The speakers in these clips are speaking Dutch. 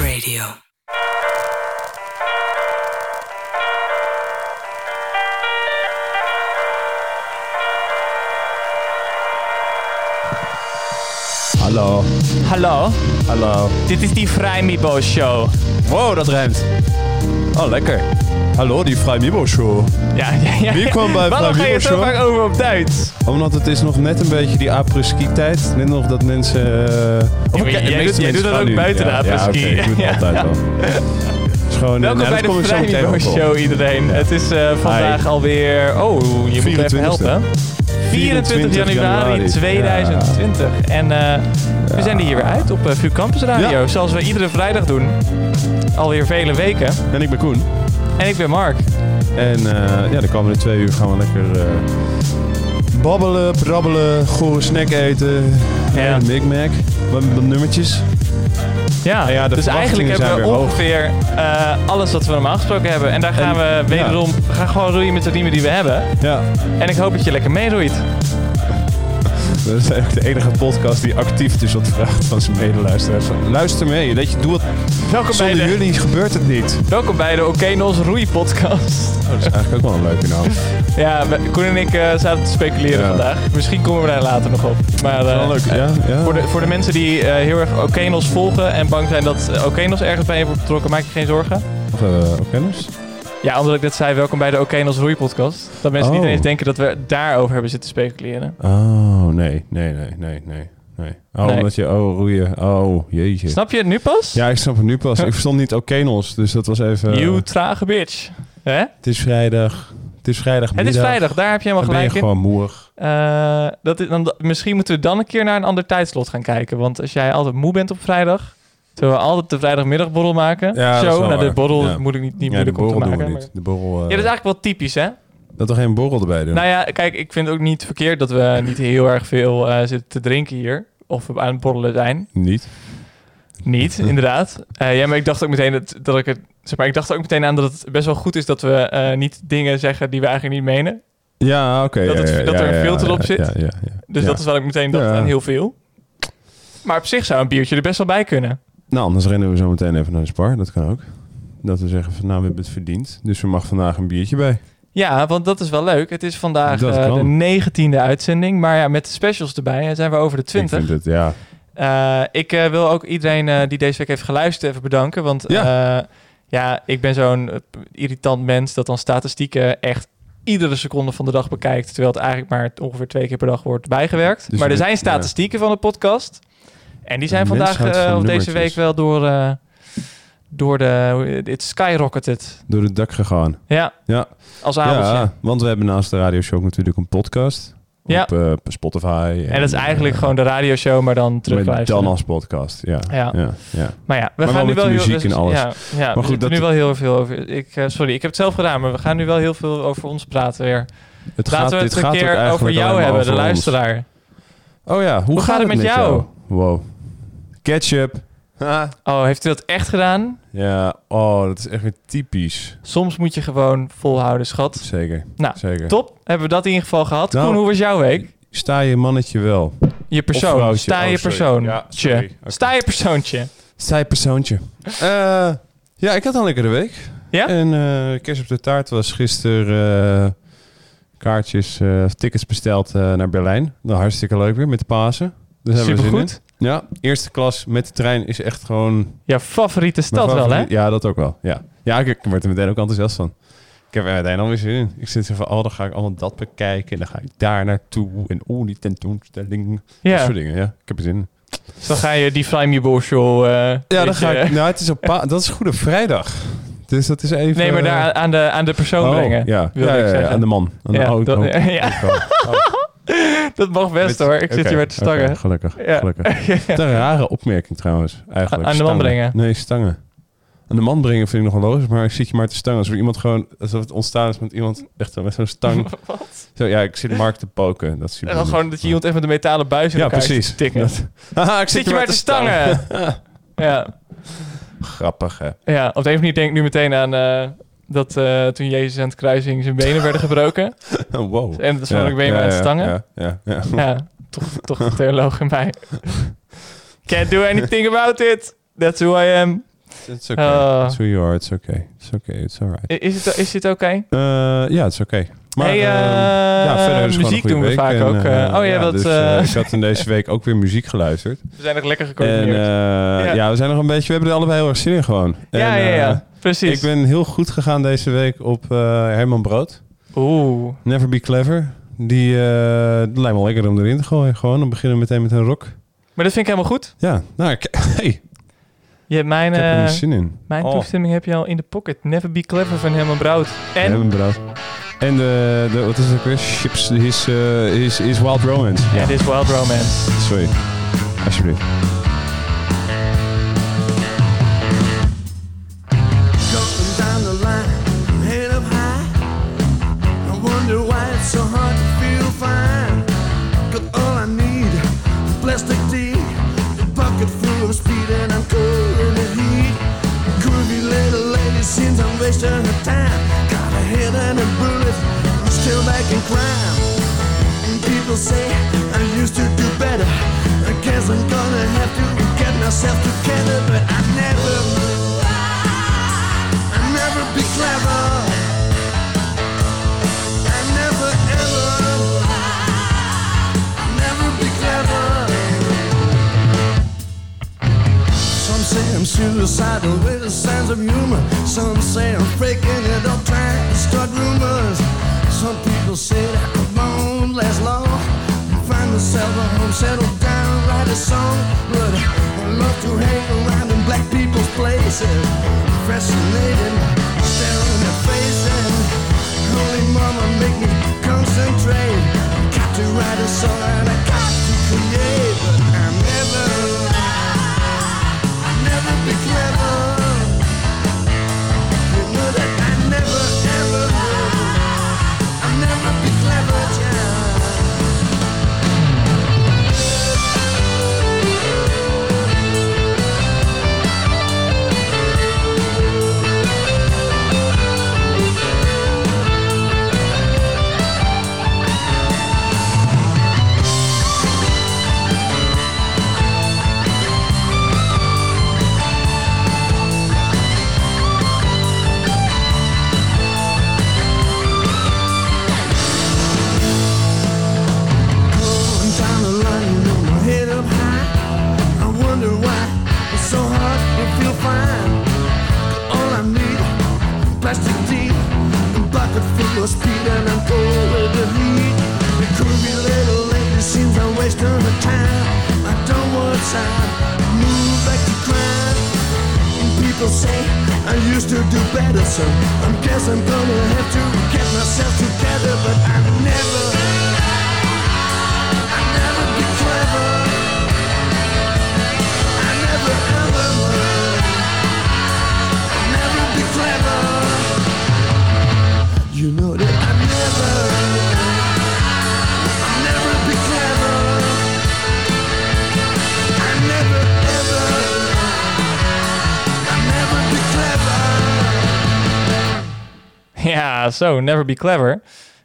Radio. Hallo, Hallo, hallo. dit is die Vrijmibo Show. Wow, dat ruimt. Oh, lekker. Hallo, die Vrij Mibo Show. Ja, ja, ja. Wie kwam bij Waarom ga je Vrijmibo zo Show? vaak over op Duits? Omdat het is nog net een beetje die apres-ski tijd. Net nog dat mensen... eh, of maar ik- jij de doet- meeste jij mensen doet dat gaan ook nu. buiten de Ja, ja, apres-ski. oké, ik doe het Ja. altijd wel. Het is gewoon... Welkom eh, nou, bij dat kom de ik zo meteen Vrijmibo ook op. Show iedereen. Het is eh, vandaag Hi. alweer... Oh, je moet me even 24e. helpen. 24 januari Ja. 2020. En eh, we zijn er hier weer uit op eh, VU Campus Radio. Ja. Zoals we iedere vrijdag doen. Alweer vele weken. En ik ben Koen. En ik ben Mark. En eh, ja, de komende twee uur gaan we lekker... eh, babbelen, prabbelen, gore snack eten. Ja. Ja. Een Big Mac. Wat wat nummertjes. Nou Ja, ja, de dus eigenlijk verwachtingen hebben we zijn weer ongeveer eh, alles wat we normaal gesproken hebben. En daar gaan En- we wederom... We gaan gewoon roeien met de riemen die we hebben. Ja, En ik hoop dat je lekker meeroeit. Dat is eigenlijk de enige podcast die actief dus wat vraagt van zijn medeluisteraars. Luister mee, weet je, doe het. Welkom bij Zonder de, jullie gebeurt het niet. welkom bij de Oké Nos Roei podcast. dat is eigenlijk ook wel een leuke naam. Ja, we- Koen en ik eh, zaten te speculeren Ja. vandaag. Misschien komen we daar later nog op. Maar eh, Wel leuk, ja. ja. voor, de, voor de mensen die eh, heel erg Oké Nos volgen en bang zijn dat eh, Oké Nos ergens bij je wordt betrokken, maak je geen zorgen. Of hebben we eh, ook kennis? Ja, omdat ik net zei, welkom bij de Oké Nos Roei podcast. Dat mensen niet Oh. eens denken dat we daarover hebben zitten speculeren. Oh, nee, nee, nee, nee, nee. nee. Oh, Nee. omdat je, oh, roeien. Oh, jeetje. Snap je het nu pas? Ja, ik snap het nu pas. Ik verstond niet Okenos, dus dat was even... You trage bitch. Hè? Het is vrijdag. Het is vrijdagmiddag. Het is vrijdag, daar heb je Dan helemaal ben je gelijk in. gewoon moerig. Eh, dat is, dan, misschien moeten we dan een keer naar een ander tijdslot gaan kijken. Want als jij altijd moe bent op vrijdag, zullen we altijd de vrijdagmiddagborrel maken. Ja, dat is Zo, wel nou, de waar. borrel Ja. moet ik niet, niet ja, de moeilijk om te borrel doen we maken. maar- niet. De borrel... eh, Ja, dat is eigenlijk wel typisch, hè? Dat we geen borrel erbij doen. Nou ja, kijk, ik vind het ook niet verkeerd dat we niet heel erg veel eh, zitten te drinken hier. Of we aan het borrelen zijn. Niet. Niet, inderdaad. Eh, ja, maar ik dacht ook meteen dat, dat ik het. Zeg maar, ik dacht ook meteen aan dat het best wel goed is dat we eh, niet dingen zeggen die we eigenlijk niet menen. Ja, oké. Dat het- ja, ja, dat er ja, een ja, filter ja, op zit. Ja, ja, ja. Dus Ja. dat is wat ik meteen dacht Ja. aan heel veel. Maar op zich zou een biertje er best wel bij kunnen. Nou, anders rennen we zo meteen even naar de spar. Dat kan ook. Dat we zeggen van nou, we hebben het verdiend. Dus er mag vandaag een biertje bij. Ja, want dat is wel leuk. Het is vandaag Dat eh, kan. de 19e uitzending. Maar ja, met de specials erbij eh, zijn we over de 20. Ik Eh, Ik, vind het, ja. eh, wil ook iedereen eh, die deze week heeft geluisterd even bedanken. Want ja, ja ik ben zo'n eh, irritant mens dat dan statistieken echt iedere seconde van de dag bekijkt. Terwijl het eigenlijk maar ongeveer twee keer per dag wordt bijgewerkt. Dus maar je er bent- zijn statistieken van de podcast. En die zijn Een mens vandaag houdt eh, van of deze week nummertjes. wel door, eh, door de... Het skyrocketed. Door het dak gegaan. Ja, Ja. als avondje. Ja, want we hebben naast de radioshow ook natuurlijk een podcast. Ja. Op eh, Spotify. En dat is eigenlijk eh, gewoon de radioshow, maar dan maar terugluisteren. dan als podcast, ja. Ja. ja, ja. Maar ja, we Maar wel gaan nu met wel de heel muziek en alles. Ja, ja goed, we zitten dat- nu wel heel veel over. Ik, eh, sorry, ik heb het zelf gedaan, maar we gaan nu wel heel veel over ons praten weer. Het Laten we dit het een gaat ook keer eigenlijk over jou allemaal hebben, de over ons. luisteraar. Oh ja, hoe, Hoe gaat het met jou? Wow. Ketchup. Ha. Oh, heeft u dat echt gedaan? Ja, oh, dat is echt weer typisch. Soms moet je gewoon volhouden, schat. Zeker. Nou, Zeker. Top, hebben we dat in ieder geval gehad. Nou. Koen, hoe was jouw week? Sta je mannetje wel. Je Of persoon, vrouwtje. sta Oh, je sorry. persoon. Ja, sorry. Oké. Sta je persoontje. Zij persoontje. Eh, ja, ik had een lekkere week. Ja? En eh kerst op de taart was gisteren eh, kaartjes, eh, tickets besteld eh, naar Berlijn. Nou, hartstikke leuk weer met de Pasen. Daar hebben we zin Supergoed. in. Ja, eerste klas met de trein is echt gewoon... mijn Jouw favoriete stad wel, hè? favoriet- Ja, dat ook wel. Ja, ja ik, ik word er meteen ook enthousiast van. Ik heb er meteen alweer zin in. Ik zit zo van, oh, dan ga ik allemaal dat bekijken. En dan ga ik daar naartoe. En oh, die tentoonstelling. Dat Ja, soort dingen, ja. Ik heb er zin in. Dus dan ga je die Frame Your Ball Show... eh, Ja, dan beetje- ga ik. Nou, het is op pa- dat is Goede Vrijdag. Dus dat is even. Nee, maar daar aan de, aan de persoon oh, brengen. Ja, wilde ja, ik ja, ja, zeggen. aan de man. Aan de Ja, auto. dat- ja. Dat mag best hoor, ik zit hier weer te stangen. gelukkig. Ja. gelukkig. Wat een rare opmerking trouwens, eigenlijk. Aan de man Stangen. brengen. Nee, stangen. Aan de man brengen vind ik nog wel logisch, maar ik zit je maar te stangen. Alsof iemand gewoon, alsof het ontstaan is met iemand echt zo met zo'n stang. Wat? zo, ja, ik zit Mark te poken. Dat is En dan gewoon dat je iemand even met een metalen buis in Ja, elkaar zit precies. te tikken. Dat- Haha, ik Zit je maar te stangen? ja. Grappig, hè? ja, op de een of andere manier denk ik nu meteen aan eh, dat eh, toen Jezus aan het kruis hing zijn benen werden gebroken. Oh, Wow. En dat is gewoon ik ben je maar aan het stangen. Ja, Ja, ja, ja. toch, toch de theoloog in mij. Can't do anything about it. That's who I am. It's okay. Oh. It's who you are. It's okay. It's okay. It's alright. I- Is het, is dit oké? Eh, ja, het is oké. Maar Hey, ehm, eh, ja, verder is het muziek gewoon een goede doen we week. vaak En, ook, eh, eh, oh ja, dat, Dus, eh, eh, ik had in deze week ook weer muziek geluisterd. We zijn nog lekker En gecoördineerd. eh, Ja. ja. we zijn nog een beetje... We hebben er allebei heel erg zin in gewoon. ja, En, ja, eh, ja. Precies. ik ben heel goed gegaan deze week op eh, Herman Brood. Oeh. Never Be Clever. Die eh, dat lijkt me wel lekker om erin te gooien. Gewoon, dan beginnen we meteen met een rock. Maar dat vind ik helemaal goed. Ja, nou, ik, hey, ik Je hebt mijn, heb er eh, nu zin in. mijn Oh. toestemming heb je al in de pocket. Never be clever van Herman Brood. We En... hebben hem bedacht. En de, de, wat is het ook weer? Chips, his, eh, his, his Wild Romance. Ja, dit is Wild Romance. Sorry. Alsjeblieft. Going down the line, head up high. I wonder why it's so hard to feel fine. Got all I need, a plastic tea, a bucket full of speed, and I'm cool in the heat. Groovy little lady seems I'm wasting her time. Got a head and a bullet, I'm still back in crime. And people say I used to do better. I guess I'm gonna have to get myself together, but I never. I never be clever. I never ever. I never be clever. Some say I'm suicidal with a sense of humor. Some say I'm faking it up, trying to start rumors. Some people say that I won't last long. Find myself a home, settle down, write a song. But I love to hang around in black people's places. Fascinated, staring in their faces. Holy mama, make me concentrate. Got to write a song and I got to create. But I'm never never be clever. You know that I never ever will. I'll never be clever, child. Going down the line, you know my head up high. I wonder why it's so hard to feel fine. All I need, plastic tea, a bucket full of speed, and I'm cold with the heat. The groovy little lady seems I'm wasting her time. I don't want time, move back to crime. People say I used to do better, so I guess I'm gonna have to get myself together, but I never. I never be clever. I never ever will. I never be clever. You know that I never. I never be clever. I never ever. I never be clever. Ja, zo. Never be clever.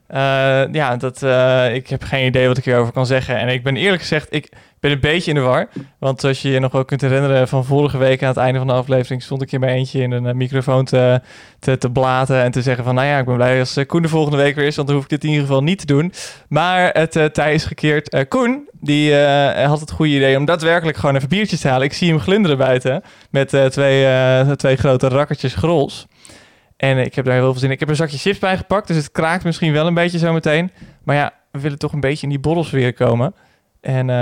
Eh, ja, dat, eh, ik heb geen idee wat ik hierover kan zeggen. En ik ben eerlijk gezegd, ik ben een beetje in de war. Want zoals je je nog wel kunt herinneren van vorige week aan het einde van de aflevering... stond ik in mijn eentje in een eh, microfoon te, te, te blaten en te zeggen van... nou ja, ik ben blij als eh, Koen de volgende week weer is, want dan hoef ik dit in ieder geval niet te doen. Maar het eh, tij is gekeerd. Eh, Koen, die eh, had het goede idee om daadwerkelijk gewoon even biertjes te halen. Ik zie hem glunderen buiten met eh, twee, eh, twee grote rakkertjes grols. En ik heb daar heel veel zin in. Ik heb een zakje chips bij gepakt, dus het kraakt misschien wel een beetje zometeen. Maar ja, we willen toch een beetje in die borrelsfeer komen. En eh,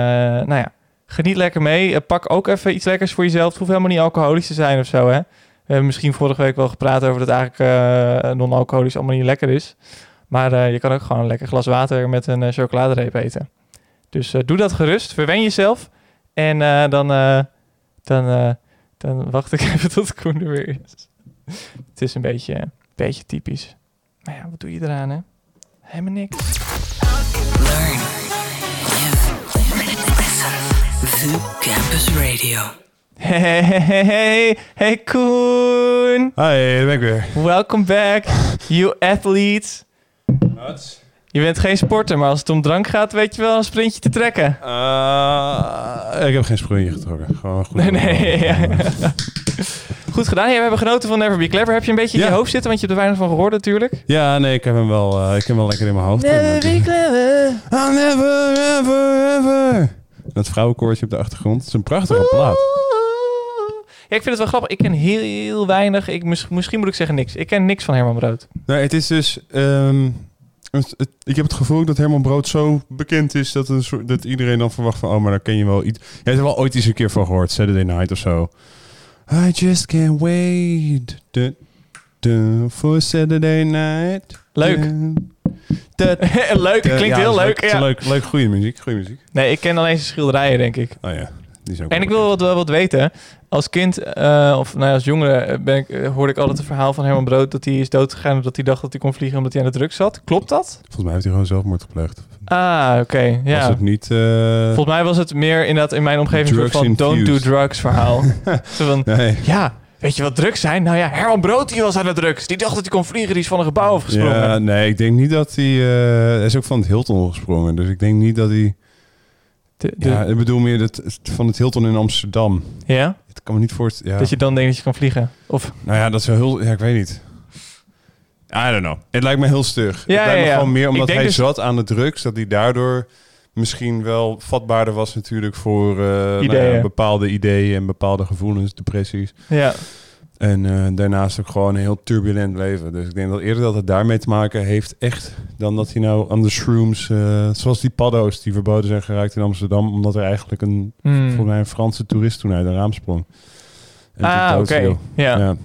nou ja, geniet lekker mee. Eh, pak ook even iets lekkers voor jezelf. Het hoeft helemaal niet alcoholisch te zijn of zo, hè. We hebben misschien vorige week wel gepraat over dat eigenlijk eh, non-alcoholisch allemaal niet lekker is. Maar eh, je kan ook gewoon een lekker glas water met een eh, chocoladereep eten. Dus eh, doe dat gerust. Verwen jezelf. En eh, dan, eh, dan, eh, dan wacht ik even tot Koen er weer is. Het is een beetje, beetje typisch. Maar ja, wat doe je eraan, hè? Helemaal niks. Learn. Live. Listen. Zoo Campus Radio. Hey, hey, hey, hey, hey, Koen! Hi, daar ben ik weer. Welcome back, you athlete. Wat? Je bent geen sporter, maar als het om drank gaat, weet je wel een sprintje te trekken. ik heb geen sprongje getrokken. Gewoon goed. Nee, nee, ja. Goed gedaan. Ja, we hebben genoten van Never Be Clever. Heb je een beetje in Ja. je hoofd zitten? Want je hebt er weinig van gehoord natuurlijk. Ja, nee, ik heb hem wel, eh, ik heb hem wel lekker in mijn hoofd. En, eh, Clever. I'll never, ever, ever. Dat vrouwenkoortje op de achtergrond. Het is een prachtige plaat. Ja, ik vind het wel grappig. Ik ken heel, heel weinig. Ik, mis- misschien moet ik zeggen niks. Ik ken niks van Herman Brood. Nee, het is dus... ehm, het- het- ik heb het gevoel dat Herman Brood zo bekend is... Dat, een soort, dat iedereen dan verwacht van... Oh, maar daar ken je wel iets... Jij hebt er wel ooit eens een keer van gehoord. Saturday Night of zo. I just can't wait du- du- for Saturday Night. Leuk. Dat- leuk. Eh, Klinkt ja, heel is leuk. is ja. leuk. Leuk, goede muziek. Goede muziek. Nee, ik ken alleen zijn schilderijen, denk ik. Oh ja, die is En ook wel ik wil wat, wel wat weten. Als kind, eh, of nou ja, als jongere, eh, ben ik, eh, hoorde ik altijd het verhaal van Herman Brood... dat hij is doodgegaan omdat hij dacht dat hij kon vliegen omdat hij aan de drugs zat. Klopt dat? Volgens mij heeft hij gewoon zelfmoord gepleegd. Ah, oké. ja. Was het niet... eh, Volgens mij was het meer inderdaad in mijn omgeving een soort Drugs van don't do infused. drugs verhaal. Zo van, Nee. ja, weet je wat drugs zijn? Nou ja, Herman Brood die was aan de drugs. Die dacht dat hij kon vliegen, die is van een gebouw afgesprongen. Ja, nee, ik denk niet dat hij... eh, hij is ook van het Hilton gesprongen. Dus ik denk niet dat hij... De- de- Ja, ik bedoel meer dat, het- van het Hilton in Amsterdam. ja? Dus Ik kan me niet voorstellen... Ja. dat je dan denkt dat je kan vliegen. Of, Nou ja, dat is wel heel... Ja, ik weet niet. I don't know. Het lijkt me heel stug. Ja, het lijkt ja, me ja. gewoon meer Ik omdat denk hij dus- zat aan de drugs... dat hij daardoor misschien wel vatbaarder was natuurlijk voor eh, nou ja, Ideeën. bepaalde ideeën... en bepaalde gevoelens, depressies. ja. En eh, daarnaast ook gewoon een heel turbulent leven. Dus ik denk dat eerder dat het daarmee te maken heeft, echt, dan dat hij nou aan de shrooms, eh, zoals die paddo's die verboden zijn geraakt in Amsterdam, omdat er eigenlijk een, Hmm. volgens mij een Franse toerist toen uit een raam sprong. En Ah, toen oké. dood viel. Ja. Ja.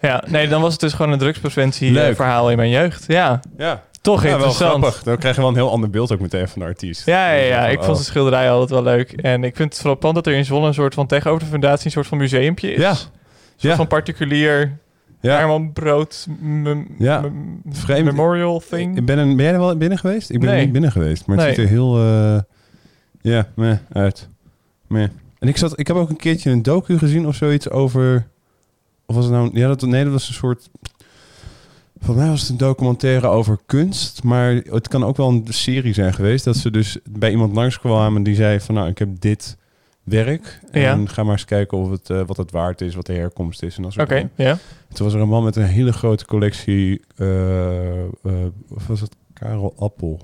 Ja. nee, dan was het dus gewoon een drugspreventie eh, Leuk. verhaal in mijn jeugd. Ja, Ja. toch Ja, wel interessant. grappig. Dan krijg je wel een heel ander beeld ook meteen van de artiest. Ja, ja, ja. Van, ik oh. vond de schilderij altijd wel leuk. En ik vind het frappant dat er in Zwolle een soort van tegenover de fundatie een soort van museumpje is. Ja. Een soort Ja. van particulier Ja. Herman Brood mem- Ja. mem- Vreemd. memorial thing. Ik ben, een, ben jij er wel binnen geweest? Ik ben Nee. er niet binnen geweest, maar Nee. het ziet er heel... eh, ja, meh, uit. Meh. En ik, zat, ik heb ook een keertje een docu gezien of zoiets over... Of was het nou... Ja, dat, nee, dat was een soort... Volgens mij was het een documentaire over kunst, maar het kan ook wel een serie zijn geweest. Dat ze dus bij iemand langskwamen die zei van nou, ik heb dit werk. En Ja. ga maar eens kijken of het, eh, wat het waard is, wat de herkomst is en dat Oké, soort dingen. ja. Toen was er een man met een hele grote collectie. eh, eh, of was het Karel Appel?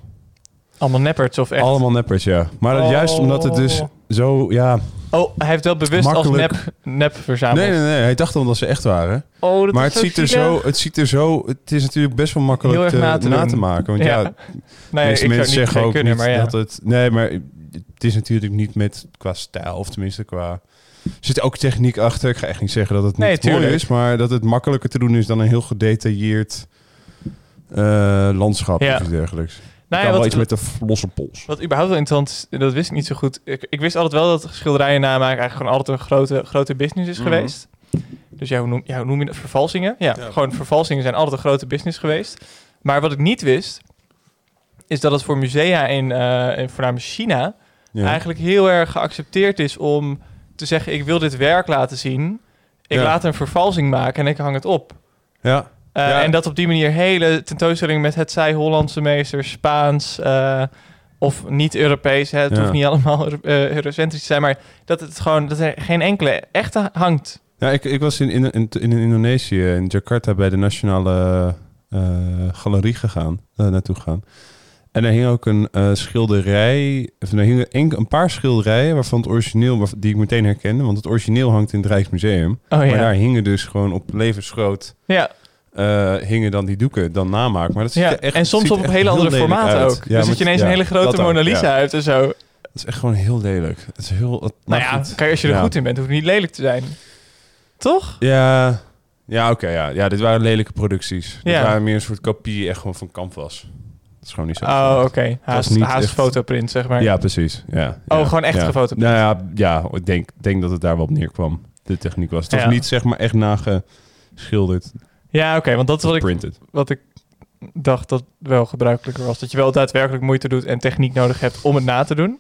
Allemaal nepperts of echt. Allemaal neppers, ja. Maar dat juist omdat het dus Oh. zo, ja. Oh, hij heeft wel bewust Makkelijk. als nep, nep verzameld. Nee, nee, nee. Hij dacht dan dat ze echt waren. Oh, dat maar is het ziet, er zielig. zo, het ziet er zo. Het is natuurlijk best wel makkelijk Heel erg te, na na, te te doen. maken. Want ja, Ja. Nee, ik meeste zou het mensen niet zeggen ook kunnen, niet maar ja. dat het. Nee, maar het is natuurlijk niet met qua stijl, of tenminste qua. Er zit ook techniek achter. Ik ga echt niet zeggen dat het Nee, niet mooi tuurlijk. is, maar dat het makkelijker te doen is dan een heel gedetailleerd eh, landschap Ja. of iets dergelijks. Nou ja, Nou, kan wel wat, iets met de losse pols. wat überhaupt wel interessant is, dat wist ik niet zo goed. Ik, ik wist altijd wel dat schilderijen namaken eigenlijk gewoon altijd een grote, grote business is Mhm. geweest. Dus ja hoe, noem, ja, hoe noem je dat? Vervalsingen? Ja, gewoon vervalsingen zijn altijd een grote business geweest. Maar wat ik niet wist, is dat het voor musea in, eh in voornamelijk China... Ja. eigenlijk heel erg geaccepteerd is om te zeggen: ik wil dit werk laten zien. Ik Ja. laat een vervalsing maken en ik hang het op. ja. Uh, Ja. En dat op die manier hele tentoonstellingen met het zij Hollandse meesters, Spaans eh, of niet-Europees. hè, Het Ja. hoeft niet allemaal Euro- eh, eurocentrisch te zijn, maar dat het gewoon dat er geen enkele echte hangt. Ja, ik, ik was in, in, in, in Indonesië, in Jakarta, bij de Nationale eh, Galerie gegaan, eh, naartoe gegaan. En er hing ook een eh, schilderij, of er hingen enk- een paar schilderijen waarvan het origineel, waarvan- die ik meteen herkende, want het origineel hangt in het Rijksmuseum. Oh ja. Maar daar hingen dus gewoon op levensgroot, ja. eh, hingen dan die doeken, dan namaak. Maar dat ziet ja. er echt, en soms ziet op er echt hele heel andere lelijk formaten uit. ook. Ja, dus maar dat je ineens ja, een hele dat grote ook, Mona Lisa ja. uit en zo. Het is echt gewoon heel lelijk. Het is heel, het Nou maar ja, goed. kijk, als je er Ja. goed in bent, hoeft het niet lelijk te zijn. Toch? Ja, ja oké. ja. ja, dit waren lelijke producties. Ja. Dit waren meer een soort kopie echt gewoon van canvas. Dat is gewoon niet zo. Oh, oké. Haast, niet haast echt- fotoprint, zeg maar. Ja, precies. Ja, Oh, ja, gewoon echt ja. gefotoprint. Nou ja, ja ik denk, denk dat het daar wel op neerkwam. De techniek was. Het was Ja. niet zeg maar echt nageschilderd, Ja, oké, want dat is wat ik, printed. wat ik dacht dat wel gebruikelijker was. Dat je wel daadwerkelijk moeite doet en techniek nodig hebt om het na te doen.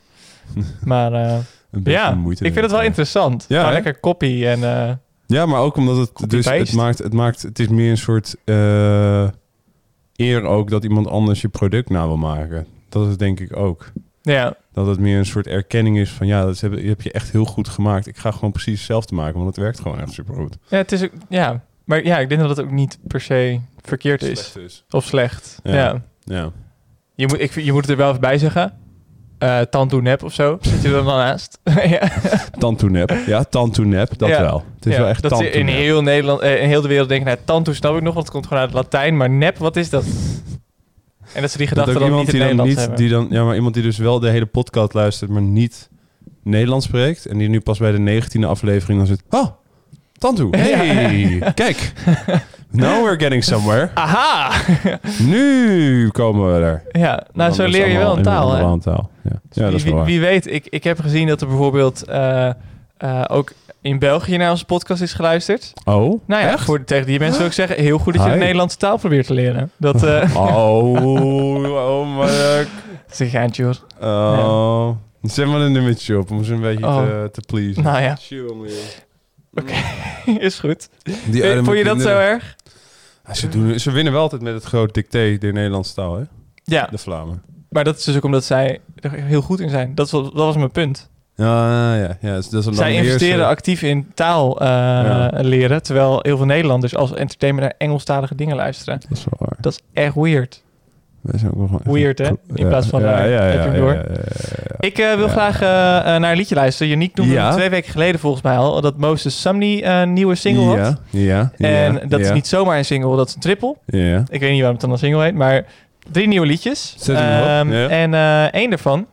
Maar eh, Een beetje ja, ik moeite. vind het denk wel ik. interessant. Ja, maar hè? lekker copy en... eh, Ja, maar ook omdat het dus het Copy-paste. maakt, het maakt, het is meer een soort eh, eer ook dat iemand anders je product na wil maken. Dat is denk ik ook. ja, Dat het meer een soort erkenning is van ja, dat heb, heb je echt heel goed gemaakt. Ik ga gewoon precies hetzelfde maken, want het werkt gewoon echt supergoed. Ja, het is ook, ja. Maar ja, ik denk dat het ook niet per se verkeerd is. Slecht dus. Of slecht. Ja. Ja. Ja. Je, moet, ik, vind- je moet het er wel even bij zeggen. Eh Tantoe nep of zo. Zit je er dan naast? ja. Tantoenep. Ja, tantoenep, dat Ja. wel. Het is Ja, wel echt dat ze in tantoenep. heel Nederland, eh, in heel de wereld denken, nou, tantoe snap ik nog, want het komt gewoon uit het Latijn. Maar nep, wat is dat? En dat ze die Dat gedachten ook dan niet iemand in die dan Nederland niet, hebben. die dan, ja, maar iemand die dus wel de hele podcast luistert, maar niet Nederlands spreekt. En die nu pas bij de negentiende aflevering dan zit. Oh, Tantoe. Hey, kijk. Now we're getting somewhere. Aha! Nu komen we er. ja, nou, zo Dan is leer je wel een allemaal in- taal, hè? allemaal een taal. Ja, ja dat wie, is wie- wel waar. wie weet, ik, ik heb gezien dat er bijvoorbeeld eh, eh, ook in België naar onze podcast is geluisterd. Oh, Nou ja, echt? voor, tegen die mensen wil ik zeggen, heel goed dat je Hi. de Nederlandse taal probeert te leren. Dat eh Oh, oh, Mark. is een geintje hoor. Oh. Zet maar een nummertje op om ze een beetje Oh. eh, te, te pleasen. Nou ja, Chill, man. is goed. Die Eh, arme Vond je dat zo kinderen. erg? Ja, ze, doen, ze winnen wel altijd met het groot dicté de Nederlandse taal, hè? Ja, De Vlamen. maar dat is dus ook omdat zij er heel goed in zijn. Dat, is wel- dat was mijn punt. Ja, ja, ja. Dus dat is een Zij langheerser- investeren actief in taal eh, Ja. leren, terwijl heel veel Nederlanders als entertainment naar Engelstalige dingen luisteren. Dat is wel waar. Dat is echt weird. Wij zijn ook wel gewoon echt Weird, een hè? pro- In plaats van ja, raar. ja, ja, Heb je ja, hem ja, door? ja, ja, ja. Ik eh, wil Ja. graag eh, eh, naar een liedje luisteren. Yannick noemde Ja. het twee weken geleden volgens mij al... dat Moses Sumney eh, een nieuwe single ja, had. Ja, ja, En ja, dat is ja. niet zomaar een single, dat is een triple. Ja. Ik weet niet waarom het dan een single heet, maar drie nieuwe liedjes. Zet hem erop, Ehm, ja. En eh, één daarvan,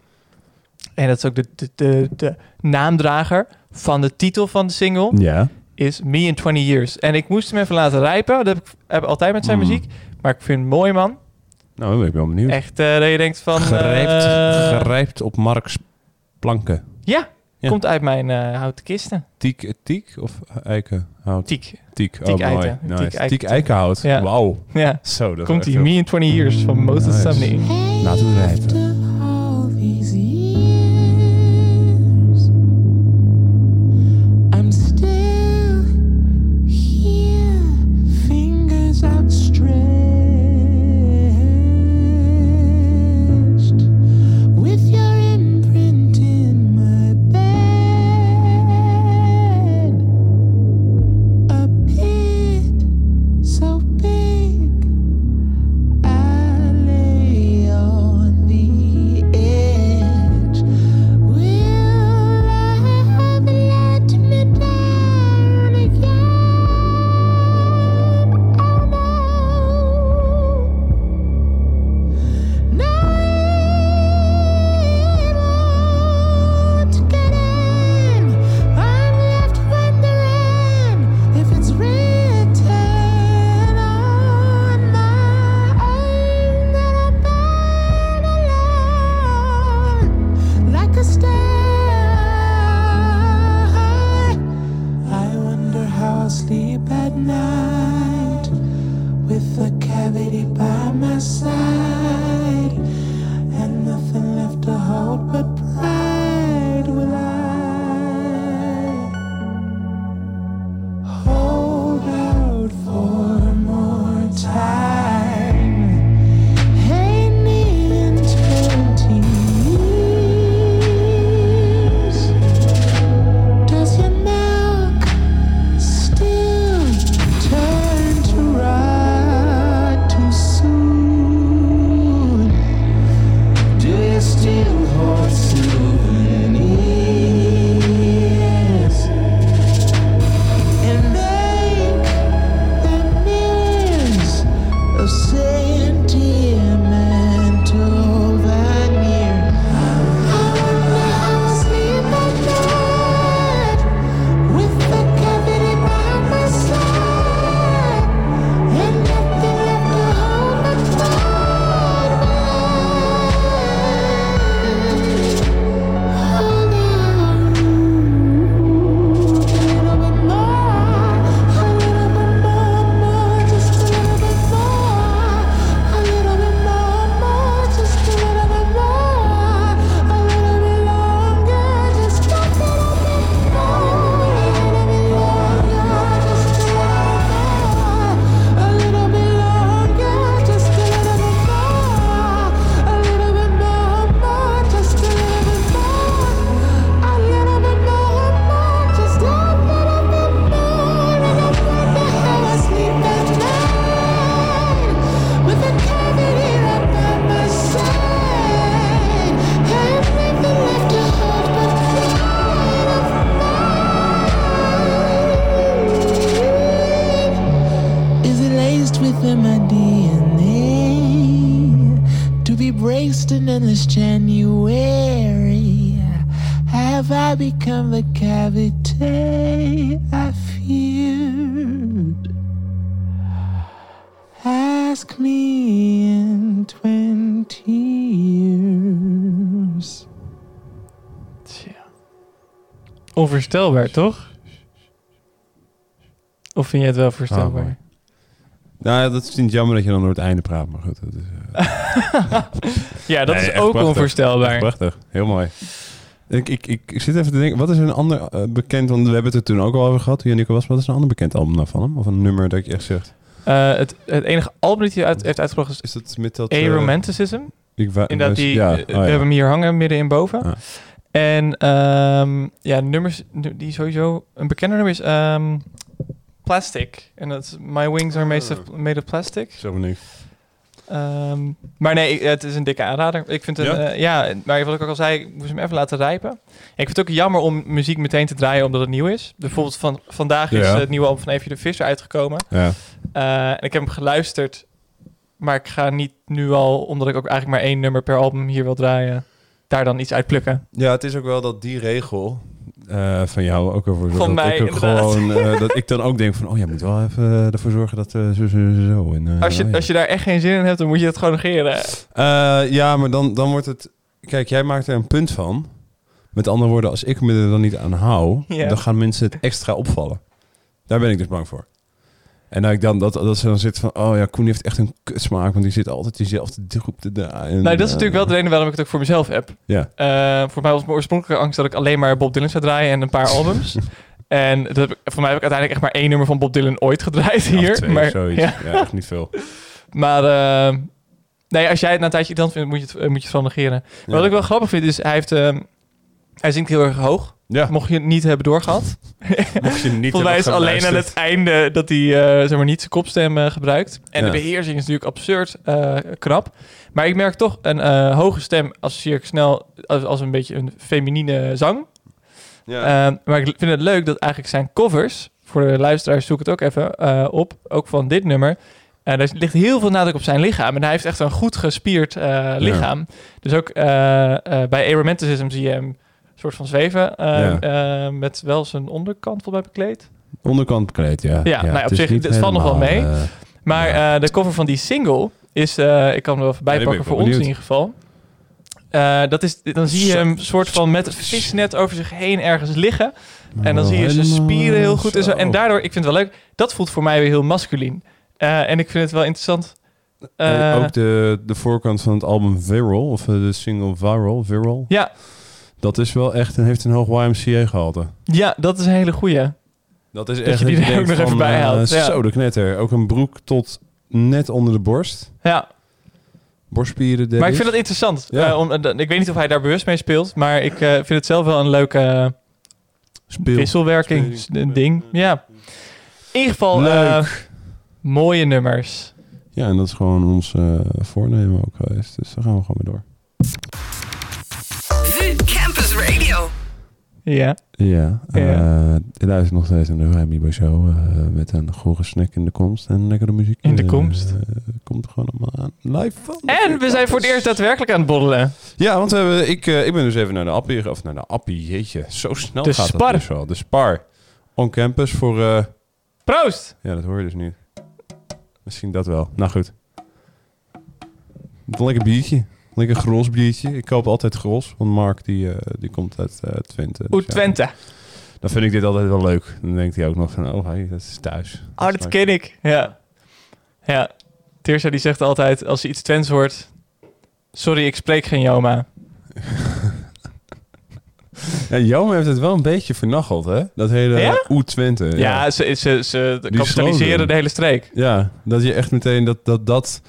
en dat is ook de, de, de, de naamdrager van de titel van de single... Ja. is Me in 20 Years. En ik moest hem even laten rijpen. Dat heb ik heb ik altijd met zijn Mm. muziek. Maar ik vind hem mooi, man. Nou, ben ik wel benieuwd. Echt eh, dat je denkt van... Gerijpt, eh, gerijpt op Marks planken. Ja, Ja. komt uit mijn eh, houten kisten. Tiek, eh, tiek of eiken? Hout. Tiek. Tiek. Tiek oh, mooi. eiten. Tiek Nice. eiten. Tiek eikenhout. Ja. Wauw. Ja. Zo, dat Komt is Mm, ie, Me in 20 Years van Moses Nice. Sumney. Laten we rijpen. all these years, I'm still here, fingers outstretched, with your imprint in my bed. A pit so big I lay on thee. since January. Have I become the cavity I feared? Ask me in twenty years. Tja. Onvoorstelbaar, toch? Of vind je het wel Ah, mooi. voorstelbaar? Nou, ja, dat is niet jammer dat je dan door het einde praat, maar goed. Dat is, eh, ja, dat nee, is echt ook prachtig. onvoorstelbaar. Echt prachtig. Heel mooi. Ik, ik, ik, ik zit even te denken, wat is een ander eh, bekend, want we hebben het er toen ook al over gehad, toen Janico was, wat is een ander bekend album nou van hem? Of een nummer dat je echt zegt, Eh, het, het enige album dat hij uit, heeft uitgebracht is is dat met dat... eh, Aromanticism. ik wa- Inderdaad, was- die, ja, eh, oh we ja. hebben hem hier hangen, midden in boven. Ah. En ehm, ja, nummers nu- die sowieso... Een bekender nummer is ehm, Plastic. En dat is My Wings Are Made of, made of Plastic. Oh. Zo benieuwd. Ehm, maar nee, ik- het is een dikke aanrader. Ik vind het, Ja? ja? ja, maar wat ik ook al zei, ik moest hem even laten rijpen. En ik vind het ook jammer om muziek meteen te draaien omdat het nieuw is. Bijvoorbeeld van, vandaag is Ja. eh, het nieuwe album van Evie de Visser uitgekomen. Ja. Eh, en ik heb hem geluisterd, maar ik ga niet nu al, omdat ik ook eigenlijk maar één nummer per album hier wil draaien, daar dan iets uit plukken. Ja, het is ook wel dat die regel eh, van jou ook ervoor zorgt Van dat mij, ik ook inderdaad. gewoon eh, dat ik dan ook denk van, oh, jij moet wel even eh, ervoor zorgen dat eh, zo, zo, zo, zo. En, eh, Als je, oh ja. als je daar echt geen zin in hebt, dan moet je het gewoon negeren. Eh, ja, maar dan, dan wordt het. Kijk, jij maakt er een punt van. Met andere woorden, als ik me er dan niet aan hou, Ja. dan gaan mensen het extra opvallen. Daar ben ik dus bang voor. En dat ik dan dat, dat ze dan zitten van, oh ja, Koen heeft echt een kutsmaak, want die zit altijd diezelfde groep te draaien. Nou, dat is natuurlijk wel de reden waarom ik het ook voor mezelf heb. eh, Ja. Eh, voor mij was mijn oorspronkelijke angst dat ik alleen maar Bob Dylan zou draaien en een paar albums. en dat heb ik- voor mij heb ik uiteindelijk echt maar één nummer van Bob Dylan ooit gedraaid Ja, of hier. twee, maar zoiets. Ja, Ja. echt niet veel. maar eh, nee, als jij het na een tijdje irritant vindt, moet je het, eh, moet je het van negeren. Maar Ja. Wat ik wel grappig vind is, hij, heeft, ehm, hij zingt heel erg hoog. Ja, Mocht je het niet hebben doorgehad. mocht je niet Volgens mij is hebben alleen aan het geluisterd. einde dat hij eh, zeg maar niet zijn kopstem eh, gebruikt. En Ja. de beheersing is natuurlijk absurd eh, knap. Maar ik merk toch, een eh, hoge stem associeer ik snel als, als een beetje een feminine zang. Ja. Eh, maar ik vind het leuk dat eigenlijk zijn covers, voor de luisteraars zoek het ook even eh, op, ook van dit nummer. En er ligt heel veel nadruk op zijn lichaam. En hij heeft echt een goed gespierd eh, lichaam. Dus ook eh, eh, bij Aromanticism zie je hem soort van zweven. eh, eh, met wel zijn onderkant volgens mij bekleed. Onderkant bekleed, ja. Ja, nou ja, op is zich, niet het valt nog wel helemaal, mee. eh, Maar Ja. eh, de cover van die single is, eh, ik kan hem wel even Ja, die ben bijpakken ik wel voor ons benieuwd. in ieder geval. Eh, dat is, dan zie je hem soort van met een visnet over zich heen ergens liggen. En dan zie je zijn Nou, helemaal spieren heel goed. En, zo. zo. en daardoor, ik vind het wel leuk, dat voelt voor mij weer heel masculien. Eh, en ik vind het wel interessant. En eh, ook de, de voorkant van het album Viral, of eh, de single Viral, Viral. Ja. Dat is wel echt, en heeft een hoog YMCA gehalte. ja, dat is een hele goeie. Dat is je die dat er ook denkt nog van, even bij eh, haalt, ja. Zo, de knetter. Ook een broek tot net onder de borst. Ja, Borstspieren, denk maar ik vind dat interessant. Ja. Eh, om, eh, dat- ik weet niet of hij daar bewust mee speelt, maar ik eh, vind het zelf wel een leuke eh, Speel. wisselwerking, s- een ding. Ja. In ieder geval, Leuk. eh, mooie nummers. Ja, en dat is gewoon ons eh, voornemen ook geweest. Dus daar gaan we gewoon mee door. VU Campus Radio. Ja. Ja, eh Ja. je luistert nog steeds naar de Vrijmibo Show eh, met een gore snack in de komst en lekkere muziek. In de Eh, komst. komt er gewoon allemaal aan. Live van. de En we zijn voor het eerst daadwerkelijk aan het boddelen. Ja, want we hebben, ik, eh, ik ben dus even naar de appie, of naar de appie, jeetje, zo snel De gaat Spar. dat dus wel. De Spar. On campus voor, eh, Proost! ja, dat hoor je dus niet. Misschien dat wel. Nou goed. Een lekker biertje. Lekker gros biertje. Ik koop altijd gros, want Mark die, eh, die komt uit eh, Twente. Dus Oet ja, Twente. dan vind ik dit altijd wel leuk. Dan denkt hij ook nog van, oh hey, dat is thuis. Oh, dat ken ik. Ja. Ja. Tirsa die zegt altijd, als ze iets Twents hoort... Sorry, ik spreek geen Joma. Ja, Jome heeft het wel een beetje vernacheld, hè? Dat hele Ja? Oet Twente. Ja, ze, ze, ze Die slogan. kapitaliseren eh, de hele streek. Ja, dat je echt meteen dat dat. dat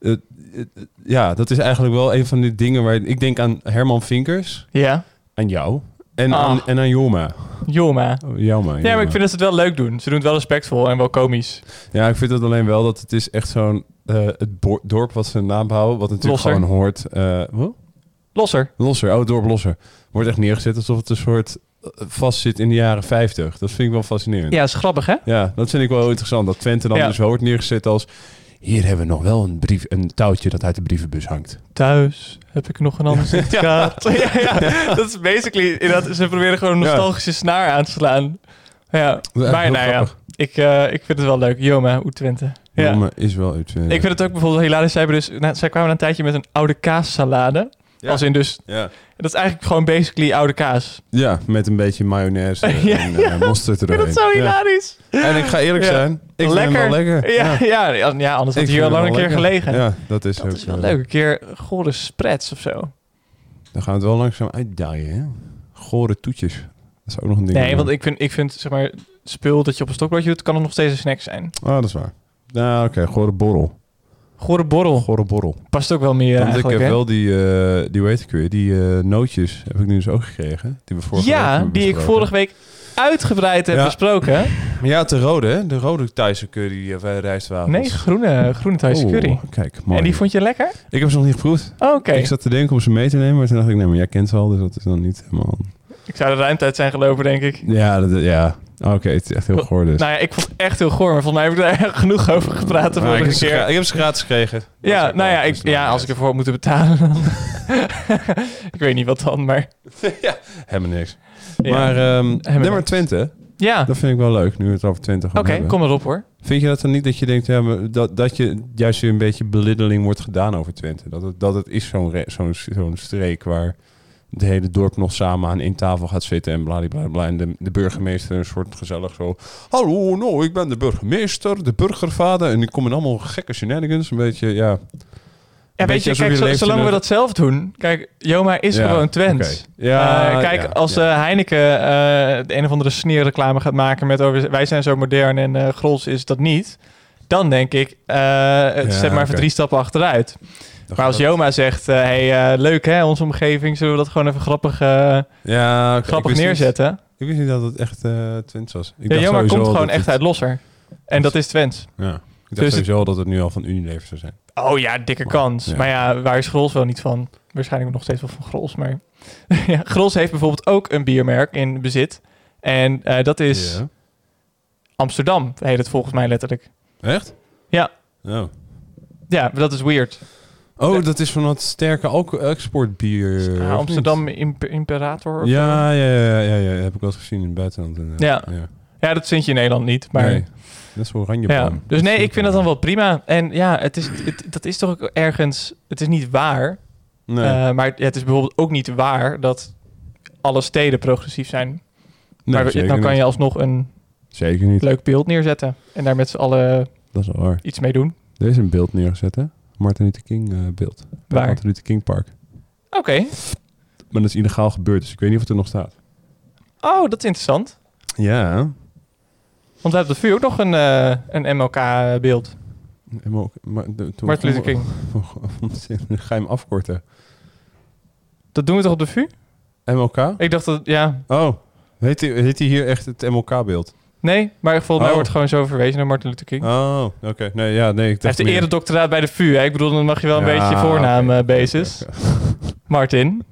eh, eh, eh, ja, dat is eigenlijk wel een van die dingen waar ik denk aan Herman Vinkers, Ja. aan jou en, Ah. aan, en aan Joma. Joma. Oh, Joma. Ja, maar ik vind dat ze het wel leuk doen. Ze doen het wel respectvol en wel komisch. Ja, ik vind dat alleen wel dat het is echt zo'n eh, het bo- dorp wat ze naam houden, wat natuurlijk Losser. gewoon hoort. eh, wat? Losser. Losser, oh, het dorp Losser. Wordt echt neergezet alsof het een soort eh, vast zit in de jaren 50. Dat vind ik wel fascinerend. Ja, is grappig, hè? Ja, dat vind ik wel interessant. Dat Twente dan Ja. dus wel wordt neergezet als... Hier hebben we nog wel een, brief, een touwtje dat uit de brievenbus hangt. Thuis heb ik nog een ander certificaat. ja. ja, dat is basically... inderdaad, ze proberen gewoon een Ja. nostalgische snaar aan te slaan. Ja, Ja, maar heel nou ja, grappig. ik, eh, ik vind het wel leuk. Joma, hoe Twente. Ja. Jongen is wel uit. eh, Ik vind het ook bijvoorbeeld hilarisch. Zij, hebben dus, nou, zij kwamen een tijdje met een oude kaassalade. Ja. Als in dus... ja. Dat is eigenlijk gewoon basically oude kaas. ja, met een beetje mayonaise eh, Ja, en eh, mosterd Ik erover. vind dat zo hilarisch. En ik ga eerlijk Ja. zijn, ik vind hem wel lekker. Ja, ja. ja, ja, anders had Ik hij hier al vind lang hem een wel keer lekker. gelegen. Ja, dat is dat ook is wel zo. leuk. Een keer gore spreads of zo. Dan gaan we het wel langzaam uitdaaien, hè? Gore toetjes. Dat is ook nog een ding. Nee, want ik vind, ik vind zeg maar, spul dat je op een stokbroodje doet, kan er nog steeds een snack zijn. Ah, dat is waar. Nou, oké, gore borrel. Gore borrel Gore borrel. past ook wel meer want ik eigenlijk, heb hè? wel die, eh die weet ik weer, die eh, nootjes heb ik nu dus ook gekregen. Die we vorige week ja, hebben die ik besproken. vorige week uitgebreid heb Ja. besproken. Maar ja, de rode, hè? De rode Thaise curry of eh, rijstwafels. Nee, groene, eh, groene Thaise Oeh, curry. Kijk, mooi. En die vond je lekker? Ik heb ze nog niet geproefd. Oh, Oké. Ik zat te denken om ze mee te nemen, maar toen dacht ik, nee, maar jij kent ze al, dus dat is dan niet helemaal... Ik zou de ruimte uit zijn gelopen, denk ik. Ja, dat, ja. Oh, Oké, het is echt heel goor dus. Nou ja, ik vond het echt heel goor, maar volgens mij heb ik daar genoeg over gepraat de Maar ik, heb vorige ze keer. gra- ik heb ze gratis gekregen. Dat is Ja, ook nou wel ja, ik, best wel ja, als ik nice. ervoor had moeten betalen. dan- ik weet niet wat dan, maar. Helemaal niks. Ja, Maar ehm nummer niks. 20, ja. dat vind ik wel leuk, nu we het over 20 gaan oké, hebben. kom erop hoor. Vind je dat dan niet dat je denkt ja, maar dat, dat je juist weer een beetje beliddeling wordt gedaan over Twente? Dat het, dat het is zo'n re- zo'n zo'n streek waar het hele dorp nog samen aan één tafel gaat zitten en bladibladibla. En de, de burgemeester een soort gezellig zo... Hallo, nou, ik ben de burgemeester, de burgervader. En ik kom in allemaal gekke shenanigans. Een beetje, ja... Ja, weet beetje je, alsof kijk, je zo- leeft in zolang we een- dat zelf doen. Kijk, Joma is Ja, gewoon Twents. oké. Ja, Eh, kijk, ja, als ja. eh, Heineken eh, de een of andere sneerreclame gaat maken met over wij zijn zo modern en eh Grols is dat niet. Dan denk ik, eh zet maar even oké. drie stappen achteruit. Maar als Joma zegt, eh, hey, eh, leuk hè, onze omgeving, zullen we dat gewoon even grappig, eh, ja, oké, grappig ik wist niet- neerzetten? ik wist niet dat het echt eh Twents was. Ik Ja, dacht Joma sowieso komt al gewoon dat echt het- uit Losser. En dat is Twents. Ja, ik dacht Dus het- sowieso al dat het nu al van Unilever zou zijn. Oh ja, dikke kans. ja. Maar ja, waar is Grols wel niet van? Waarschijnlijk nog steeds wel van Grols. Maar ja, Grols heeft bijvoorbeeld ook een biermerk in bezit. En eh, dat is Ja. Amsterdam, heet het volgens mij letterlijk. Echt? Ja. Oh. Ja, maar dat is weird. Oh, dat is van dat sterke alco- exportbier. Ja, of niet? Ah, Amsterdam Imp- Imperator. of zo. Ja, ja, ja, ja, ja, heb ik wel eens gezien in het buitenland. eh, inderdaad. Ja. ja, dat vind je in Nederland niet. Maar Nee, dat is oranje Ja, dus nee, ik vind dat dan wel prima. En ja, het is, het, dat is toch ook ergens... Het is niet waar. Nee, eh, maar het is bijvoorbeeld ook niet waar dat alle steden progressief zijn. Nee, maar zeker, dan kan niet. je alsnog een zeker niet. leuk beeld neerzetten. En daar met z'n allen Dat is wel waar. iets mee doen. Er is een beeld neergezet, hè? Martin Luther King eh, beeld. Bij het Waar? Martin Luther King Park. Oké. Maar dat is illegaal gebeurd, dus ik weet niet of het er nog staat. Oh, dat is interessant. Ja. Want we hebben op de VU ook nog een, eh, een MLK-beeld. En ook, maar, de- toen Oh, Martin Luther King. Ga je hem afkorten. Dat doen we toch op de VU? MLK? Ik dacht dat, ja. Oh, heet hij heet die hier echt het MLK-beeld? Nee, maar volgens mij Oh. wordt gewoon zo verwezen naar Martin Luther King. Oh, oké. Nee, ja, nee, ik Hij dacht heeft de meer- eredoctoraat bij de VU. Hè? Ik bedoel, dan mag je wel een Ja, beetje voornaam oké, eh, oké, basis. oké. Martin.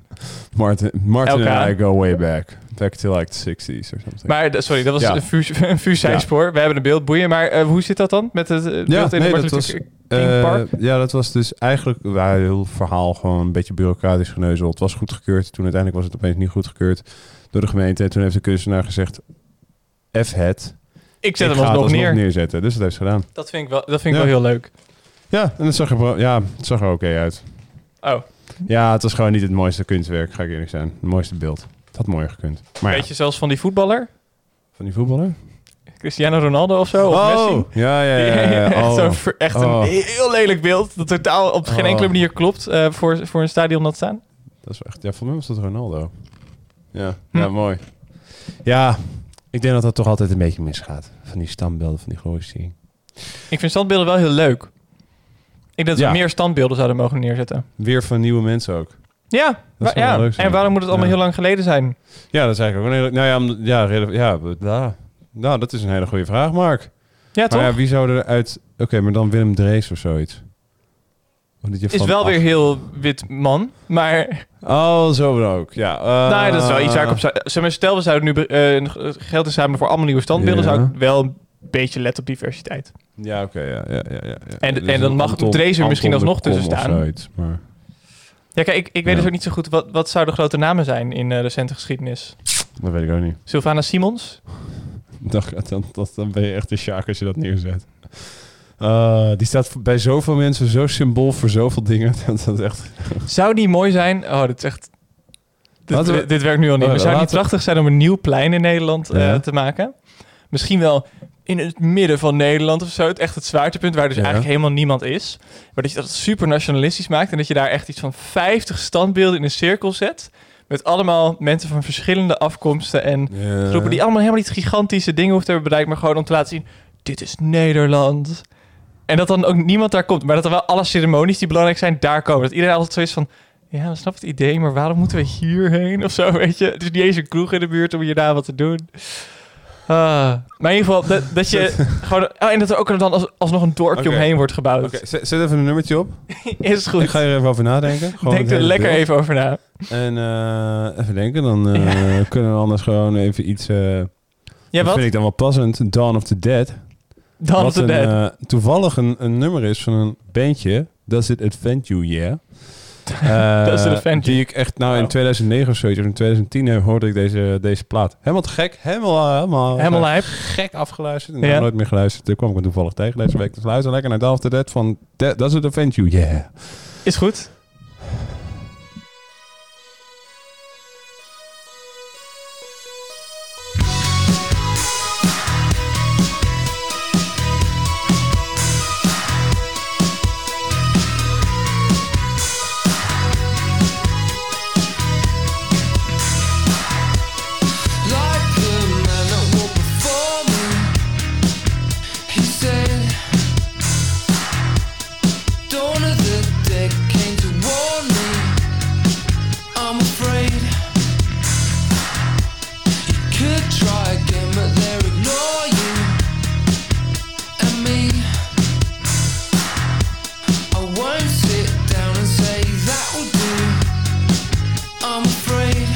Martin, Martin LK. and I go way back. Back to like the 60s or something. Maar d- sorry, dat was Ja. een VU een VU zijspoor. We hebben een beeld, boeien. Maar eh, hoe zit dat dan met het eh, beeld in de nee, Martin dat was- Luther Eh, King Park? ja, dat was dus eigenlijk waar heel verhaal gewoon een beetje bureaucratisch geneuzel. Het was goedgekeurd. Toen uiteindelijk was het opeens niet goedgekeurd door de gemeente. En toen heeft de kunstenaar gezegd, F het. Ik zet ik hem ga het alsnog neer. neerzetten. Dus dat heeft ze gedaan. Dat vind ik wel, dat vind ik Ja. wel heel leuk. Ja, en het zag er, wel- ja, het zag er oké uit. Oh, Ja, het was gewoon niet het mooiste kunstwerk, ga ik eerlijk zijn. Het mooiste beeld. Het had mooier gekund. Maar ja, weet je zelfs van die voetballer? van die voetballer? Cristiano Ronaldo of zo? Of Messi? Oh, ja, ja, ja. ja, ja. echt Oh. zo'n ver- echt Oh. een heel lelijk beeld. Dat totaal op geen Oh. enkele manier klopt eh, voor, voor een stadion dat staan. Dat is wel echt, ja, voor mij was dat Ronaldo. Ja, Hm. ja, mooi. Ja, ik denk dat dat toch altijd een beetje misgaat. Van die standbeelden, van die glorifiering. Ik vind standbeelden wel heel leuk. Ik denk dat Ja. we meer standbeelden zouden mogen neerzetten. Weer van nieuwe mensen ook. Ja, zou wa- ja. wel leuk zijn. en waarom moet het allemaal Ja. heel lang geleden zijn? Ja, dat is eigenlijk ook een hele... Nou ja, om- ja, rele- ja, we- ja. nou, dat is een hele goede vraag, Mark. Ja, toch? Maar ja, wie zou er uit... Oké, maar dan Willem Drees of zoiets. Of dat je is van wel af- weer heel wit man, maar Oh, zo dan ook, ja. eh, nou, ja, dat is wel iets waar ik op zou... Zeg maar, stel, we zouden nu eh, geld inzamelen voor allemaal nieuwe standbeelden... Ja. zou ik wel een beetje letten op diversiteit. Ja, oké. ja, ja, ja, ja, ja. En- Dus en dan een mag Drees er misschien Anton de alsnog tussen Kom of staan. zoiets, maar Ja, kijk, ik, ik weet Ja. dus ook niet zo goed. Wat, wat zouden grote namen zijn in eh, recente geschiedenis? dat weet ik ook niet. Sylvana Simons? Dat, dan, dat, dan ben je echt een sjaak als je dat neerzet. Eh, die staat voor- bij zoveel mensen zo symbool voor zoveel dingen. Dat dat echt... Zou die mooi zijn? Oh, dit is echt... Dit, Laten we- dit- dit werkt nu al niet. Oh, Maar zou het niet laten we- prachtig zijn om een nieuw plein in Nederland eh, Ja. te maken? Misschien wel in het midden van Nederland of zo. Het, echt het zwaartepunt waar dus Ja. eigenlijk helemaal niemand is. Maar dat je dat super nationalistisch maakt. En dat je daar echt iets van 50 standbeelden in een cirkel zet. Met allemaal mensen van verschillende afkomsten en groepen die allemaal helemaal niet gigantische dingen hoeft te hebben bereikt, maar gewoon om te laten zien: dit is Nederland. En dat dan ook niemand daar komt, maar dat er wel alle ceremonies die belangrijk zijn daar komen. Dat iedereen altijd zo is van: ja, we snappen het idee, maar waarom moeten we hierheen of zo? Weet je, het is niet eens een kroeg in de buurt om hier daar wat te doen. Ah, maar in ieder geval, dat, dat je gewoon. Oh, en dat er ook dan als, alsnog een dorpje Oké. omheen wordt gebouwd. Oké, zet, zet even een nummertje op. Is Ik goed. ga hier even over nadenken. Gewoon Denk het er hele lekker beeld. even over na. En eh, even denken, dan eh, kunnen we anders gewoon even iets... eh, Ja, dat wat? vind ik dan wel passend. Dawn of the Dead. Dan wat of the een, Dead. eh, toevallig een, een nummer is van een bandje. Does It Advent You, Yeah. Eh, Does It Advent Die You. Oh. ik echt nou in Wow. 2009 of zoiets, of in 2010 heb, hoorde ik deze, deze plaat. Helemaal te gek. Helemaal, eh, helemaal, Helemaal eh, lijp. gek afgeluisterd. En Ja. heb nooit meer geluisterd. Toen kwam ik me toevallig tegen deze week. Dus luister lekker naar Dawn of the Dead van Da- Does It Advent You, Yeah. Is goed. Like the man that walked before me, he said, "Dawn of the dead came to warn me. I'm afraid you could try again, but they'll ignore you and me. I won't sit down and say that will do. I'm afraid."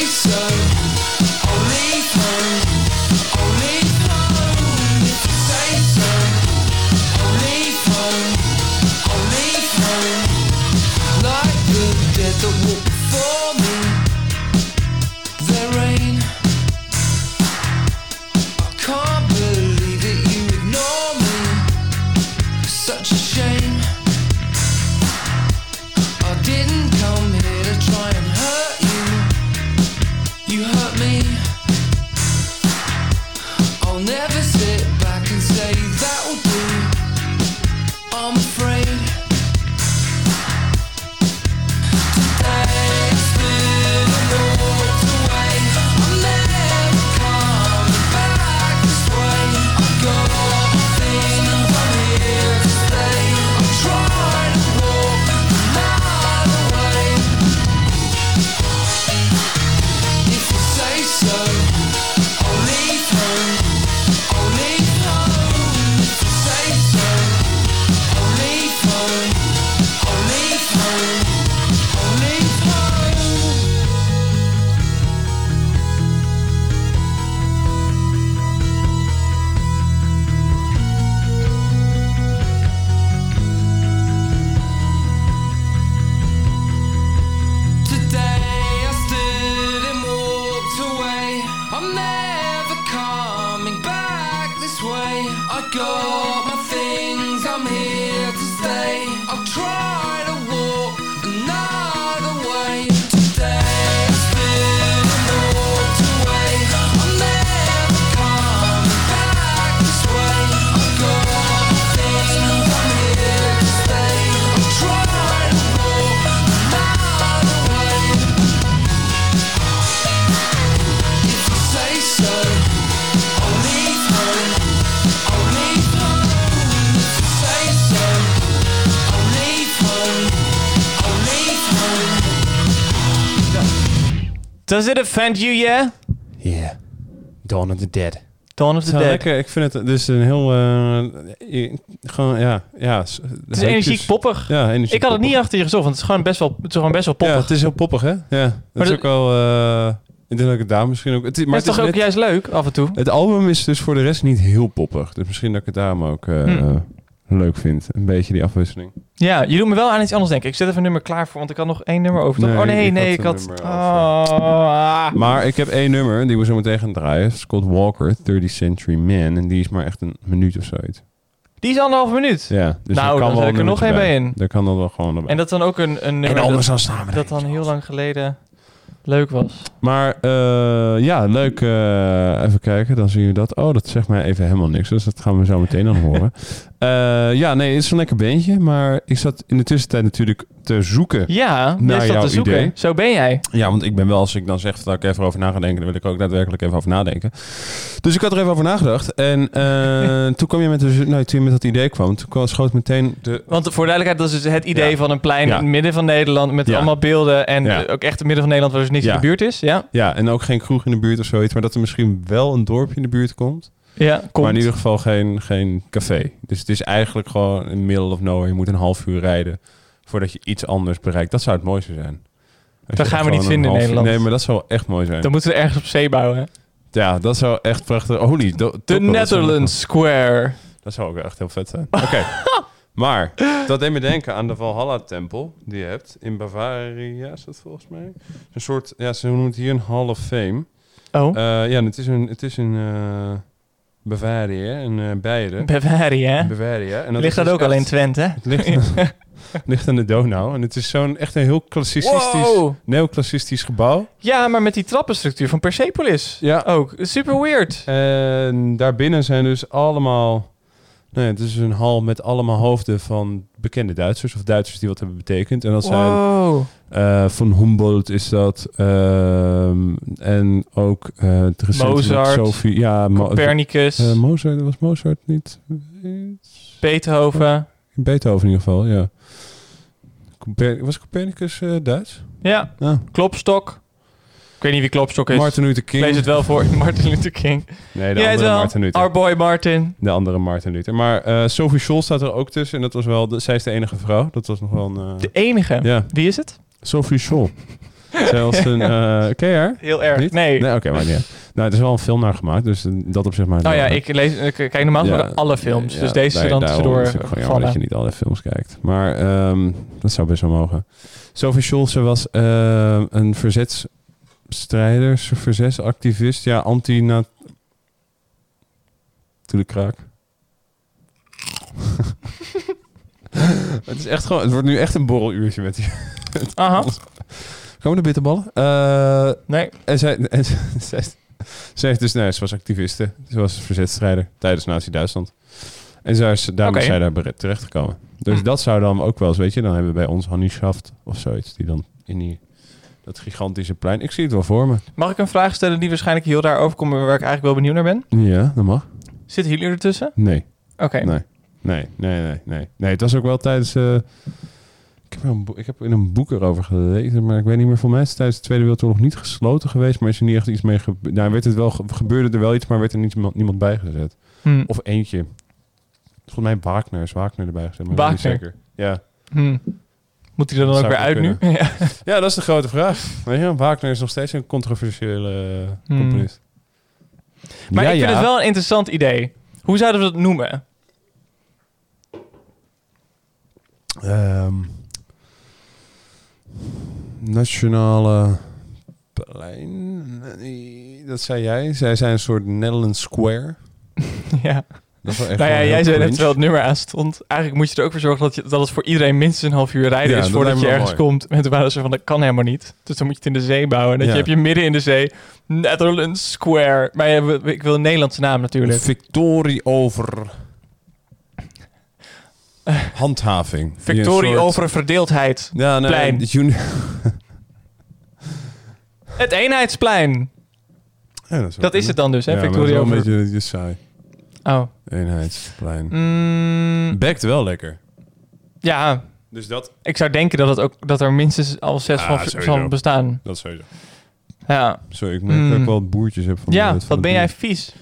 So I'll leave home, I'll leave home if you say so. I'll leave home, I'll leave home. Like the dead that walk before me, their reign. I can't believe that you ignore me. Such a shame. I didn't come here to try and hurt you. You hurt me. I'll never sit back and say that will do. I'm afraid. Thanks, Does it offend you, yeah? Yeah. Dawn of the Dead. Dawn of the Zo Dead. lekker. Ik vind het dus een heel... eh, gewoon, ja. ja s- dus- Het is energiek poppig. Ja, energiek Ik had het niet achter je gezocht, want het is gewoon best wel, het is gewoon best wel poppig. Ja, het is heel poppig, hè? Ja. Het Maar is dat- ook wel... eh, ik denk dat ik het daar misschien ook... Het is, maar maar het is toch ook net- juist leuk, af en toe? Het album is dus voor de rest niet heel poppig. Dus misschien dat ik het daarom ook eh, Hmm. leuk vind. Een beetje die afwisseling. Ja, je doet me wel aan iets anders denken. Ik zet even een nummer klaar voor, want ik had nog één nummer over. Nee, oh nee, ik nee, had ik een had... nummer Oh, ah. Maar ik heb één nummer, die we zo meteen gaan draaien. Scott Walker, 30th Century Man. En die is maar echt een minuut of zoiets. Die is anderhalf minuut. Ja, Nou, dus daar dan kan zet wel ik er nog één bij in. Daar kan dan wel gewoon erbij. En dat dan ook een, een nummer dat, dan staan dat dan heel lang geleden leuk was. Maar eh, ja, leuk. eh, even kijken, dan zien we dat. Oh, dat zegt mij even helemaal niks. Dus dat gaan we zo meteen dan horen. Eh, ja, nee, het is een lekker beentje. Maar ik zat in de tussentijd natuurlijk te zoeken. Ja, Naar is dat jouw te zoeken. idee. Zo ben jij. Ja, want ik ben wel, als ik dan zeg dat ik even over na ga denken, dan wil ik ook daadwerkelijk even over nadenken. Dus ik had er even over nagedacht. En eh, toen kwam je met, de, nou, toen je met dat idee kwam, toen kwam, schoot meteen de... Want voor duidelijkheid, dat is dus het idee Ja. van een plein Ja. in het midden van Nederland met Ja. allemaal beelden en Ja. eh, ook echt het midden van Nederland waar dus niks Ja. in de buurt is. Ja, Ja, en ook geen kroeg in de buurt of zoiets, maar dat er misschien wel een dorpje in de buurt komt. ja komt. Maar in ieder geval geen, geen café. Dus het is eigenlijk gewoon in middle of nowhere. Je moet een half uur rijden voordat je iets anders bereikt. Dat zou het mooiste zijn. Dat Als je gaan we niet gewoon een vinden in half uur- Nederland. Nee, maar dat zou echt mooi zijn. Dan moeten we ergens op zee bouwen. Ja, dat zou echt prachtig... Oh, Holy, De Netherlands Square. Dat zou ook echt heel vet zijn. Oké. Oh! Maar dat deed me denken aan de Valhalla-tempel die je hebt in Bavaria, is dat volgens mij? Een soort, ja, ze noemen het hier een Hall of Fame. Oh, Eh, ja, het is een, het is een eh, Bavaria, een eh Beieren. Bavaria. Bavaria. En Ligt is dat ook dus al in echt- Twente? Het ligt, het ligt aan de Donau. En het is zo'n echt een heel klassicistisch, Wow. neoclassicistisch gebouw. Ja, maar met die trappenstructuur van Persepolis. Ja. Ook. Super weird. En daarbinnen zijn dus allemaal... Nou ja, het is een hal met allemaal hoofden van bekende Duitsers. Of Duitsers die wat hebben betekend. En dat zijn Wow. eh, van Humboldt is dat. ehm, en ook eh het recente met Mozart. Sophie. Ja, Mo- Copernicus. eh, Mozart. Was Mozart niet Beethoven. in Beethoven in ieder geval, ja. Coper- was Copernicus eh, Duits? Ja. Ja. Klopstok. Ik weet niet wie Klopstok is. Martin Luther Ik King. lees het wel voor. Martin Luther King. Nee, de Jij het andere wel. Martin Luther. Our boy Martin. de andere Martin Luther. Maar eh, Sophie Scholl staat er ook tussen. En dat was wel... De, zij is de enige vrouw. Dat was nog wel een... eh, De enige. Ja, Wie is het? Sophie Scholl. zij was een... eh ken je haar? Heel erg. Niet? Nee. Nee, oké, maar niet. uit. Nou, het is wel een film naar gemaakt. Dus eh, dat op zich maar... Nou ja, ik, lees, ik kijk normaal Ja. gesproken alle films. Ja, dus deze is nee, er dan daarom tussendoor is het gewoon jammer dat je vallen. niet alle films kijkt. Maar ehm, dat zou best wel mogen. Sophie Scholl, ze was ehm, een verzetsstrijder, ze- verzetsactivist. Ja, anti-na... Doe de kraak. het is echt gewoon... Het wordt nu echt een borreluurtje met die... Aha. Komen de bitterballen? Eh, Nee. en zij... En, zij- zij, zij heeft dus, nee, ze was activiste. Ze was verzetstrijder tijdens Nazi-Duitsland. En zij is, daarom is Oké. zij daar bere- terechtgekomen. Dus Hm. dat zou dan ook wel eens, weet je... Dan hebben we bij ons Hannie Schaft of zoiets. Die dan in die, dat gigantische plein... Ik zie het wel voor me. Mag ik een vraag stellen die waarschijnlijk heel raar overkomt, maar waar ik eigenlijk wel benieuwd naar ben? Ja, dat mag. Zitten jullie ertussen? Nee, Oké. nee, nee, nee, nee, nee. Nee, het was ook wel tijdens... eh, ik heb, wel een boek- ik heb in een boek erover gelezen, maar ik weet niet meer. Voor mij is het tijdens de Tweede Wereldoorlog niet gesloten geweest, maar is er niet echt iets mee gebeurd. Nou, werd het wel, ge- gebeurde er wel iets, maar werd er niet, niemand bijgezet. Hm. Of eentje. Volgens mij Wagner is Wagner erbij gezet. Maar Wagner. dat weet ik niet zeker. Ja. Hm. Moet hij er dan Zou ook weer ik uit wel nu? Ja. ja, dat is de grote vraag. Weet je, Wagner is nog steeds een controversiële eh, Hmm. componist. Maar Ja, ik vind ja. het wel een interessant idee. Hoe zouden we dat noemen? Ehm, nationale plein. Nee, Dat zei jij. Zij zijn een soort Netherlands Square. ja. Dat is wel echt Nou ja, wel heel jij zei net cringe. terwijl het nummer aan stond. Eigenlijk moet je er ook voor zorgen dat, je, dat het voor iedereen minstens een half uur rijden Ja, is dat voordat lijkt je me wel ergens komt. En toen waren ze van, dat kan helemaal niet. Dus dan moet je het in de zee bouwen. Dat Ja. je heb je midden in de zee, Netherlands Square. Maar ja, we- we- ik wil een Nederlandse naam natuurlijk. Victorie over. Handhaving. Die een Victorie soort- over verdeeldheid. Ja, nee, plein. uni- Het eenheidsplein. Ja, wel Dat is het dan dus, hè? Ja, maar Victorie dat is wel over... een beetje dat je saai. Oh. Eenheidsplein. Mm, Bekt wel lekker. ja, Dus dat... ik zou denken dat, het ook, dat er minstens al zes Ah, van, sowieso. van bestaan. Dat sowieso. Ja, Sorry, ik merk dat Mm. ik wel boertjes heb van ja de- van wat de ben bier. jij vies.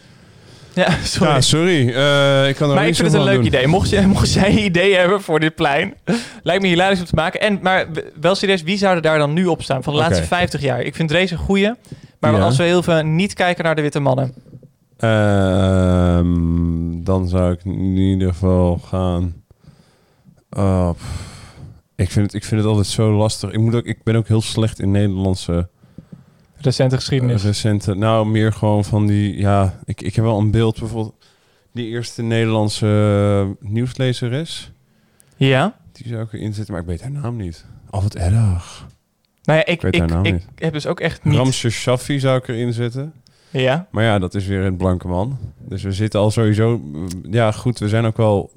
Ja, sorry. Ja, sorry. Eh, ik kan er maar ik vind niks het een aan leuk doen. idee. Mocht, je, mocht jij ideeën hebben voor dit plein, lijkt me hilarisch om te maken. En, maar w- wel serieus, wie zou er daar dan nu op staan van de laatste Oké. 50 jaar? Ik vind Drees een goeie, maar Ja. als we heel veel niet kijken naar de witte mannen. Ehm, dan zou ik in ieder geval gaan. Oh, pff. ik, vind het, ik vind het altijd zo lastig. Ik, moet ook, ik ben ook heel slecht in Nederlandse Recente eh, geschiedenis. recente. Nou, meer gewoon van die. Ja, ik, ik heb wel een beeld bijvoorbeeld. Die eerste Nederlandse eh, nieuwslezeres. ja? Die zou ik erin zetten, maar ik weet haar naam niet. Oh, wat erg. Nou ja, ik, Ik weet ik, haar naam ik niet. heb dus ook echt niet... Ramse Shaffi zou ik erin zetten. Ja? Maar ja, dat is weer een blanke man. Dus we zitten al sowieso... Ja, goed, we zijn ook wel...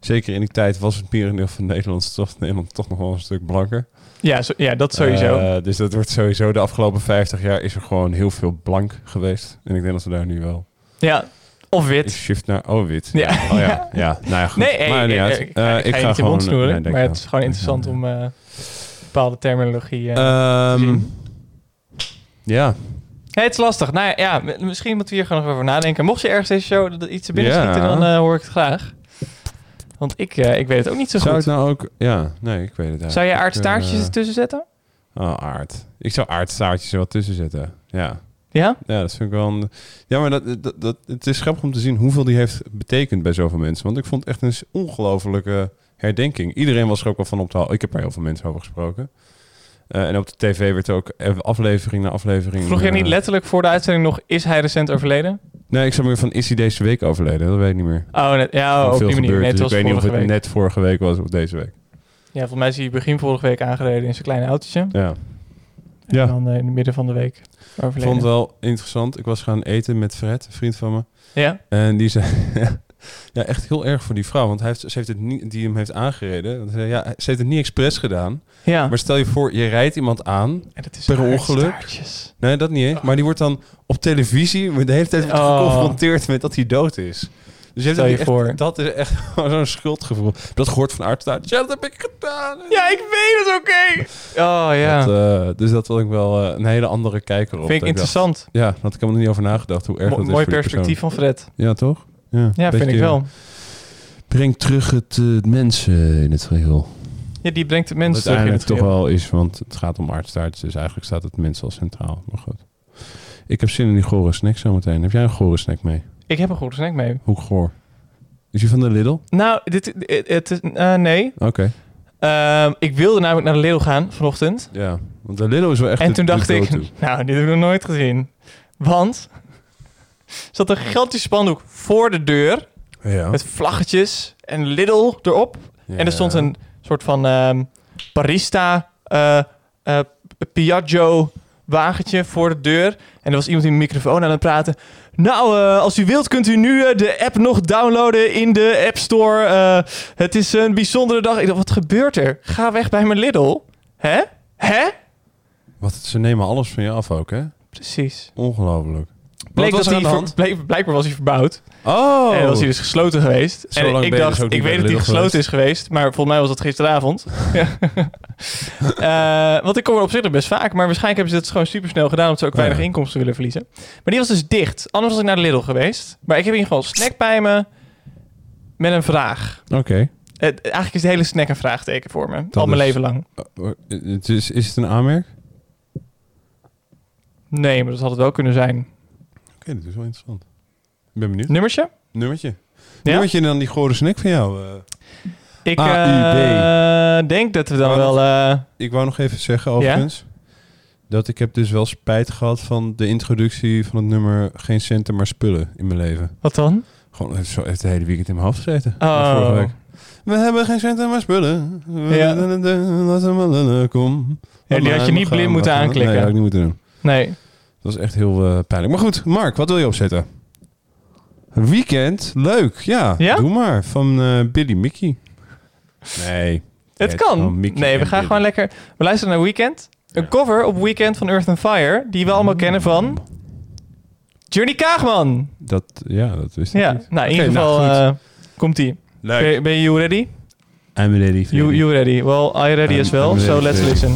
Zeker in die tijd was het merendeel van Nederland toch, Nederland toch nog wel een stuk blanker. Ja, zo- ja, dat sowieso. Eh, dus dat wordt sowieso... De afgelopen 50 jaar is er gewoon heel veel blank geweest. En ik denk dat we daar nu wel... ja, of Ik wit. shift naar... Oh, wit. Ja. Oh ja. Ja, nou ja, goed. Nee, hey, maar niet eh, uit. ik, Eh, ga, ik ga je niet je mond snoeren, nee, denk maar ik het is wel. gewoon interessant om eh, bepaalde terminologie... eh, Ehm, Zien. ja, Ja, het is lastig. Nou ja, ja, m- misschien moeten we hier gewoon nog over nadenken. Mocht je ergens deze show dat er iets te binnen Ja. schieten, dan eh, hoor ik het graag. Want ik, eh, ik weet het ook niet zo zou goed. ik nou ook... Ja, nee, ik weet het eigenlijk. Zou je Ik, eh, aardstaartjes ertussen zetten? Oh, aard. Ik zou aardstaartjes er wel tussen zetten. Ja. Ja? Ja, dat vind ik wel een... Ja, maar dat, dat, dat, het is grappig om te zien hoeveel die heeft betekend bij zoveel mensen. Want ik vond het echt een s- ongelofelijke herdenking. Iedereen was er ook wel van op te houden. Ik heb er heel veel mensen over gesproken. Eh, en op de tv werd ook even aflevering na aflevering... Vroeg je eh, niet letterlijk voor de uitzending nog, is hij recent overleden? Nee, ik zou meer van, is hij deze week overleden? Dat weet ik niet meer. Oh, net, ja, Gewoon oh, op veel die manier. gebeurd, Nee, het dus was ik weet niet of vorige het week. net vorige week was of deze week. Ja, volgens mij is hij begin vorige week aangereden in zijn kleine autootje. Ja. En Ja. dan eh, in het midden van de week Ik overleden. vond het wel interessant. Ik was gaan eten met Fred, een vriend van me. Ja? En die zei, ja, echt heel erg voor die vrouw, want hij heeft, ze heeft het niet, die hem heeft aangereden. Want hij zei, ja, ze heeft het niet expres gedaan. Ja. Maar stel je voor, je rijdt iemand aan. En het is per ongeluk. aardstaartjes. Nee, dat niet eens. Maar die wordt dan op televisie de hele tijd wordt Oh. geconfronteerd met dat hij dood is. Dus je hebt Stel je echt- voor. dat is echt gewoon zo'n schuldgevoel. Dat gehoord van aardstaart. Ja, dat heb ik gedaan. Ja, ik weet het, oké! Oh, ja. Dat, eh, dus dat wil ik wel eh, een hele andere kijker op. Vind ik Dat dacht- interessant. ja, dat ik hem er niet over nagedacht hoe erg Mo- dat is mooi voor die perspectief van Fred. persoon. Ja, toch? Ja, vind ik beetje- wel. Breng terug het eh, mensen in het geheel. Ja, die brengt het Wat mensen terug in uiteindelijk het toch geheel. wel is, want het gaat om artstaarts. Dus eigenlijk staat het mens al centraal. Maar goed. Ik heb zin in die gore snack zometeen. Heb jij een gore snack mee? Ik heb een goede snack mee. Hoe goor? Is die van de Lidl? Oké. Nou, dit, het, het is- eh, nee. Ehm, ik wilde namelijk naar de Lidl gaan vanochtend. Ja. Want de Lidl is wel echt en de- toen de dacht ik, go-to. nou, dit heb ik nog nooit gezien. Want er zat een gigantisch spandoek voor de deur. Ja. Met vlaggetjes en Lidl erop. Ja. En er stond een soort van ehm, barista eh, eh, Piaggio wagentje voor de deur. En er was iemand in de microfoon aan het praten. Nou, eh, als u wilt kunt u nu eh, de app nog downloaden in de App Store. Eh, het is een bijzondere dag. Ik dacht, wat gebeurt er? Ga weg bij mijn Lidl. Hè? Hè? Wat, ze nemen alles van je af ook, hè? Precies. Ongelooflijk. Bleek was dat er hij aan de ver- hand? bleek- blijkbaar was hij verbouwd. Oh! En was hij dus gesloten geweest. Zo lang en ben ik je dacht, dus ook niet ik bij weet de dat hij Lidl gesloten is geweest, maar volgens mij was dat gisteravond. Eh, want ik kom er op zich nog best vaak, maar waarschijnlijk hebben ze dat gewoon super snel gedaan, omdat ze ook Oh ja. weinig inkomsten willen verliezen. Maar die was dus dicht. Anders was ik naar de Lidl geweest. Maar ik heb hier gewoon snack bij me met een vraag. Oké. Eh, eigenlijk is de hele snack een vraagteken voor me, Dat al mijn is- leven lang. Eh, het is, is het een aanmerk? Oké, Nee, maar dat had het wel kunnen zijn. dat is wel interessant. Ik ben benieuwd. Nummertje? Nummertje. Ja? Nummertje en dan die gore snack van jou. eh. Ik A, U, eh, denk dat we dan Maar dat- wel... eh, Ik wou nog even zeggen overigens. Dat ik heb dus wel spijt gehad van de introductie van het nummer Geen centen maar spullen in mijn leven. wat dan? Gewoon heeft zo heeft het hele weekend in mijn hoofd gezeten. Oh. Vorige week. We hebben geen centen maar spullen. Ja. Laat hem maar lullen, kom. Ja, die had je Maar niet gaan, blind moeten gaan. aanklikken. Nee, dat had ik niet moeten doen. Nee. Dat was echt heel eh, pijnlijk. Maar goed, Mark, wat wil je opzetten? Een weekend, leuk. Ja, Ja? doe maar. Van eh, Billy Mickey. Nee. Het Het kan. gewoon Mickey Nee, we en gaan Billy. gewoon lekker. We luisteren naar Weekend. Een cover op Weekend van Earth and Fire, die we allemaal kennen van. Journey Kaagman. Dat, ja, dat wist ik Ja, niet. nou in Oké, ieder geval goed. eh, komt die. Ben, ben je you ready? I'm ready. You, you ready? Well, I ready I'm- as well. I'm so ready, let's ready. listen.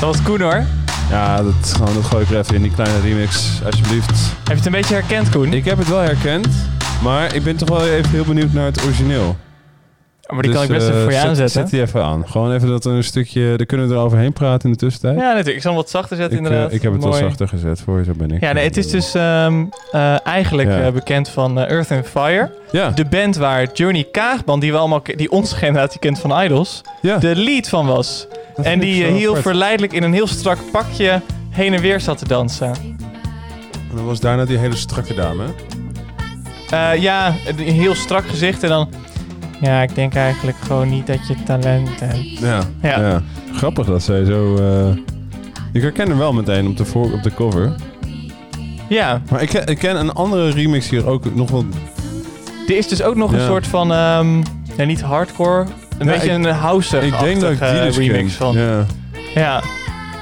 Dat was Koen hoor. Ja, dat, gewoon, dat gooi ik er even in, die kleine remix, alsjeblieft. Heb je het een beetje herkend, Koen? Ik heb het wel herkend, maar ik ben toch wel even heel benieuwd naar het origineel. maar die Dus, kan ik best eh, even voor je zet- aanzetten. Zet die even aan. Gewoon even dat er een stukje... Daar kunnen we er overheen praten in de tussentijd. Ja, natuurlijk. Ik zal hem wat zachter ik, eh, zetten, inderdaad. ik heb het Mooi. wel zachter gezet, voor je zo ben ik. Ja, nee, het is dus ehm, eh, eigenlijk Ja. eh, bekend van eh, Earth and Fire. Ja, De band waar Johnny Kaagman, die, we allemaal, ke- die onze generatie kent van Idols, ja. de lead van was. dat en vind ik die eh, zo heel apart. verleidelijk in een heel strak pakje heen en weer zat te dansen. En dan was daarna die hele strakke dame, hè? Eh, ja, een heel strak gezicht en dan... Ja, ik denk eigenlijk gewoon niet dat je talent hebt. Ja. Ja. Grappig dat zij zo... eh, Ik herken hem wel meteen op de, voor, op de cover. Ja, Maar ik, ik ken een andere remix hier ook nog wel... er is dus ook nog een Ja. soort van... ehm, ja, niet hardcore. Een Ja, beetje ik- een house ik denk dat ik die dus remix ken. van. Ja. Ja.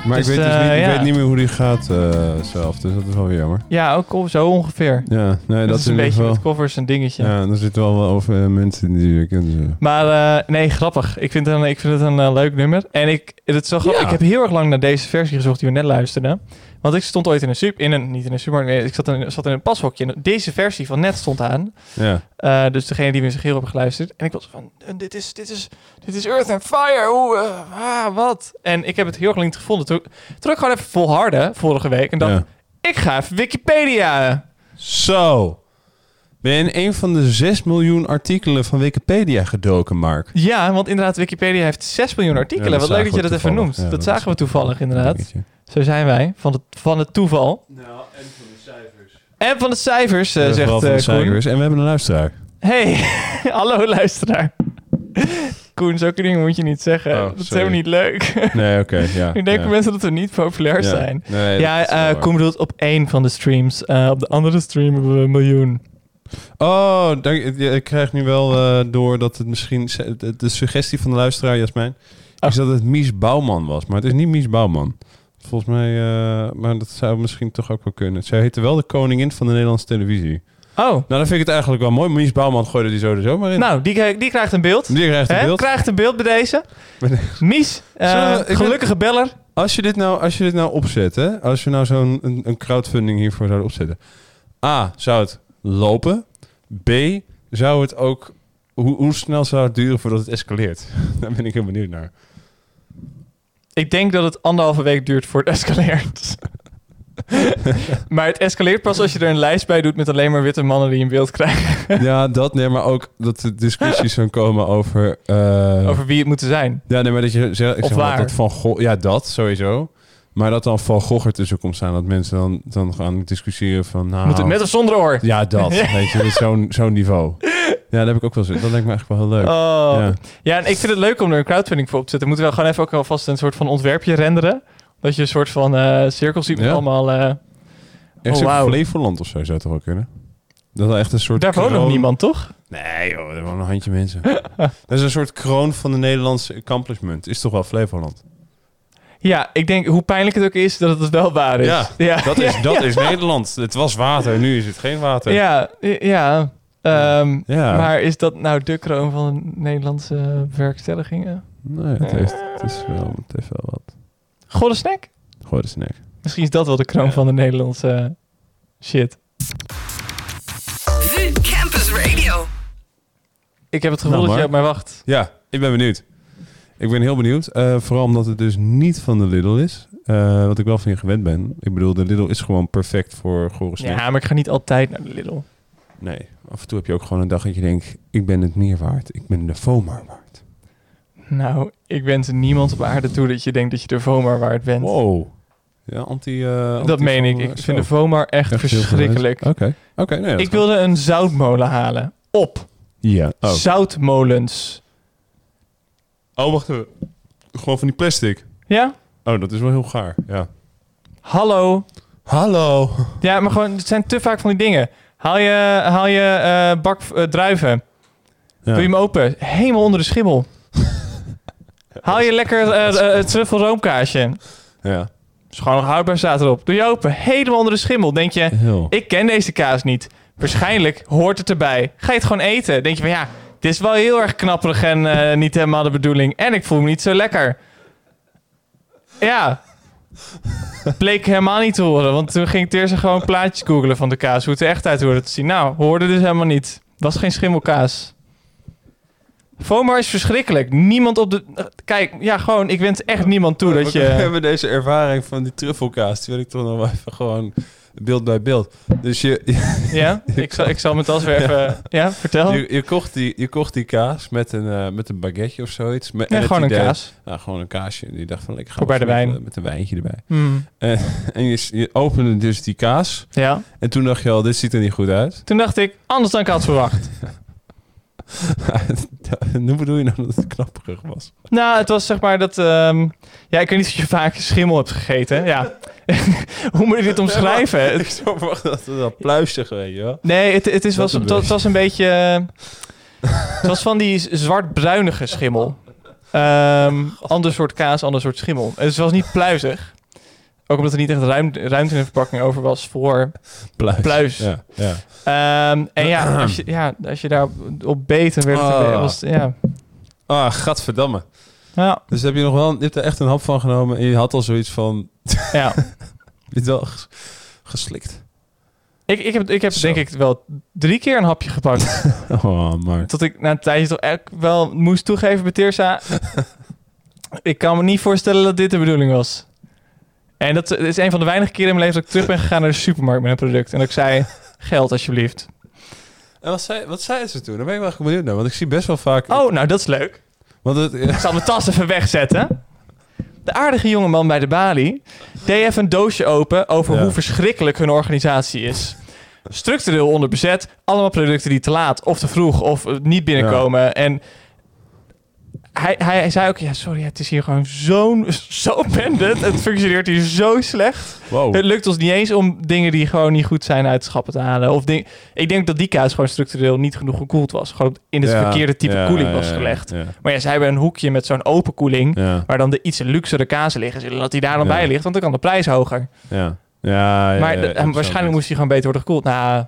Maar Dus, ik, weet, dus eh, niet, ik ja. weet niet meer hoe die gaat eh, zelf. Dus dat is wel weer jammer. ja, ook al zo ongeveer. Ja, nee, dat, dat, is een in ieder beetje geval. met covers een dingetje. Ja, en er zitten wel wel over eh, mensen die dus, je kent. zo. Maar eh, nee, grappig. Ik vind het een, ik vind het een eh, leuk nummer. En ik, het is zo grappig. Ja. ik heb heel erg lang naar deze versie gezocht die we net luisterden. Want ik stond ooit in een super... In een, niet in een supermarkt, nee, ik zat in, zat in een pashokje. En deze versie van net stond aan. Ja. Eh, dus degene die we in zich heel hebben geluisterd. En ik was van, eh, dit is, dit is, dit is Earth and Fire. Hoe, eh, ah, wat? En ik heb het heel erg niet gevonden. Toen, toen ik gewoon even volharden, vorige week. En dacht, ja. ik ga even Wikipedia. Zo. Ben je in een van de 6 miljoen artikelen van Wikipedia gedoken, Mark? Ja, want inderdaad, Wikipedia heeft 6 miljoen artikelen. Ja, dat Wat leuk dat zagen je we dat even toevallig. noemt. Ja, dat, dat zagen we toevallig, inderdaad. Dingetje. Zo zijn wij, van het, van het toeval. Nou, en van de cijfers. En van de cijfers, eh, zegt van eh, de Koen. cijfers. En we hebben een luisteraar. Hey, hallo luisteraar. Koen, zulke dingen moet je niet zeggen. Oh, dat is sorry. helemaal niet leuk. Nee, oké. ja, Nu denken ja. mensen dat we niet populair Ja. zijn. Nee, Ja, dat is wel eh, waar. Koen bedoelt op één van de streams. Eh, op de andere stream hebben we een miljoen. Oh, dank, ik- ik krijg nu wel eh, door dat het misschien... De, de suggestie van de luisteraar, Jasmijn... Oh. is dat het Mies Bouwman was. Maar het is niet Mies Bouwman. Volgens mij... eh, maar dat zou misschien toch ook wel kunnen. Zij heette wel de koningin van de Nederlandse televisie. Oh, Nou, dan vind ik het eigenlijk wel mooi. Mies Bouwman gooide die zo er zomaar in. nou, die, die krijgt een beeld. Die krijgt een Hè? beeld. Krijgt een beeld bij deze. Bij Mies, eh, Zullen we- ik ben- gelukkige beller. Als je dit nou, als je dit nou opzet, hè? als we nou zo'n een, een crowdfunding hiervoor zouden opzetten. A, zou het lopen? B, zou het ook... Hoe, hoe snel zou het duren voordat het escaleert? Daar ben ik heel benieuwd naar. Ik denk dat het anderhalve week duurt voor het escaleert. maar het escaleert pas als je er een lijst bij doet met alleen maar witte mannen die in beeld krijgen. Ja, dat nee, maar ook dat er discussies gaan komen over... eh, Over wie het moeten zijn. Ja, nee, maar dat je zegt, ik Of zeg maar waar. dat Van Gogh, ja, dat sowieso. Maar dat dan Van Gogh ertussen komt staan, dat mensen dan, dan gaan discussiëren van... Nou, Moet het met of zonder oor? Ja, dat. Weet je, dat is zo'n zo'n niveau. Ja, dat heb ik ook wel zo. Dat lijkt me eigenlijk wel heel leuk. Oh. Ja. Ja. en ik vind het leuk om er een crowdfunding voor op te zetten. Moeten we gewoon even ook alvast een soort van ontwerpje renderen. Dat je een soort van eh cirkel ziet met Ja. allemaal... eh, Echt Oh, zo'n wauw. Flevoland of zo zou het toch wel kunnen? Dat is echt een soort daar woont nog kroon- niemand, toch? Nee joh, er wonen een handje mensen. dat is een soort kroon van de Nederlandse accomplishment. Is toch wel Flevoland? Ja, ik denk hoe pijnlijk het ook is dat het dus wel waar is. Ja, ja. Dat is, dat is Nederland. Het was water, nu is het geen water. Ja, i- ja. Ehm, Ja. Maar is dat nou de kroon van de Nederlandse werkstelligingen? Nee, het, heeft, het, is wel, het heeft wel wat. Golle snack? Gooi de snack. Misschien is dat wel de kroon van de Nederlandse eh, shit. Vu Campus Radio. Ik heb het gevoel Nou, dat je Mark. op mij wacht. Ja, ik ben benieuwd. Ik ben heel benieuwd. eh, vooral omdat het dus niet van de Lidl is. Eh, wat ik wel van je gewend ben. Ik bedoel, de Lidl is gewoon perfect voor gore snack. Ja, maar ik ga niet altijd naar de Lidl. Nee, af en toe heb je ook gewoon een dag dat je denkt... ik ben het meer waard. Ik ben de FOMA waard. Nou, ik wens niemand op aarde toe dat je denkt dat je de Vomar waard bent. Wow. Ja, anti... eh, Dat anti- meen ik. zo. Ik vind de Vomar echt, Echt heel verschrikkelijk. verwijt. Oké. Oké, nee, dat Ik gaat. wilde een zoutmolen halen. Op. Ja. Oh. Zoutmolens. oh, wacht even. Gewoon van die plastic. Ja? Oh, dat is wel heel gaar. Ja. Hallo. Hallo. Ja, maar gewoon, het zijn te vaak van die dingen. Haal je, haal je eh, bak eh, druiven. Doe je hem open. Helemaal onder de schimmel. haal je lekker eh, eh, het truffelroomkaasje. Ja. Is gewoon nog houdbaar staat erop. Doe je open. Helemaal onder de schimmel. Denk je, Heel. ik ken deze kaas niet. Waarschijnlijk hoort het erbij. Ga je het gewoon eten? Denk je van ja, dit is wel heel erg knapperig en eh, niet helemaal de bedoeling. En ik voel me niet zo lekker. Ja. Bleek helemaal niet te horen, want toen ging Teerse gewoon plaatjes googelen van de kaas, hoe het er echt uit hoorde te zien. Nou, hoorde dus helemaal niet. Was geen schimmelkaas. FOMO is verschrikkelijk. Niemand op de... Kijk, ja, gewoon, ik wens echt niemand toe dat We je... hebben deze ervaring van die truffelkaas. Die wil ik toch nog wel even gewoon beeld bij beeld. Dus je, je, Ja, ik zal, ik zal mijn tas weer even... Ja, vertel. je, kocht, die, je kocht die kaas met een, eh, met een baguette of zoiets. Met, en Ja, het gewoon een idee- kaas. Nou, gewoon een kaasje. En die dacht van, lekker ga Voor bij de met, wijn. eh, Met een wijntje erbij. Hmm, En, en je, s- je opende dus die kaas. Ja. En toen dacht je al, dit ziet er niet goed uit. Toen dacht ik, anders dan ik had verwacht. nu bedoel je nou dat het knapperig was. Nou, het was zeg maar dat... ehm, ja, ik weet niet of je vaak schimmel hebt gegeten. Ja. Hoe moet je dit omschrijven? Het- Ik zou verwachten dat het dat pluistig, weet je wel. Nee, het, het, is, Dat was, een het, was- het was een beetje... eh, het was van die z- zwart-bruinige schimmel. Ehm, ander soort kaas, ander soort schimmel. Dus het was niet pluizig. Ook omdat er niet echt ruim, ruimte in de verpakking over was voor... Pluis. Pluis. Ja, ja. Ehm, en ja als, je, ja, als je daar op beet, dan werd het... een Ah. be- Was, het- ja. Ah, gadverdamme. Ja, Dus heb je nog wel, je hebt er echt een hap van genomen en je had al zoiets van, ja. je hebt wel ges- geslikt. Ik, ik heb, ik heb Zo. denk ik wel drie keer een hapje gepakt. Oh, maar. Tot ik na een tijdje toch echt wel moest toegeven bij Tirsa. ik kan me niet voorstellen dat dit de bedoeling was. En dat is een van de weinige keren in mijn leven dat ik terug ben gegaan naar de supermarkt met een product. En dat ik zei, geld alsjeblieft. En wat zei, wat zei ze toen? Daar ben ik wel echt benieuwd naar, want ik zie best wel vaak... Oh, nou dat is leuk. Want het, Ik zal mijn tas even wegzetten. De aardige jongeman bij de balie deed even een doosje open over Ja. hoe verschrikkelijk hun organisatie is. Structureel onderbezet, allemaal producten die te laat of te vroeg of eh, niet binnenkomen. En hij, hij, hij zei ook, ja sorry, het is hier gewoon zo'n zo pendant. Het functioneert hier zo slecht. Het wow. lukt ons niet eens om dingen die gewoon niet goed zijn uit schappen te halen. Of ding, ik denk dat die kaas gewoon structureel niet genoeg gekoeld was. Gewoon in het Ja, verkeerde type ja, koeling ja, was ja, gelegd. Ja, Maar ja, ze hebben een hoekje met zo'n open koeling. ja, Waar dan de iets luxere kazen liggen. Zullen dat die daar dan Ja. bij ligt, want dan kan de prijs hoger. ja. ja, ja, maar ja, de- ja, en waarschijnlijk moest die gewoon beter worden gekoeld. Nou,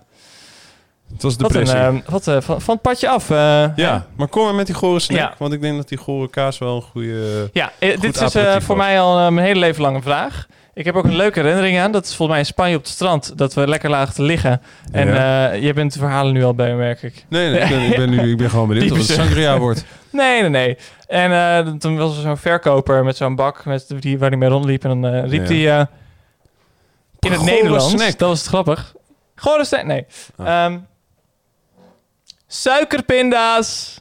Het was wat een... depressie. eh, wat, eh, van, van het padje af. eh. ja, maar kom maar met die gore snack, Ja. want ik denk dat die gore kaas wel een goede... Ja, eh, Goed dit is eh, aperitief voor ook. mij al eh, mijn hele leven lang een vraag. Ik heb ook een leuke herinnering aan. Dat is volgens mij in Spanje op het strand. Dat we lekker lagen te liggen. En eh, jij bent de verhalen nu al bij, me, merk ik. Nee, nee, ik ben, ik ben, nu, ik ben gewoon benieuwd of het Typische. sangria wordt. Nee, nee, nee. En eh, toen was er zo'n verkoper met zo'n bak met die, waar hij mee rondliep. En dan eh, riep Ja. hij eh, in het Gore Nederlands. snack. Dat was het grappig. Gewoon een snack. Nee. Ah. Ehm, suikerpinda's.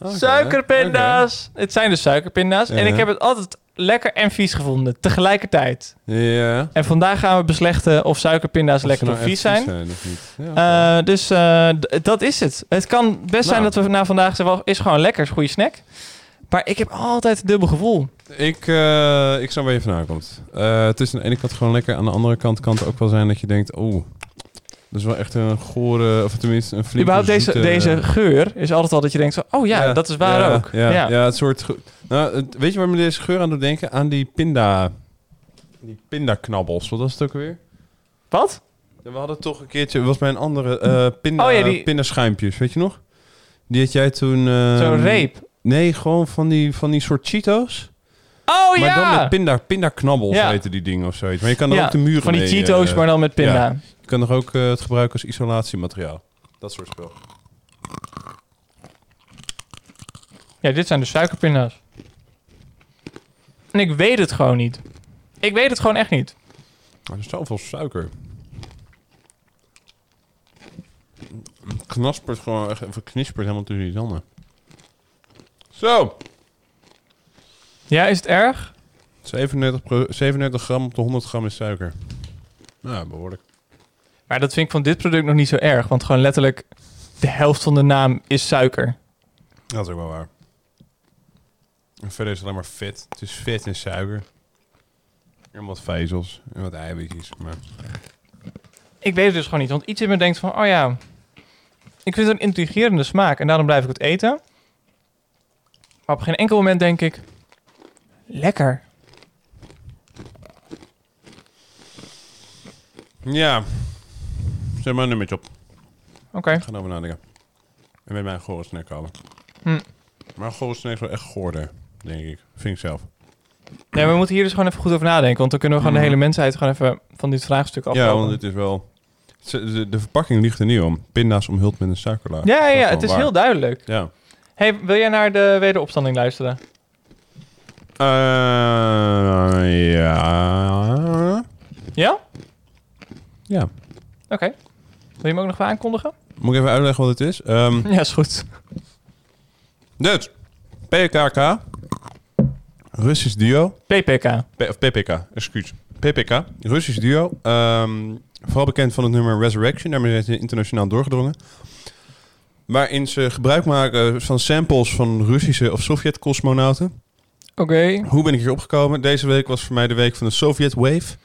Oké, Suikerpinda's. Het zijn dus suikerpinda's. En Ja. ik heb het altijd lekker en vies gevonden. Tegelijkertijd. oké. Ja. En vandaag gaan we beslechten of suikerpinda's Of ze lekker nou of echt vies zijn. of niet. Ja, Nou. oké. Eh, dus eh, d- dat is het. Het kan best zijn dat we na vandaag zeggen, wel, is gewoon lekker, is een goede snack. Maar ik heb altijd een dubbel gevoel. Ik, eh, ik snap waar je vandaan komt. Eh, het is aan de ene kant gewoon lekker. Aan de andere kant kan het ook wel zijn dat je denkt... Oeh, dat is wel echt een gore... Of tenminste een flinke Überhaupt deze, zoete- eh, deze geur is altijd al dat je denkt, zo, oh ja, dat is waar ja, ook. Ja, ja. ja. het soort... ge- Nou, het- weet je waar me deze geur aan doet denken? Aan die pinda... Die pindaknabbels. Wat was het ook weer? Wat? Ja, we hadden toch een keertje... was bij een andere... eh pinda, Oh ja, die- Pindaschuimpjes, weet je nog? Die had jij toen... eh, Zo'n reep. Nee, gewoon van die, van die soort Cheetos. Oh maar dan ja! met pinda, pindaknabbels Ja. heten die dingen of zoiets. Maar je kan er Ja, ook de muren van die mee, Cheetos, eh, maar dan met pinda. Je kan er ook eh, het gebruiken als isolatiemateriaal. Dat soort spul. Ja, dit zijn de suikerpinda's. En ik weet het gewoon niet. Ik weet het gewoon echt niet. Maar er is zoveel suiker. Het Knaspert gewoon echt, even knispert helemaal tussen die tanden. Zo! Ja, is het erg? 37, pro- 37 gram op de 100 gram is suiker. Nou, behoorlijk. Maar dat vind ik van dit product nog niet zo erg. Want gewoon letterlijk de helft van de naam is suiker. Dat is ook wel waar. En verder is het alleen maar vet. Het is vet en suiker. En wat vezels. En wat eiwitjes. Maar... Ik weet het dus gewoon niet. Want iets in me denkt van, oh ja, ik vind het een intrigerende smaak. En daarom blijf ik het eten. Maar op geen enkel moment denk ik, lekker. Ja. Zet maar een nummertje op. Oké. Ik ga erover nadenken. En met mij een gore snack halen. Hm. Maar een gore snack is wel echt goorder, denk ik. Vind ik zelf. Nee, maar we moeten hier dus gewoon even goed over nadenken. Want dan kunnen we gewoon de hele mensheid gewoon even van dit vraagstuk afkomen. Mhm. Ja, want het is wel... De, de verpakking ligt er niet om. Pinda's omhuld met een suikerlaag. ja, ja, Dat ja, wel het is waar. heel duidelijk. Ja. Hey, wil jij naar de wederopstanding luisteren? Eh, ja. Ja? Ja. Oké. Wil je me ook nog wel aankondigen? Moet ik even uitleggen wat het is? Ehm, Ja, is goed. dus, PKK. Russisch duo. PPK. P- of PPK, excuus. PPK, Russisch duo. Ehm, vooral bekend van het nummer Resurrection. Daarmee zijn ze internationaal doorgedrongen. Waarin ze gebruik maken van samples van Russische of Sovjet-cosmonauten. Oké. Hoe ben ik hier opgekomen? Deze week was voor mij de week van de Soviet Wave.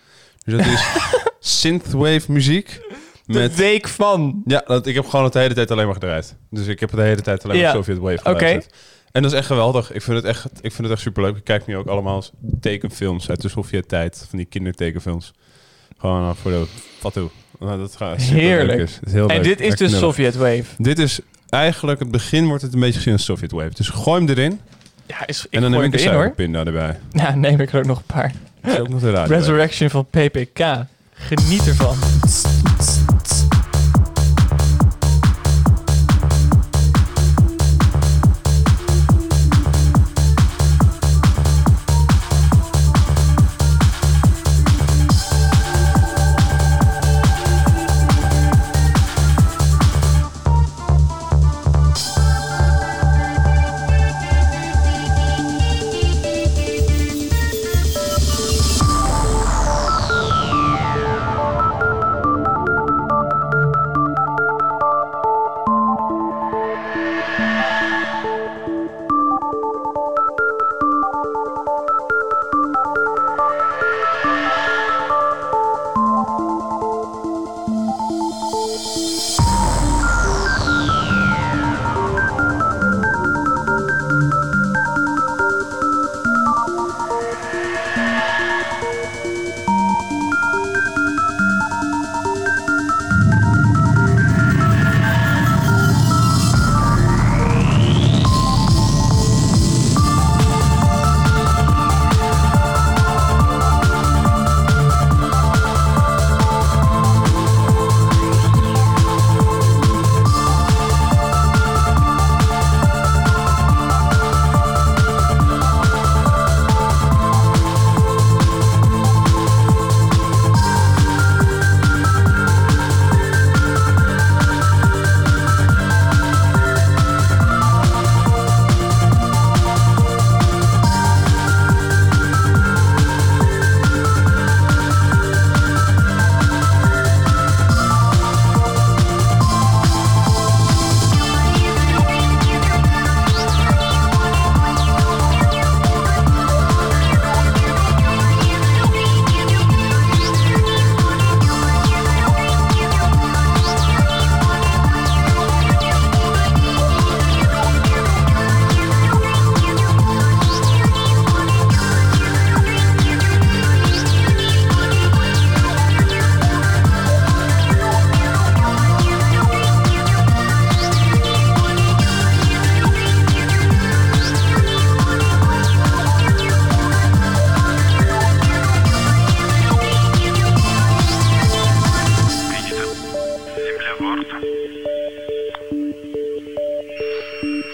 Dus dat is synthwave muziek. De Met, week van. ja, dat, ik heb gewoon het de hele tijd alleen maar gedraaid. Dus ik heb de hele tijd alleen maar Ja. Soviet Wave Oké. geluisterd. En dat is echt geweldig. Ik vind het echt, ik vind het echt superleuk. Ik kijk nu ook allemaal tekenfilms uit de Sovjet-tijd. Van die kindertekenfilms. Gewoon eh, voor de fatu. Nou, dat gaat superleuk Heerlijk. Is. Het is heel En leuk. dit is Echt de knullig. Soviet Wave. Dit is eigenlijk, het begin wordt het een beetje gezien als Soviet Wave. Dus gooi hem erin. Ja, is, ik en dan gooi neem ik een hem erin hoor. suikerpinda erbij. Ja, neem ik er ook nog een paar. Dat is ook nog de radio. Resurrection van PPK. Geniet ervan. Принято. Земля борта.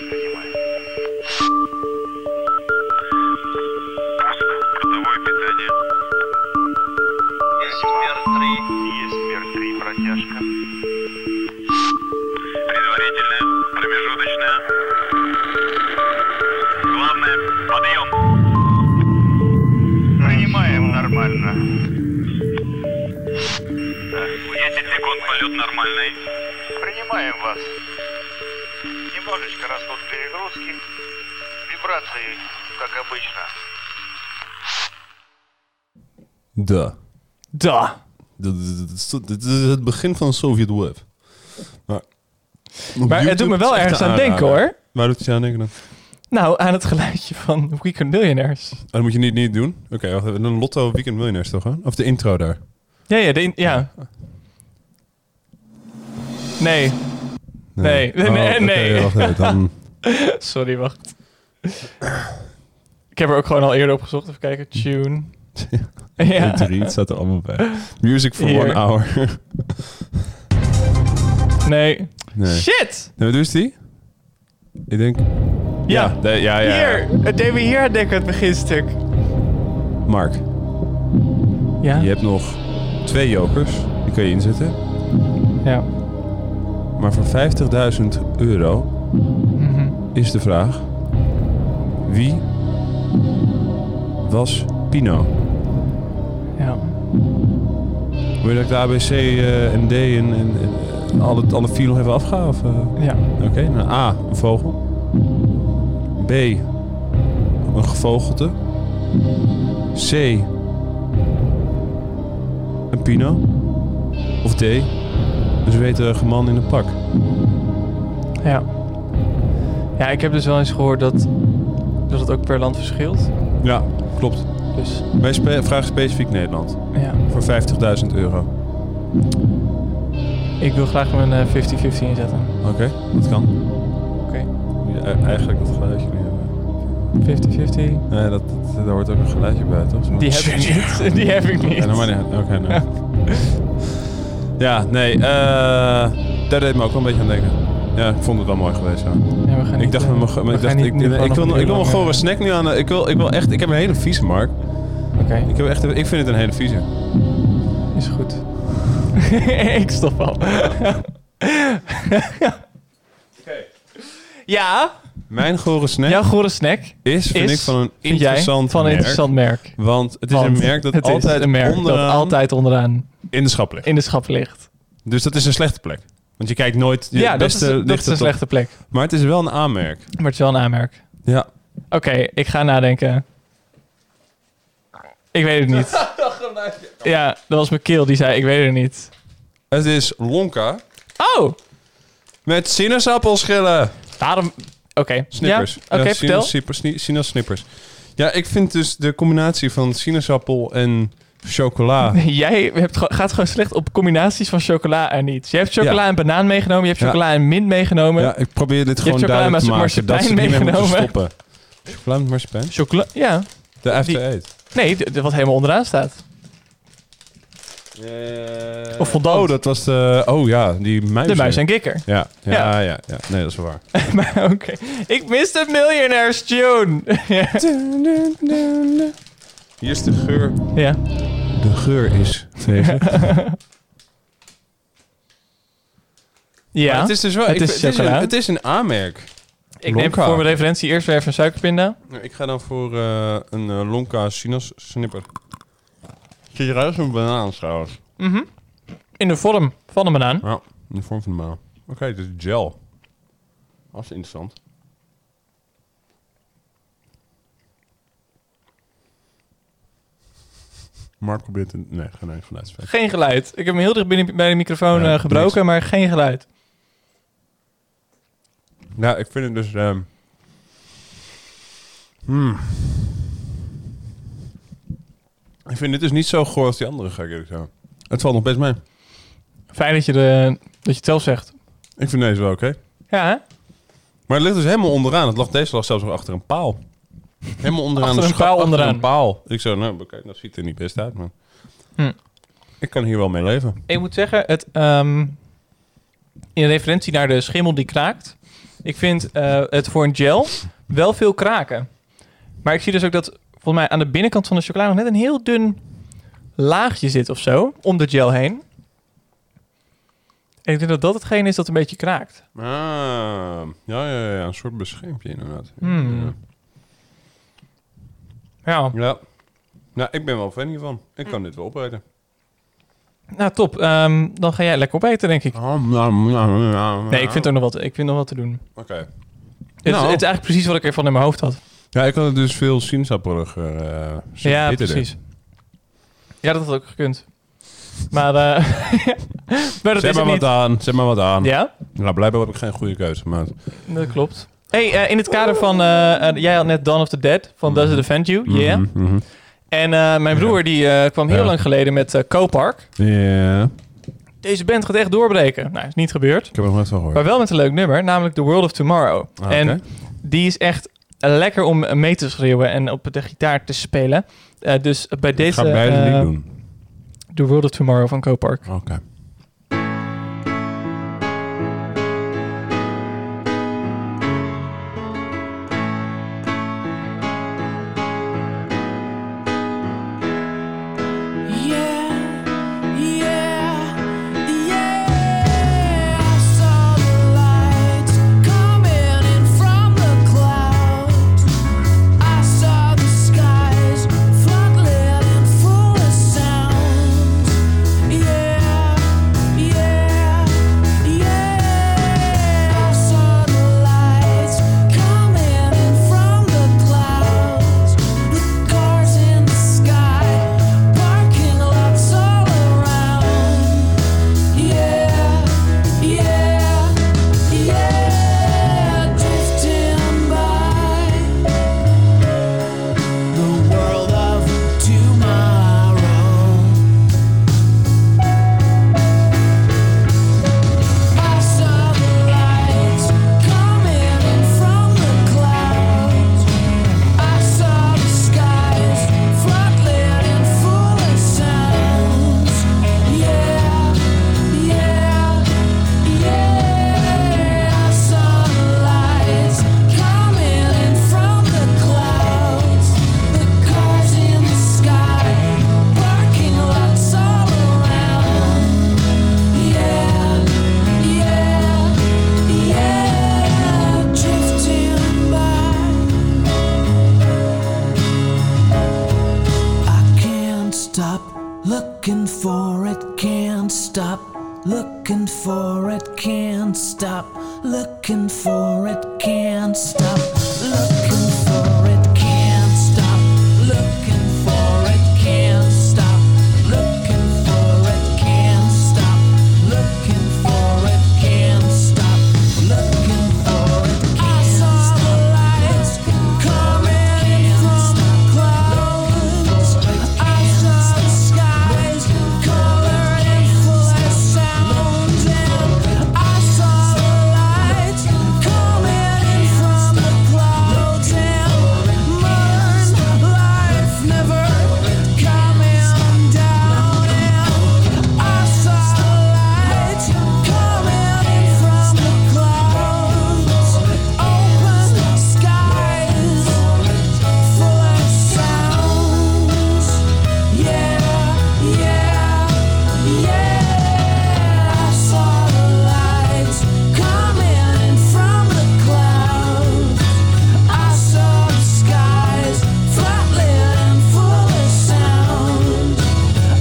Принимаю. Пуск. Бортовое питание. Есть мер-3. Есть мер-3. Протяжка. Предварительная. Промежуточная. Главное. Подъем. Принимаем нормально. 10 секунд полет нормальный. Принимаем вас. Немножечко растут перегрузки. Вибрации, как обычно. Duh. Da. Dat is- dat is- dat is het begin van Soviet Wave. Maar, Maar het doet me wel ergens aan denken hoor. Waar doet het je aan denken dan? Nou, aan het geluidje van Weekend Millionaires. Oh, dat moet je niet, niet doen. Oké, wacht even. Een Lotto Weekend Millionaires toch? Hè? Of de intro daar. Ja, ja, de in- ja. Nee, Nee, nee, Oh, nee, oké, nee. wacht even, dan, sorry, wacht. Ik heb er ook gewoon al eerder opgezocht. Even kijken. Tune. Ja. ja. Drie, het staat er allemaal bij. Music for Hier. one hour. Nee. nee. Shit! Nee, wat doet die? Ik denk... Ja. de- ja, ja. Hier! Het deed me hier aan denken, het beginstuk. Mark, Ja? je hebt nog twee jokers. Die kun je inzetten. Ja. Maar voor 50.000 euro is de vraag... Wie was Pino? ja. Wil je dat ik de ABC eh, en D en, en, en alle, alle vier nog even afga? Of, eh? Ja. Oké, nou A, een vogel. B, een gevogelte. C, een pino. Of D, een zweterige man in een pak. Ja. Ja, ik heb dus wel eens gehoord dat, dat het ook per land verschilt. Ja, klopt. Dus Wij spe- vragen specifiek Nederland. ja, Voor 50.000 euro. ik wil graag mijn eh, 50-50 inzetten. Oké, dat kan. Oké. Moet je e- Eigenlijk dat geluidje niet hebben. 50-50. Nee, dat, dat- daar hoort ook een geluidje bij, toch? Zo'n- Die heb ik niet. Die heb ik niet. Ja, nou maar niet. Oké, nou. Ja, nee, eh, daar deed me ook wel een beetje aan denken. Ja, ik vond het wel mooi geweest, ja. Ja, we gaan Ik niet, dacht, eh, met mijn ge- maar we ik, gaan dacht niet ik, nu ik, gewoon nog wil, een ik uur wil lang, gewoon eh, een snack nu aan. de- Ik, wil, ik, wil echt, ik heb een hele vieze, Mark. Oké, Ik, heb echt, ik vind het een hele vieze. is goed. ik stop al. Ja, Mijn gore snack jouw gore snack is, vind is, ik, van een vind jij, interessant van een merk. interessant merk. Want het is Want een merk dat het is altijd een merk onderaan dat altijd onderaan in de schap ligt. in de schap ligt. Dus dat is een slechte plek. Want je kijkt nooit... je Ja, dat is, beste dat is ligt een het op- slechte plek. Maar het is wel een aanmerk. Maar het is wel een aanmerk. Ja. Oké, ik ga nadenken. Ik weet het niet. ja, dat was mijn keel die zei ik weet het niet. Het is Lonka Oh, met sinaasappelschillen. waarom... Oké, Snippers. Ja? Oké, Ja, sina- vertel. Snippers, sni- sinaassnippers. Ja, ik vind dus de combinatie van sinaasappel en chocola... Jij hebt, ge- gaat gewoon slecht op combinaties van chocola en niets. Je hebt chocola en banaan meegenomen, je hebt Ja. chocola en mint meegenomen. Ja, ik probeer dit gewoon chocola duidelijk te met maken. Dat ze marsepein hiermee moeten meegenomen. stoppen. Chocola met marsepein? Chocola, ja. De Die- after eat. Nee, d- d- wat helemaal onderaan staat. Of fondant. Oh, dat was de... Oh ja, die muis. De muis en kikker. Ja, ja, ja, Ja. ja, Nee, dat is wel waar. maar oké. Ik mis de Millionaires Tune. ja. Hier is de geur. ja. De geur is vreselijk. Maar Het is dus wel... Het ik- is een, chocola. het is een aanmerk. ik neem Lonka. voor mijn referentie eerst weer even een suikerpinda. Nou, Ik ga dan voor eh, een eh, Lonka sinaassnipper. Ziet eruit als een banaan trouwens. Mhm. In de vorm van een banaan. Ja, in de vorm van een banaan. Oké, dit is gel. Dat is interessant. Mark probeert een... Nee, geen enkel geluidseffect. Geen geluid. Ik heb hem heel dicht binnen bij de microfoon Ja, eh, gebroken, niks. maar geen geluid. Ja, ik vind het dus... ehm, hmm. Ik vind dit dus niet zo goor als die andere, ga ik eerlijk zeggen. Het valt nog best mee. Fijn dat je, de, dat je het zelf zegt. Ik vind deze wel oké. Ja, hè? Maar het ligt dus helemaal onderaan. Het lag, deze lag zelfs nog achter een paal. Helemaal onderaan. Achter de een schap, paal achter onderaan. een paal. Ik zo, nou, oké, dat ziet er niet best uit, maar... Hm. Ik kan hier wel mee leven. Ik moet zeggen, het, ehm, in referentie naar de schimmel die kraakt. Ik vind eh, het voor een gel wel veel kraken. Maar ik zie dus ook dat volgens mij aan de binnenkant van de chocola nog net een heel dun laagje zit of zo. Om de gel heen. En ik denk dat dat hetgeen is dat een beetje kraakt. Ah, ja, Ah, ja, ja, ja, een soort beschermpje inderdaad. Hmm. Ja, Ja. ja. Nou, ik ben wel fan hiervan. Ik kan dit wel opeten. nou top. Ehm, dan ga jij lekker opeten, denk ik. Oh, nou, Nee, Nee, ik vind ook nog wat, ik vind nog wat te doen. Nou. Oké. Het, is, Nou. het is eigenlijk precies wat ik ervan in mijn hoofd had. Ja, ik had het dus veel sinaasappeliger eh zitten Ja, zitten precies. Ja, dat had ook gekund. Maar, eh maar dat is Zet maar het wat niet. aan, zet maar wat aan. Ja, Nou, blijkbaar heb ik geen goede keuze gemaakt. dat klopt. hey, eh, in het kader van... eh, eh, jij had net Dawn of the Dead van Does It Offend You? Yeah. Mhm, mhm. En eh, mijn broer die eh, kwam heel Ja. lang geleden met eh Copark. Ja, Deze band gaat echt doorbreken. Nou, is niet gebeurd. ik heb het nog net van gehoord. Maar wel met een leuk nummer, namelijk The World of Tomorrow. Ah, oké. En die is echt eh, lekker om mee te schreeuwen en op de gitaar te spelen. Eh, dus bij Ik deze... ga beide eh, niet doen. The World of Tomorrow van Copark. Oké. Yeah, yeah, yeah. I saw the lights coming in from the clouds. I saw the skies floodlit and full of sounds. Yeah, yeah, yeah. I saw the lights coming in from the clouds. The cars in the sky. Parking lots all around. Yeah, yeah, yeah. Drifting by the world of tomorrow. I saw the lights coming in from the clouds. I saw the skies floodlit and full of sounds. Yeah, yeah, yeah. I saw the lights coming in from the clouds. The cars in the sky, parking lots all around. Yeah, yeah, yeah. Drifting by. I can't stop looking for it, can't stop looking for it, can't stop looking for it, can't stop looking for it, can't stop looking for it, can't stop looking for it, can't stop looking for it, can't stop looking for it. I saw the lights coming in from the clouds. I saw the skies colored and full of sound. And I saw the lights coming in from the clouds. And modern life never coming down. And I saw the lights coming in from the clouds. Open skies. Full of sounds, yeah, yeah, yeah. I saw the lights coming in from the clouds. I saw the skies flatlit and full of sound.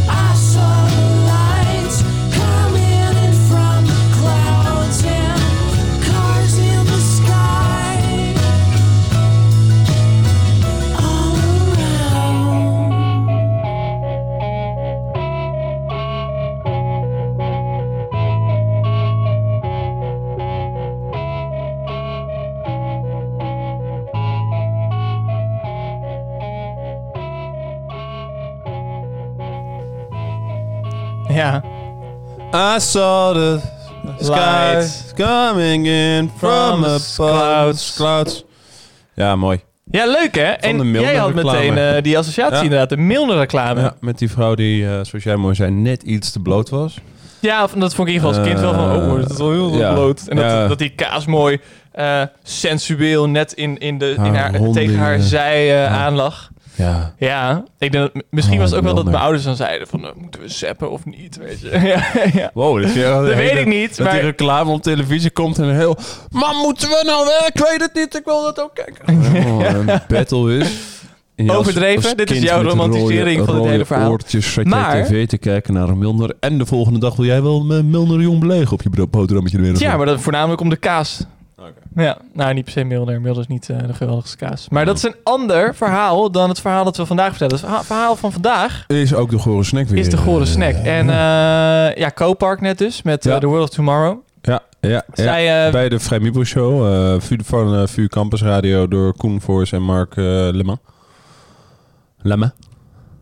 I saw the lights coming in from the clouds and cars in the sky. All around. Ja, I saw the Lights. skies coming in from From the the clouds. clouds. clouds. Ja, mooi. ja leuk hè? de En Milner jij had meteen reclame. eh, die associatie Ja. inderdaad, de milder reclame. Ja, Ja. met die vrouw die, eh, zoals jij mooi zei, net iets te bloot was. of- dat vond ik in ieder geval als kind wel van, Eh, oh, dat is wel heel ja. bloot. En Ja. dat, dat die kaas mooi eh, sensueel net in, in de, Haar in haar, hond tegen in, haar eh, zij eh, ja. aan lag. Ja. Ja, ik denk dat, misschien Oh, was het ook wel dat Milner. mijn ouders dan zeiden van, eh, moeten we zappen of niet, weet je. ja, ja. Wow, dat, dat weet ik niet, Dat die maar- reclame op televisie komt en heel... Mam, moeten we nou wel? Ik weet het niet, ik wil dat ook kijken. Oh, een battle is. En je als- Overdreven? als Dit is kind jouw met romantisering rode- van het rode hele verhaal. oortjes eh, zat Maar- jij tv te kijken naar Milner. En de volgende dag wil jij wel een Milner jong belegen op je bro- boterhammetje weer. Ja, maar dat voornamelijk om de kaas. Ja, nou niet per se Milder. Milder is niet eh, de geweldigste kaas. Maar dat is een ander verhaal dan het verhaal dat we vandaag vertellen. Dus Het verha- verhaal van vandaag Is ook de gore snack weer. is de gore eh, snack. En eh ja, Copark net dus, met eh, Ja. The World of Tomorrow. Ja, ja, ja. Zij, eh, bij de Vrij Mibo Show eh, vuur- van eh Vuur Campus Radio door Koen Voors en Mark eh Lemme. Lemme?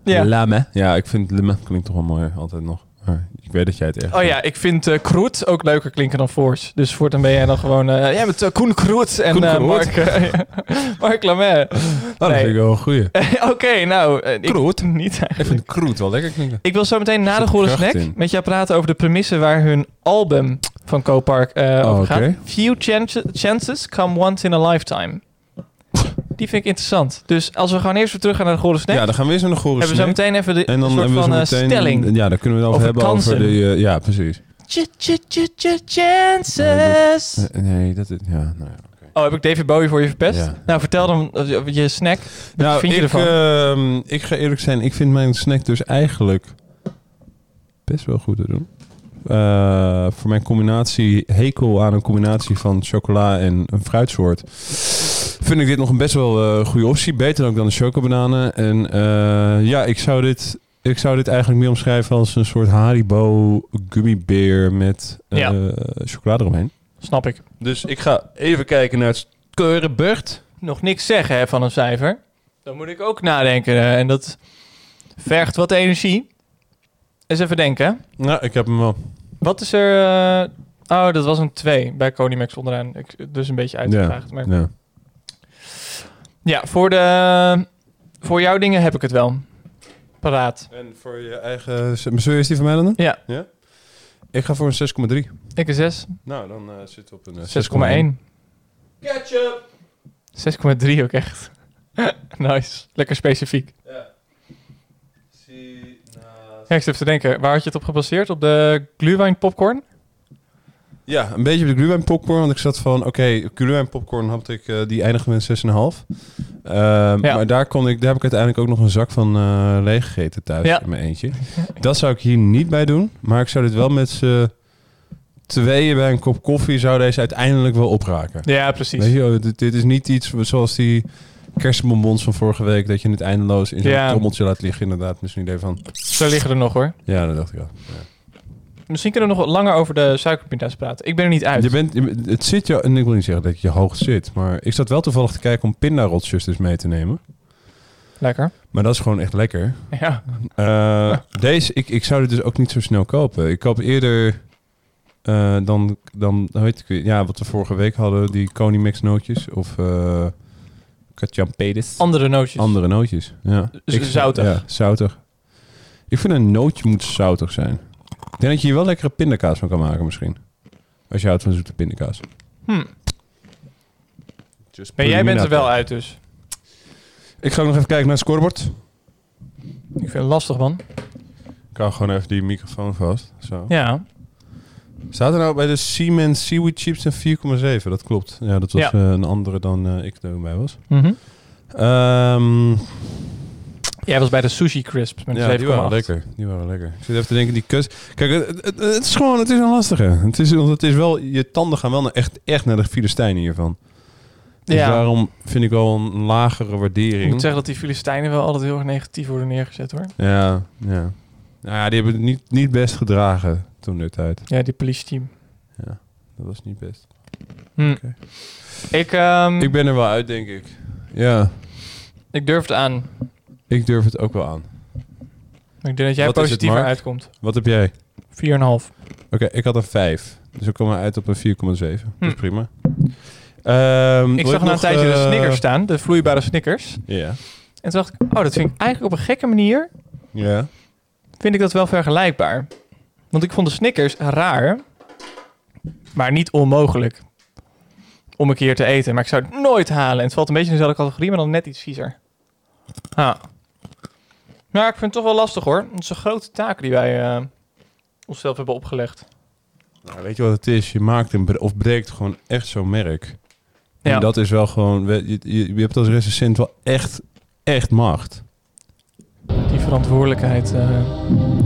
ja. Lemme. Ja, ik vind Lemme klinkt toch wel mooi altijd nog. Maar ik weet dat jij het echt Oh ja, ik vind eh Kroet ook leuker klinken dan Force. Dus voortaan ben jij dan gewoon... eh, jij bent eh, Koen Kroet en Koen eh, Kroet. Mark, eh, Mark Lamet. vindt. Oh, dat vind ik wel een goeie. Oké, nou... eh, ik, Kroet? Niet Ik vind kroet wel lekker klinken. Ik wil zo meteen na de zit Goede kracht Snack in. met jou praten over de premisse waar hun album van Copark eh over gaat. Oh, oké. Few chan- chances come once in a lifetime. Die vind ik interessant. Dus als we gewoon eerst weer terug gaan naar de Goede Snack, Ja, dan gaan we eens naar de gore hebben we zo snack. meteen even de En dan soort hebben we van zo eh, meteen... stelling. Ja, daar kunnen we het Over over hebben. kansen. Over de, eh, ja, precies. Ch- ch- ch- ch- Chances. Eh, Nee, dat is... Ja, nou ja. Oh, heb ik David Bowie voor je verpest? Ja. Nou, vertel dan eh, je snack. Wat Nou, vind ik, je ervan? ehm, ik ga eerlijk zijn. Ik vind mijn snack dus eigenlijk best wel goed te doen. Eh, voor mijn combinatie, hekel aan een combinatie van chocola en een fruitsoort, vind ik dit nog een best wel eh, goede optie. Beter ook dan de chocobananen. En eh, ja, ik zou, dit, ik zou dit eigenlijk meer omschrijven als een soort Haribo gummibeer met eh, Ja. chocola eromheen. Snap ik. Dus ik ga even kijken naar het Keurenburgt. Nog niks zeggen hè, van een cijfer. Dan moet ik ook nadenken. eh, en dat vergt wat energie. Eens even denken. Nou, ik heb hem wel. Wat is er... eh, Oh, dat was een 2 bij Conimax onderaan. Ik, dus een beetje uitgevraagd. Ja, maar... Ja. ja voor, de, voor jouw dingen heb ik het wel. Paraat. En voor je eigen... Zul is die van mij dan? Ja, Ik ga voor een 6,3. ik een 6. Nou, dan eh zit op een eh, 6,1. Ketchup! 6,3 ook echt. nice. Lekker specifiek. Ja, ik zit even te denken, waar had je het op gebaseerd? Op de gluwijn popcorn? Ja, een beetje op de glühwein popcorn. Want ik zat van, oké, glühwein popcorn had ik, eh, die eindigde met 6,5. Ehm Maar daar, kon ik, daar heb ik uiteindelijk ook nog een zak van eh leeg gegeten thuis Ja. in mijn eentje. Dat zou ik hier niet bij doen. Maar ik zou dit wel met z'n tweeën bij een kop koffie... zou deze uiteindelijk wel opraken. Ja, precies. Weet je, oh, dit, dit is niet iets zoals die kerstbonbons van vorige week... dat je het eindeloos in zo'n Ja. trommeltje laat liggen. Inderdaad, misschien idee van... Zo liggen er nog hoor. Ja, dat dacht ik wel. Misschien kunnen we nog wat langer over de suikerpinda's praten. Ik ben er niet uit. Je bent, je bent- het zit jou, en ik wil niet zeggen dat je hoog zit, maar ik zat wel toevallig te kijken om pindarotjes dus mee te nemen. Lekker. Maar dat is gewoon echt lekker. Ja. Eh, deze, ik, ik zou dit dus ook niet zo snel kopen. Ik koop eerder eh, dan, dan hoe heet ik, weer? ja, wat we vorige week hadden, die Konimix nootjes of eh Kachampedes. Andere nootjes. Andere nootjes, ja. Z- zoutig. Ja, zoutig. Ik vind een nootje moet zoutig zijn. Ik denk dat je hier wel lekkere pindakaas van kan maken misschien. Als je houdt van zoete pindakaas. Hm. Nee, jij bent er wel uit dus. Ik ga ook nog even kijken naar het scorebord. Ik vind het lastig man. Ik hou gewoon even die microfoon vast. Zo. Ja. Staat er nou bij de Siemens Seaweed Chips een 4,7? Dat klopt. Ja, dat was Ja. eh, een andere dan eh, ik erbij was. Mhm. Ehm Jij was bij de sushi crisps met ja, die waren 7,8. lekker. Die waren lekker. Ik zit even te denken, die kus... Kijk, het, het- het is gewoon, het is een lastige. Het is, want het is wel, je tanden gaan wel naar, echt, echt naar de Filistijnen hiervan. Dus Ja. daarom vind ik wel een lagere Ik waardering. moet zeggen dat die Filistijnen wel altijd heel erg negatief worden neergezet hoor. Ja, ja. Nou ja, die hebben het niet, niet best gedragen toen de tijd. Ja, die police team. Dat was niet best. Hm. Oké. Ik, ehm, Ik ik, ben er wel uit, denk ik. Ja, durf het aan. ik durf het ook wel aan. Ik denk dat jij Wat is het, positiever Mark? uitkomt. 4,5. Wat heb jij? Oké, ik had een 5. Dus ik kom uit op een 4,7. Dat is Hm. prima. Ehm, wil Ik zag na een nog, tijdje de eh, Snickers staan, de vloeibare Snickers. Ja. En toen dacht ik, oh, dat vind ik eigenlijk op een gekke manier Ja. vind ik dat wel vergelijkbaar. Want ik vond de Snickers raar, maar niet onmogelijk om een keer te eten. Maar ik zou het nooit halen. En het valt een beetje in dezelfde categorie, maar dan net iets viezer. Ah. Maar ik vind het toch wel lastig hoor. Het is een grote taak die wij eh, onszelf hebben opgelegd. Nou, weet je wat het is? Je maakt een bre- of breekt gewoon echt zo'n merk. Ja. En dat is wel gewoon... we- Je, je, je hebt als recensent wel echt, echt macht. Die verantwoordelijkheid, eh,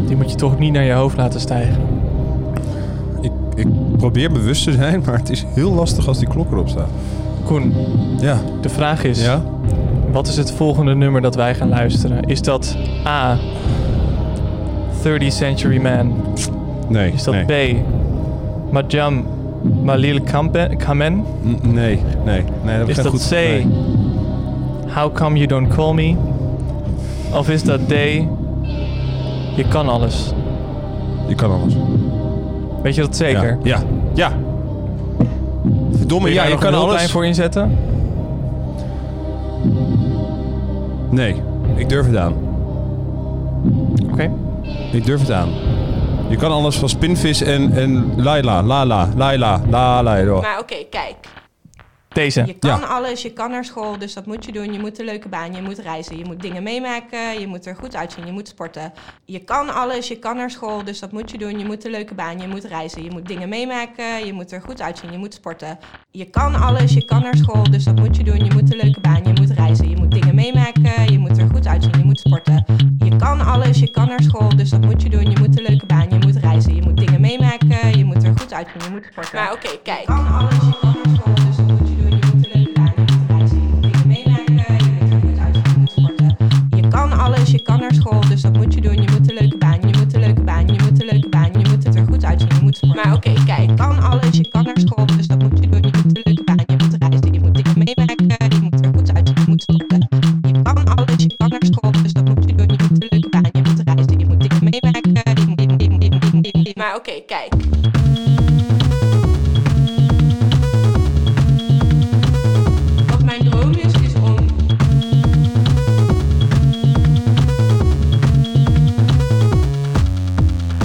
die moet je toch niet naar je hoofd laten stijgen. Ik, ik probeer bewust te zijn, maar het is heel lastig als die klok erop staat. Koen, Ja. de vraag is... Ja? Wat is het volgende nummer dat wij gaan luisteren? Is dat A. 30 Century Man? Nee. Is dat nee. B. Majam Malil Kampe- Kamen? N- Nee, nee. nee dat heb ik Is geen dat goed... C. nee. How come you don't call me? Of is dat D. Je kan alles? Je kan alles. Weet je dat zeker? Ja. Ja. ja. Verdomme, Kun ja, daar je nog kan een hulplijn alles. voor inzetten? Nee, ik durf het aan. Oké. Ik durf het aan. Je kan alles van spinvis en, en Laila, Lala, Laila, la Laila. Maar oké, kijk. Deze. Je kan Ja. alles, je kan naar school, dus dat moet je doen. Je moet een leuke baan, je moet reizen, je moet dingen meemaken, je moet er goed uitzien, je moet sporten. Je kan alles, je kan naar school, dus dat moet je doen. Je moet een leuke baan, je moet reizen, je moet dingen meemaken, je moet er goed uitzien, je moet sporten. Je kan alles, je kan naar school, dus dat moet je doen. Je moet een leuke baan, je moet reizen, je moet dingen meemaken, je moet er goed uitzien, je moet sporten. Je kan alles, je kan naar school, dus dat moet je doen. Je moet een leuke baan, je moet reizen, je moet dingen meemaken, je moet er goed uitzien, je moet sporten. Maar oké, kijk. Je kan alles, je kan naar school, dus dat moet je doen. Je moet een leuke baan, je moet reizen, je moet dingen meemaken, je moet er goed uitzien, je moet sporten. Je kan alles, je kan naar school, dus dat moet je doen. Je moet een leuke baan, je moet een leuke baan, je moet een leuke baan, je moet het er goed uitzien, je moet sporten. Maar oké, kijk. Je kan alles, je kan naar school, dus dat moet je doen. Je moet een leuke baan, je moet reizen, je moet dingen meemaken, je moet er goed uitzien, je moet sporten. Je kan alles, je kan naar school, dus dat moet je doen. Je moet een leuke baan, je moet reizen, je moet dingen meemaken, je moet, je moet, je moet, je moet, je moet. Maar oké, kijk. Wat mijn droom is, is om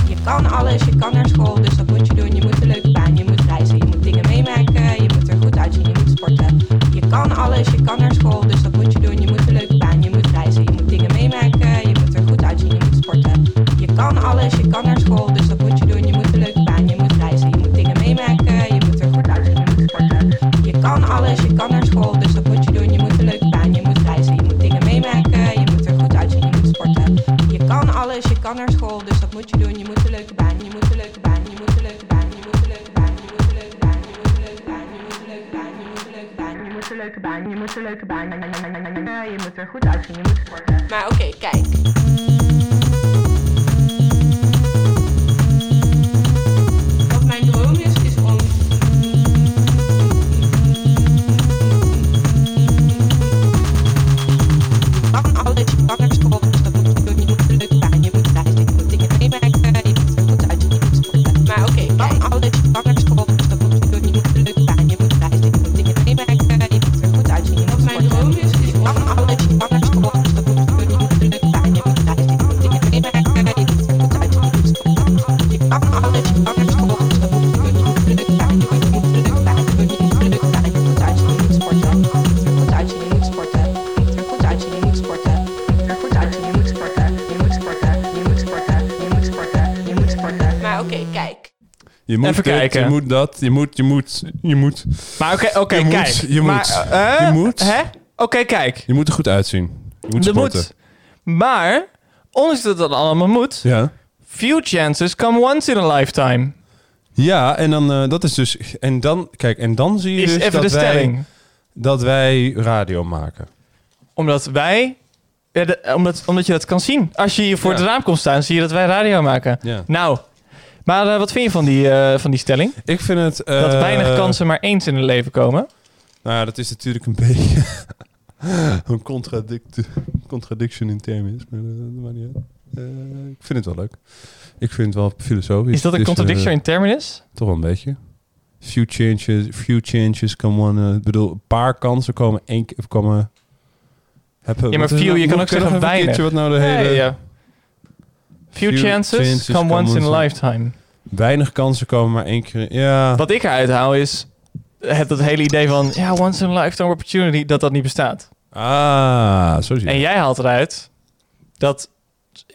Je kan alles, je kan naar school, dus dat moet je doen. Je moet een leuke baan, je moet reizen, je moet dingen meemaken, je moet er goed uitzien, je moet sporten. Je kan alles, je kan naar school, dus dat moet je doen. Je moet een leuke baan, je moet reizen, je moet dingen meemaken, je moet er goed uitzien, je moet sporten. Je kan alles, je kan naar school, dus dat moet je doen. Je moet een leuke baan, je moet reizen, je moet dingen meemaken, je moet er goed uitzien, je moet sporten. Je kan alles, je kan naar school, dus dat moet je doen. Je moet een leuke baan, je moet reizen, je moet dingen meemaken, eh, je moet er goed uitzien, je moet sporten. Je kan alles, je kan naar school, dus dat moet je doen. Je moet een leuke baan, je moet een leuke baan, je moet een leuke baan, je moet een leuke baan, je moet een leuke baan, je moet een leuke baan, je moet een leuke baan, je moet een leuke baan, je moet een leuke baan, je moet een leuke baan, je moet een leuke baan, je moet er goed uitzien, je moet sporten. Maar oké, kijk. Wat mijn droom is, is om. Kan alles, je kan naar school, dus dat moet je doen. Je moet een leuke baan, je moet reizen, je moet dingen meemaken, je moet er goed uitzien, je moet sporten. Maar oké, kan alles, je kan naar school, dus dat moet je doen. Je moet een leuke baan, je moet reizen, je moet dingen meemaken, je moet er goed uitzien, je moet sporten. Mijn droom is, is om. Kan alles, je kan naar school, dus dat moet je doen. Je moet een leuke baan, je moet reizen, je moet dingen meemaken, je moet er goed uitzien, je moet sporten. Je kan alles, je kan naar school, dus dat moet je doen. Je moet een leuke baan, je moet- je moet een leuke baan, je moet- je moet een leuke baan, je moet er goed uitzien, je moet sporten. Je moet er goed uitzien, je moet sporten. Je moet er goed uitzien, je moet sporten. Er goed uit, je moet sporten, je moet sporten, je moet sporten, je moet sporten, je moet sporten. Maar oké, kijk. Je moet Even dit, kijken. Je moet dat, je moet, je moet, je moet. Maar oké, oké, Je moet, kijk. je maar, moet, eh, je moet. Hè? Oké, kijk. Je moet er goed uitzien. Je moet Er sporten. moet. Maar, ondanks dat dat allemaal moet, Ja. few chances come once in a lifetime. Ja, en dan eh, dat is dus. En dan, kijk, en dan zie je Is dus even dat, de wij, stelling. dat wij radio maken. Omdat wij... ja, de- omdat, omdat je dat kan zien. Als je hier voor Ja. het raam komt staan, zie je dat wij radio maken. Ja. Nou, maar eh, wat vind je van die, eh, van die stelling? Ik vind het. eh, Dat weinig kansen maar eens in het leven komen. Nou ja, dat is natuurlijk een beetje. een contradict, contradiction in termen is. Maar eh, dat maakt niet uit. Eh, ik vind het wel leuk. Ik vind het wel filosofisch. Is dat een Dus, contradiction eh, in terminis? toch wel een beetje. Few changes, few changes come one. eh, Ik bedoel, een paar kansen komen één keer. Komen, hebben, Ja, maar wat is few, dat? je kan Moet ook ik er nog zeggen even een keertje Wat nou de hele, Nee, ja. Few, nou? Few chances, chances come, come once in once a in- lifetime. Weinig kansen komen maar één keer. in- Ja. Wat ik eruit haal is het, dat hele idee van ja, once in a lifetime opportunity, dat dat niet bestaat. Ah, zo zie je. En jij haalt eruit dat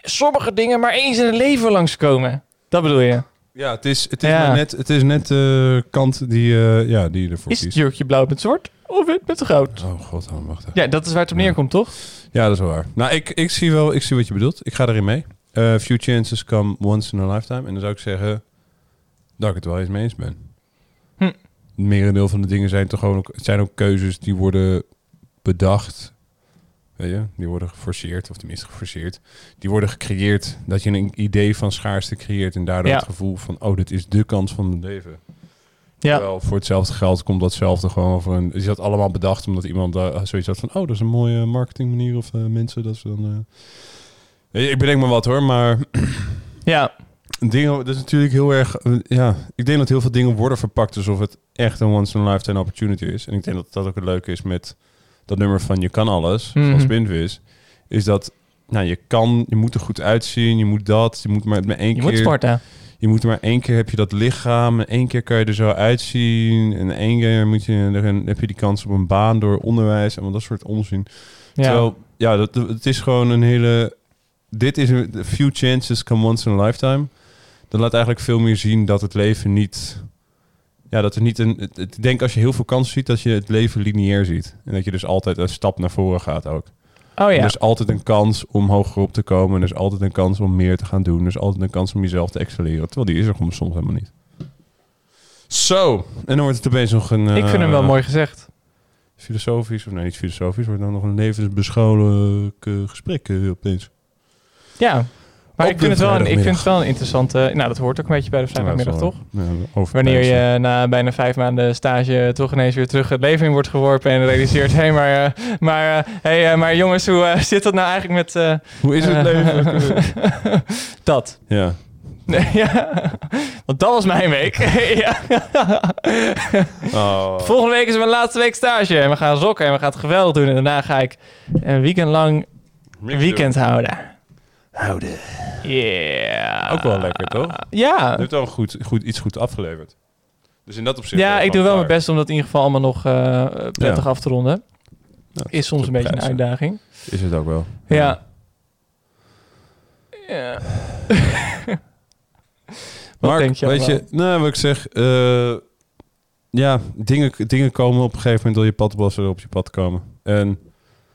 sommige dingen maar eens in een leven langskomen. Dat bedoel je. Ja, het is, het is Ja. maar net, het is net de kant die, eh, ja, die je ervoor Is het kiest. jurkje blauw met zwart of wit met goud? Oh god, oh, wacht even. Ja, dat is waar het op neerkomt, toch? Ja, dat is wel waar. Nou, ik, ik zie wel, ik zie wat je bedoelt. Ik ga erin mee. Eh, few chances come once in a lifetime. En dan zou ik zeggen dat ik het wel eens mee eens ben. Hm. Het merendeel van de dingen zijn toch gewoon ook, het zijn ook keuzes die worden bedacht. Weet je, die worden geforceerd, of tenminste geforceerd. Die worden gecreëerd dat je een idee van schaarste creëert en daardoor Ja. het gevoel van, oh, dit is de kans van het leven. Ja. Terwijl voor hetzelfde geld komt datzelfde gewoon voor een... Is dat allemaal bedacht omdat iemand daar zoiets had van... Oh, dat is een mooie marketingmanier of eh, mensen dat ze dan... eh, Ik bedenk me wat hoor, maar Ja. Dingen, dat is natuurlijk heel erg. eh, Ja, ik denk dat heel veel dingen worden verpakt alsof het echt een once in a lifetime opportunity is. En ik denk dat dat ook het leuke is met dat nummer van Je kan alles, Mhm. van Spinvis. Is dat, nou, je kan, je moet er goed uitzien, je moet dat, je moet maar met één Je keer. moet sporten. Je moet maar één keer heb je dat lichaam, en één keer kan je er zo uitzien. En één keer moet je, dan heb je die kans op een baan door onderwijs en wat dat soort onzin. Ja. Terwijl, ja, dat, het is gewoon een hele... Dit is een a few chances come once in a lifetime. Dat laat eigenlijk veel meer zien dat het leven niet... Ja, dat er niet een... het- het- Ik denk als je heel veel kansen ziet, dat je het leven lineair ziet. En dat je dus altijd een stap naar voren gaat ook. Oh En ja. Er is altijd een kans om hoger op te komen. En er is altijd een kans om meer te gaan doen. Er is altijd een kans om jezelf te excelleren. Terwijl die is er gewoon soms helemaal niet. Zo, en dan wordt het opeens nog een... ik vind hem wel eh, mooi gezegd. filosofisch, of nee, niet filosofisch, wordt nou nog een levensbeschouwelijk eh, gesprek eh, opeens. Ja. Maar Op ik de vind, het wel een, ik vind het vrijdagmiddag. wel een interessante... Nou, dat hoort ook een beetje bij de vrijdagmiddag, Ja, dat toch? is wel- ja, over Wanneer tijd. je na bijna vijf maanden stage toch ineens weer terug het leven in wordt geworpen en realiseert, hé, hey, maar, eh, maar, eh, hey, eh, maar jongens, hoe eh, zit dat nou eigenlijk met... eh, Hoe is het eh, leven? dat. ja. Nee, ja. Want dat was mijn week. ja. Oh. Volgende week is mijn laatste week stage en we gaan sokken en we gaan het geweldig doen en daarna ga ik een weekend lang weekend houden. houden. Yeah. Ook wel lekker, toch? Je Ja. hebt wel goed, goed, iets goed afgeleverd. Dus in dat opzicht... ben Ja, je ik doe gewoon wel mijn klaar. best om dat in ieder geval allemaal nog eh, prettig af te ronden. dat Is soms te een beetje een prijzen. uitdaging. Is het ook wel. Ja. ja. Wat Mark, denk je weet je, allemaal? nou, wat ik zeg, eh, ja, dingen, dingen komen op een gegeven moment door je pad, als ze op je pad komen. En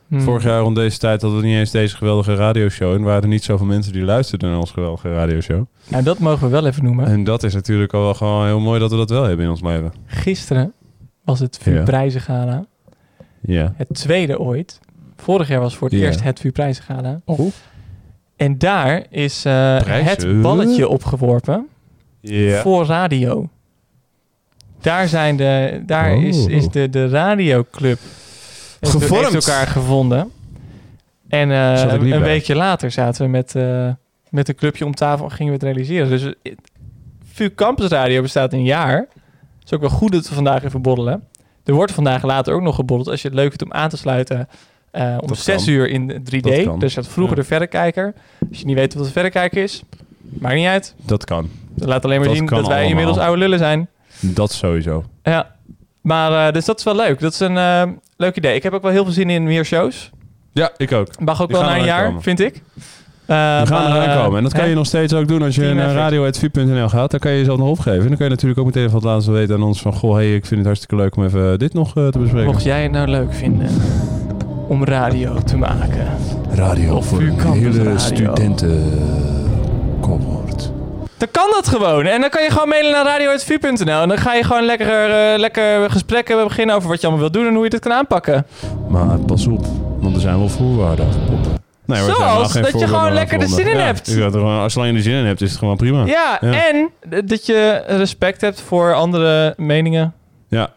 Hmm. vorig jaar om deze tijd hadden we niet eens deze geweldige radioshow en waren er niet zoveel mensen die luisterden naar ons geweldige radioshow. Nou, dat mogen we wel even noemen. En dat is natuurlijk al wel gewoon heel mooi dat we dat wel hebben in ons leven. Gisteren was het Vuurprijzengala. Ja. Het tweede ooit. Vorig jaar was voor het Ja. eerst het Vuurprijzengala. Oh. En daar is eh, Prijzen? het balletje opgeworpen voor radio. Daar, zijn de, daar Oh. is, is de, de radioclub heeft- Gevormd. Heeft elkaar gevonden. En eh, Zat ik een niet bij. weekje later zaten we met, eh, met een clubje om tafel en gingen we het realiseren. Dus eh, VU Campus Radio bestaat een jaar. Het is ook wel goed dat we vandaag even borrelen. Er wordt vandaag later ook nog geboddeld. Als je het leuk vindt om aan te sluiten eh, om Dat 6 kan. uur in Dat 3D. kan. Dus staat vroeger Ja. de verrekijker. Als je niet weet wat de verrekijker is, maakt niet uit. Dat kan. Dat laat alleen maar Dat zien dat kan wij allemaal. inmiddels oude lullen zijn. Dat sowieso. Ja, maar eh, dus dat is wel leuk. Dat is een eh, leuk idee. Ik heb ook wel heel veel zin in meer shows. Ja, ik ook. Mag ook Die wel gaan na een eraan jaar, komen. vind ik. Eh, We gaan maar, eraan eh, komen. En dat kan hè? je nog steeds ook doen als je eh, Team naar effort. radio.vu.nl gaat. Dan kan je jezelf nog opgeven. En dan kan je natuurlijk ook meteen van het laatste weten aan ons van... Goh, hey, ik vind het hartstikke leuk om even dit nog eh, te bespreken. Mocht jij het nou leuk vinden om radio te maken. Radio Of voor een vuurkampers hele eh, radio. studentencohort. Dan kan dat gewoon. En dan kan je gewoon mailen naar radio.vu.nl. En dan ga je gewoon lekker, eh, lekker gesprekken beginnen over wat je allemaal wilt doen en hoe je dit kan aanpakken. Maar pas op, want er zijn wel voorwaarden aan Nee, Zoals dat je gewoon lekker de zin in hebt. als je er zin in hebt, is het gewoon prima. Ja, Ah, Ja. en d- dat je respect hebt voor andere meningen. Ja.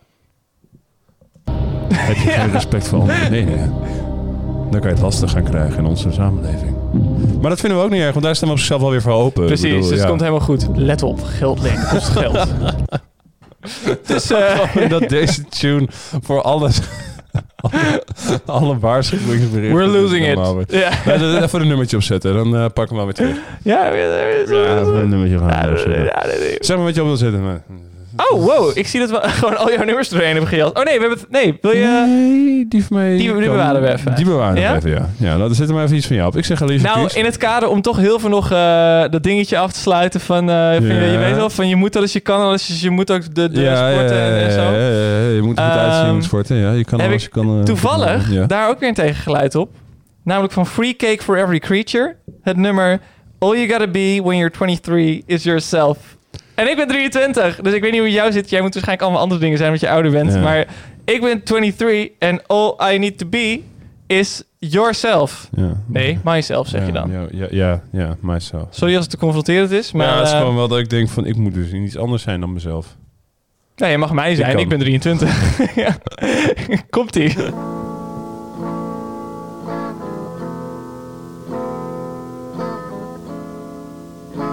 Heb je geen respect voor andere meningen, dan kan je het lastig gaan krijgen in onze samenleving. Maar dat vinden we ook niet erg, want daar staan we op zichzelf wel weer voor open. Ik Precies, bedoel, dus ja. het komt helemaal goed. Let op, geld lenen kost geld. dus eh, dat deze tune voor alles... alle, alle waarschuwingsberichten... we're losing it. normaal wordt. Ja, Laten we er even een nummertje opzetten, dan eh, pak hem maar weer terug. ja. een nummertje ja. Zeg maar wat je op wil zetten. maar- Oh, wow. Ik zie dat we gewoon al jouw nummers doorheen hebben gejast. Oh nee, we hebben het... Nee, wil je... Nee, die van mij... Die- die kan- bewaren we even. Die bewaren we Ja? even, ja. Ja, dan zet er maar even iets van jou op. Ik zeg Alicia Nou, Keys. in het kader om toch heel veel nog eh, dat dingetje af te sluiten van... eh, van, Ja. je, je weet wel, van je moet alles je kan alles. Dus je moet ook de, de sporten en- en zo. ja, ja, ja. Je moet er goed uitzien, je moet Ehm, sporten. Ja, je kan heb alles, je ik kan... eh, Toevallig, ja. daar ook weer een tegengeluid op. Namelijk van Free Cake for Every Creature. Het nummer All You Gotta Be When You're 23 Is Yourself. En ik ben 23, dus ik weet niet hoe het jou zit. Jij moet waarschijnlijk allemaal andere dingen zijn, want je ouder bent. Ja. Maar ik ben 23 en all I need to be is yourself. Ja. Nee, myself zeg Ja, je dan. Ja, ja, ja, ja myself. Sorry als het te confronterend is, maar Maar ja, het is eh, gewoon wel dat ik denk van, ik moet dus iets anders zijn dan mezelf. nou, je mag mij zijn, ik, kan. ben 23. Ja. Komt-ie. All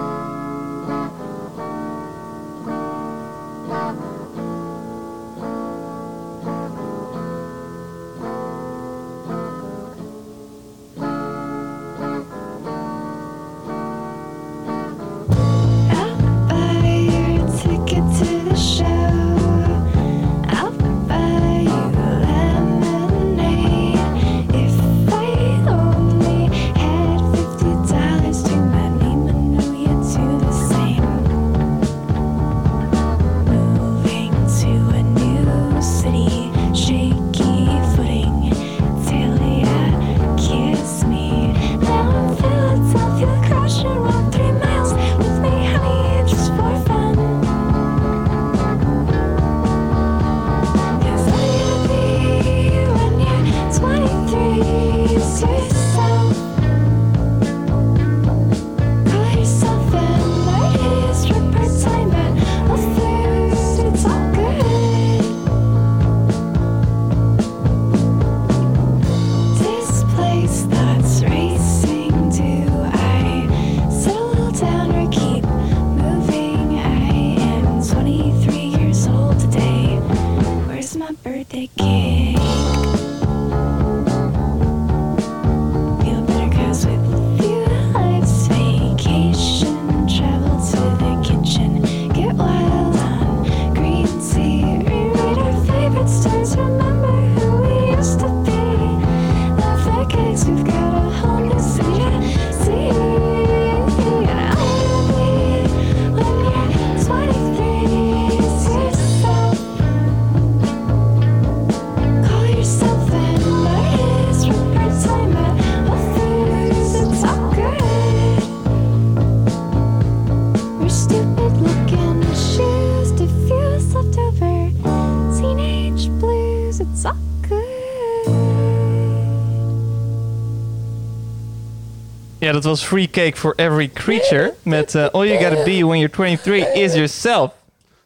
Ja, dat was Free Cake for Every Creature. Met eh, All You Gotta Be When You're 23 Is Yourself.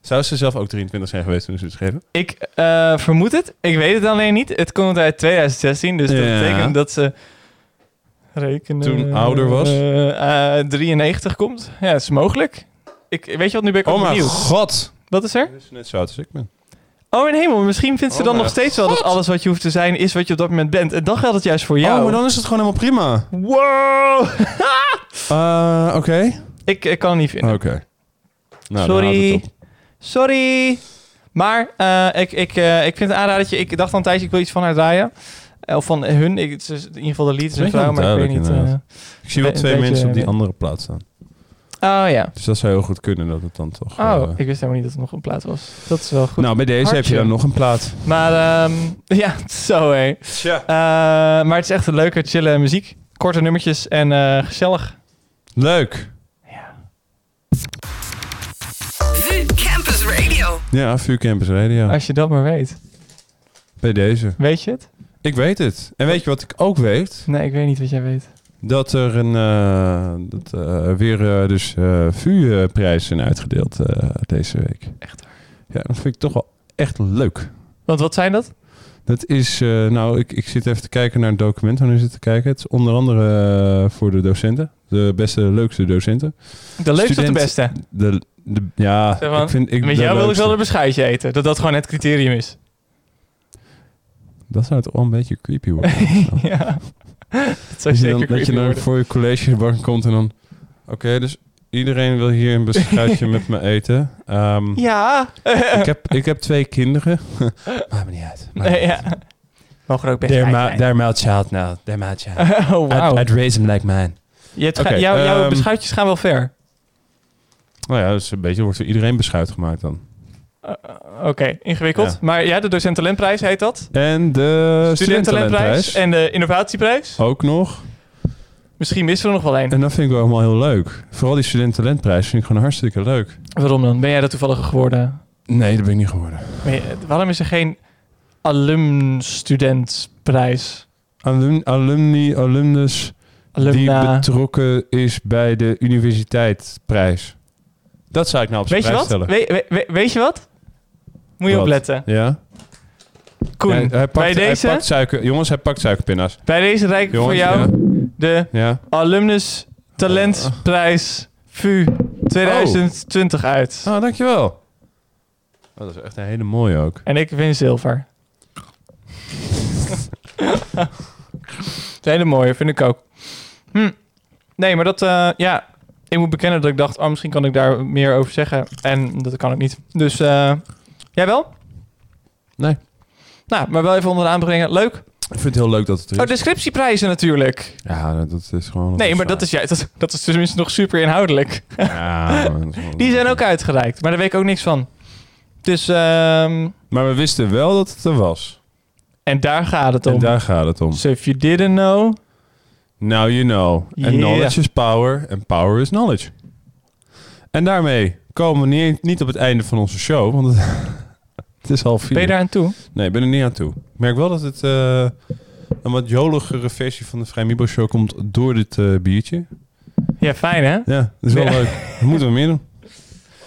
Zou ze zelf ook 23 zijn geweest toen ze het schreven? Ik eh, vermoed het. Ik weet het alleen niet. Het komt uit 2016, dus dat Ja. betekent dat ze... Rekenen, Toen ouder was? eh, eh, 93 komt. Ja, dat is mogelijk. Ik, weet je wat, nu ben ik ook oh mijn benieuwd. god! Wat is er? Dat is net zo oud als ik ben. Oh, mijn hemel. Misschien vindt ze Oh dan mijn nog steeds wel dat alles wat je hoeft te zijn is wat je op dat moment bent. En dan geldt het juist voor jou. Oh, maar dan is het gewoon helemaal prima. Wow! Eh, Oké. ik, ik kan het niet vinden. Oké. Nou, dan Sorry. houdt het op. Sorry. Maar eh, ik, ik, eh, ik vind het een aanradertje. Ik dacht dan tijdens, ik wil iets van haar draaien. Eh, Of van hun. Ik, het is in ieder geval de lied is Dat een is wel vrouw, maar ik weet duidelijk, niet. inderdaad. Ik zie wel Be- twee beetje- mensen op die andere plaats staan. eh, oh ja. Dus dat zou heel goed kunnen dat het dan toch... eh, Oh, ik wist helemaal niet dat het nog een plaat was. Dat is wel goed. nou, bij deze heb Hartje. je dan nog een plaat. Maar ehm, ja, zo hé. Tja. Eh, maar het is echt een leuke, chille muziek. Korte nummertjes en eh, gezellig. Leuk. VU Campus Radio. Ja, VU Campus Radio. Als je dat maar weet. Bij deze. Weet je het? Ik weet het. En weet je wat ik ook weet? Nee, ik weet niet wat jij weet. Dat er een, eh, dat, eh, weer eh, dus eh VU-prijzen zijn uitgedeeld eh, deze week. Echt waar. Ja, dat vind ik toch wel echt leuk. Want wat zijn dat? Dat is, eh, nou, ik, ik zit even te kijken naar het document waar nu zit te kijken. Het is onder andere eh, voor de docenten. De beste, leukste docenten. De leukste of Student- de beste? De, de, ja, Zeg maar, ik vind... Ik, Met de jou wil ik leukste. wel een beschuitje eten. Dat dat gewoon het criterium is. Dat zou toch wel een beetje creepy worden. ja. Dat zou Dat je, zeker dan, dat je creepy dan worden. voor je collegebank komt en dan... Oké, dus iedereen wil hier een beschuitje met me eten. Ehm, Ja. ik, heb, ik heb twee kinderen. Maakt me niet uit. Maakt me Nee, niet ja. Mogen er ook best uit. They're, bij my, zijn. they're my child now. They're my child. Oh, wauw. I'd, I'd raise them like mine. Je hebt ge- Oké, jouw, jouw ehm, beschuitjes gaan wel ver. Nou ja, dus een beetje wordt voor iedereen beschuit gemaakt dan. Eh, Oké, ingewikkeld. Ja. Maar ja, de docent talentprijs heet dat. En de Studenttalentprijs studentenprijs. en de innovatieprijs. Ook nog. Misschien missen we er nog wel één. En dat vind ik wel allemaal heel leuk. Vooral die studententalentprijs vind ik gewoon hartstikke leuk. Waarom dan? Ben jij dat toevallig geworden? Nee, dat ben ik niet geworden. Maar je- waarom is er geen alumnstudentprijs? Alum, alumni, alumnus... die Alumna. betrokken is bij de universiteitsprijs. Dat zou ik nou op zijn Weet je prijs wat? stellen. We- we- we- weet je wat? Moet je Wat? opletten. Ja. Koen, Hij- hij pakt, bij, hij deze, pakt suiker, jongens, hij pakt suikerpinna's. bij deze rijk ik voor Jongens, jou de Ja. Oh. Alumnus Talentprijs VU 2020 uit. Ah, dankjewel. Oh, dat is echt een hele mooie ook. En ik win zilver. Het is een hele mooie, vind ik ook. Hm. Nee, maar dat... eh, ja, ik moet bekennen dat ik dacht... Oh, misschien kan ik daar meer over zeggen. En dat kan ik niet. Dus eh, jij wel? Nee. Nou, maar wel even onder de aanbrengen. Leuk. Ik vind het heel leuk dat het er Oh, is. descriptieprijzen natuurlijk. Ja, dat is gewoon... Nee, maar dat is, juist, dat, dat is tenminste nog super inhoudelijk. Ja, maar dat is wel- Die zijn ook uitgereikt, maar daar weet ik ook niks van. Dus, ehm, Maar we wisten wel dat het er was. en daar gaat het En om. daar gaat het om. So if you didn't know... Now you know. En Yeah. knowledge is power. En power is knowledge. En daarmee komen we niet, niet op het einde van onze show. Want het, het is half vier. Ben je daar aan toe? Nee, ik ben er niet aan toe. Ik merk wel dat het eh, een wat joligere versie van de Vrij Mibo Show komt door dit eh, biertje. Ja, fijn hè? Ja, dat is wel Ja. leuk. Dat moeten we meer doen.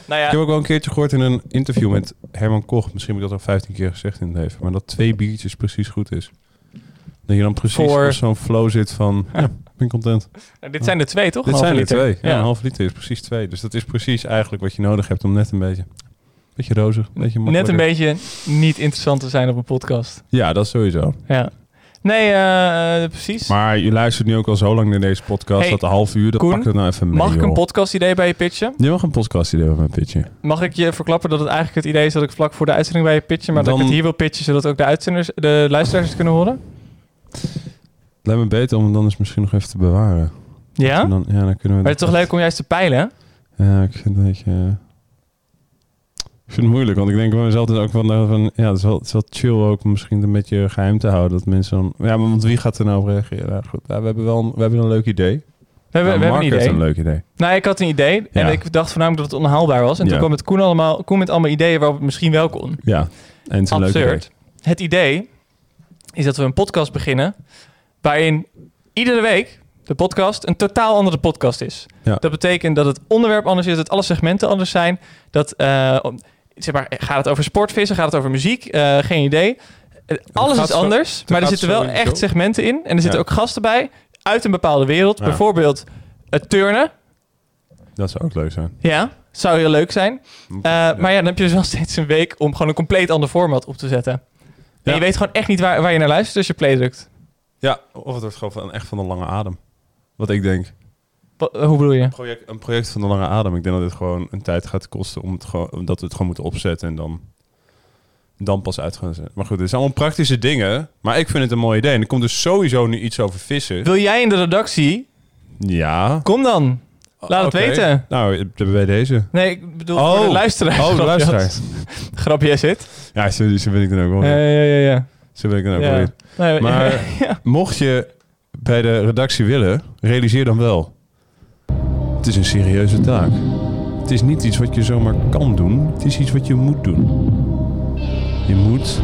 Nou Ik ja, heb ook wel een keertje gehoord in een interview met Herman Koch. Misschien heb ik dat al 15 keer gezegd in het leven. Maar dat twee biertjes precies goed is. Dat je dan precies Voor- op zo'n flow zit van... Ja, ik ben content. nou, dit zijn er twee toch? Dit Halve zijn er liter. twee. Ja, Ja. een half liter is precies twee. Dus dat is precies eigenlijk wat je nodig hebt om net een beetje... Beetje rozig, een beetje Net een makkelijker. beetje niet interessant te zijn op een podcast. Ja, dat sowieso. Ja. Nee, eh, eh, precies. Maar je luistert nu ook al zo lang naar deze podcast. Hey, dat een half uur, dat Koen, pakt het nou even mee. Mag ik een joh. podcast idee bij je pitchen? Je mag een podcast idee van mijn pitje. Mag ik je verklappen dat het eigenlijk het idee is dat ik vlak voor de uitzending bij je pitchen, maar dat Dan- ik het hier wil pitchen, zodat ook de, uitzenders, de luisteraars het kunnen horen? Lijkt me beter om het dan eens misschien nog even te bewaren. Ja? En dan, ja, dan kunnen we... Maar het is toch leuk om juist te peilen, hè? Ja, ik vind het een beetje... eh, Ik vind het moeilijk, want ik denk bij mezelf dus ook van, nou, van ja, het is, wel, het is wel chill ook om misschien het een beetje geheim te houden. Dat mensen dan, ja, maar want wie gaat er nou op reageren? Nou, goed, nou, we hebben wel een, we hebben een leuk idee. We hebben, Nou, we Mark hebben een heeft idee. een leuk idee. Nou, ik had een idee en Ja. ik dacht voornamelijk dat het onhaalbaar was. En toen Ja. kwam het Koen, allemaal, Koen met allemaal ideeën waarop het misschien wel kon. Ja, en het is een leuk idee. Absurd. Het idee is dat we een podcast beginnen waarin iedere week, dat de podcast een totaal andere podcast is. Ja. Dat betekent dat het onderwerp anders is, dat alle segmenten anders zijn. Dat, eh, om- zeg maar, gaat het over sportvissen, gaat het over muziek? Eh, geen idee. Eh, Alles gaat is zo- anders, het maar er gaat zitten zo wel in de echt show. segmenten in. En er zitten Ja. ook gasten bij uit een bepaalde wereld. Ja. Bijvoorbeeld het turnen. Dat zou ook leuk zijn. Ja, zou heel leuk zijn. Eh, Maar ja, dan heb je dus wel steeds een week om gewoon een compleet ander format op te zetten. En Ja. je weet gewoon echt niet waar, waar je naar luistert als je play drukt. Ja, of het wordt gewoon van, echt van de lange adem. Wat ik denk. Wa- eh, hoe bedoel je? Project, een project van de lange adem. Ik denk dat dit gewoon een tijd gaat kosten om het gewoon, omdat we het gewoon moeten opzetten en dan, dan pas uit gaan zetten. Maar goed, dit zijn allemaal praktische dingen. Maar ik vind het een mooi idee. En er komt dus sowieso nu iets over vissen. Wil jij in de redactie? Ja. Kom dan. Laat het Oké. weten. Nou, bij deze. Nee, ik bedoel voor de luisteraar. Oh, de Grapje luisteraar. had- Grapje, jij zit. Ja, zo, zo ben ik dan ook wel. Ja, weer. ja, ja. ja. Zo ben ik dan ook wel. Ja. weer. Nee, Maar mocht je bij de redactie willen, realiseer dan wel. Het is een serieuze taak. Het is niet iets wat je zomaar kan doen. Het is iets wat je moet doen. Je moet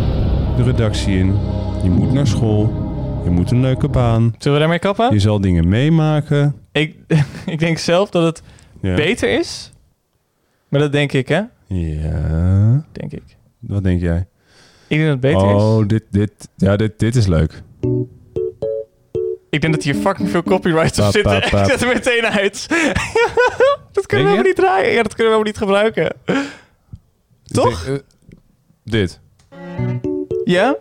de redactie in. Je moet naar school. Je moet een leuke baan. Zullen we daarmee kappen? Je zal dingen meemaken. Ik, ik denk zelf dat het Ja. beter is. Maar dat denk ik, hè? ja. Denk ik. Wat denk jij? Ik denk dat het beter is. oh, dit, dit, ja, dit, dit is leuk. Ik denk dat hier fucking veel copyrights op Pap, zitten. pap, pap. Ik zet hem meteen uit. dat Denk je? kunnen we helemaal niet draaien. Ja, dat kunnen we helemaal niet gebruiken. Toch? Ik denk, eh, dit. Ja?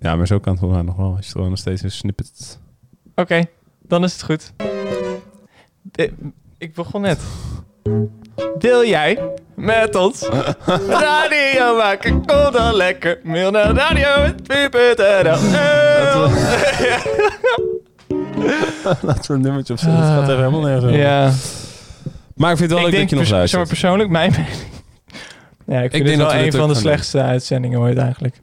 Ja, maar zo kan het volgens mij nog wel. Als je er gewoon nog steeds een snippet... Oké, dan is het goed. De- ik begon net. Wil jij met ons radio maken? Kom dan lekker. Mail naar radio.pu.nl Oh, Laten we een nummertje of zo. Dat gaat even helemaal nergens over. Ah. Ja, Maar ik vind het wel ik leuk denk dat je pers- nog zeg maar luistert. persoonlijk, mijn mening. Ja, ik vind denk dit dat wel we een dit van ook de gaan slechtste uitzendingen ooit eigenlijk.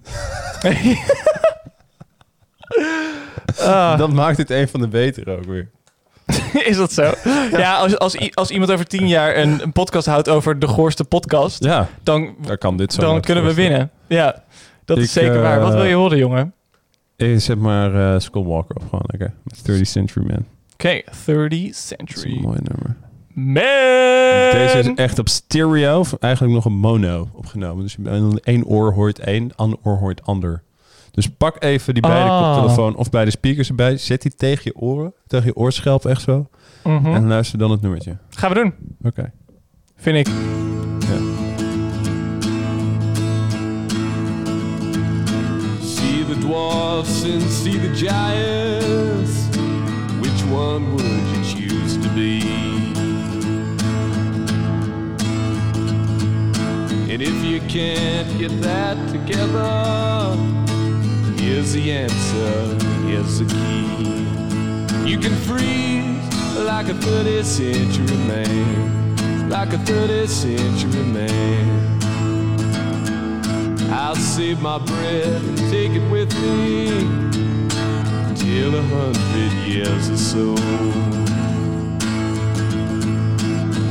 Ah. Dat maakt het een van de betere ook weer. Is dat zo? Ja, als, als, i- als iemand over tien jaar een, een podcast houdt over de goorste podcast, Ja, dan, daar kan dit zo. dan uit kunnen we voorstellen. winnen. Ja, dat Ik, is zeker waar. Wat wil je eh, horen, jongen? Eh, Zet maar eh Skullwalker op gewoon lekker. Met 30 Century Man. Oké, 30 Dat is een Century mooi nummer. Man. Deze is echt op stereo. of Eigenlijk nog een mono opgenomen. Dus je- aan één oor hoort één, ander oor hoort ander. Dus pak even die beide Ah. koptelefoon of beide speakers erbij. Zet die tegen je oren, tegen je oorschelp echt zo. Mhm. En luister dan het nummertje. Gaan we doen, Oké. vind ik. See the dwarfs and see the giants. Which one would you choose to be? And if you can't get that together, here's the answer, here's the key. You can freeze like a 30th century man, like a 30th century man. I'll save my breath and take it with me till a hundred years or so.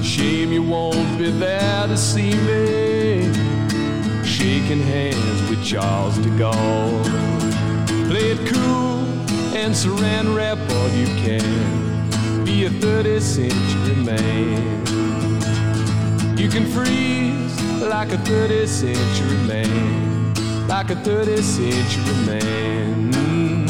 Shame you won't be there to see me shaking hands with Charles de Gaulle. Play it cool and saran wrap all you can. Be a 30th century man. You can freeze like a 30th century man, like a 30th century man. Mm.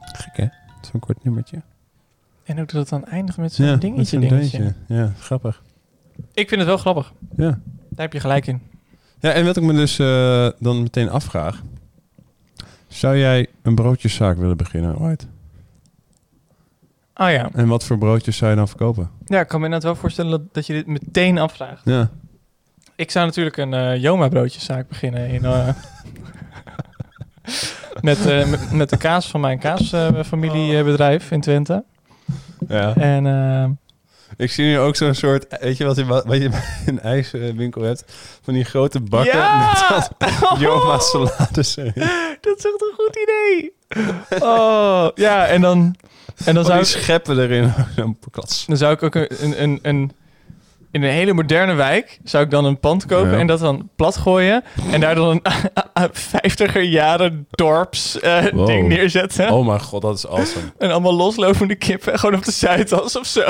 Gek hè? Zo'n kort nummertje. En ook dat het dan eindigt met zo'n dingetje, met zo'n dingetje. dingetje. Ja, grappig. Ik vind het wel grappig. Ja. Daar heb je gelijk in. Ja, en wat ik me dus eh, dan meteen afvraag. Zou jij een broodjeszaak willen beginnen ooit? Oh ja. En wat voor broodjes zou je dan verkopen? Ja, ik kan me inderdaad wel voorstellen dat, dat je dit meteen afvraagt. Ja. Ik zou natuurlijk een eh Joma broodjeszaak beginnen in, eh, met, eh, met, met de kaas van mijn kaasfamiliebedrijf eh, in Twente. ja. En eh, Ik zie nu ook zo'n soort, weet je wat, je wat je bij een ijswinkel hebt? Van die grote bakken Ja! met dat Joma salades erin. dat is echt een goed idee. Oh, ja, en dan, en dan Oh, zou die ik... scheppen erin. Een klats. Dan zou ik ook een, een, een, een- in een hele moderne wijk zou ik dan een pand kopen Ja. en dat dan plat gooien. En daar dan een 50er jaren dorps eh, Wow. ding neerzetten. Oh mijn god, dat is awesome. En allemaal loslopende kippen, gewoon op de Zuidas of zo.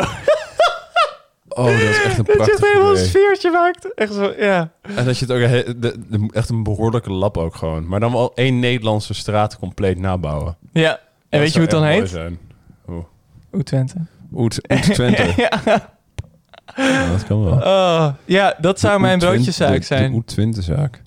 Oh, dat is echt een Dat je prachtig het helemaal een idee. sfeertje maakt. Echt zo, ja. En dat je het ook he- de- de- echt een behoorlijke lap ook gewoon. Maar dan wel één Nederlandse straat compleet nabouwen. Ja. En Dat weet je hoe het zou dan echt heet? mooi zijn. Oeh. Oeh, Twente. Oet, Oet Twente. ja. Ja, dat kan wel. Oh, ja, dat zou mijn broodjeszaak zijn. De Oet Twente zaak.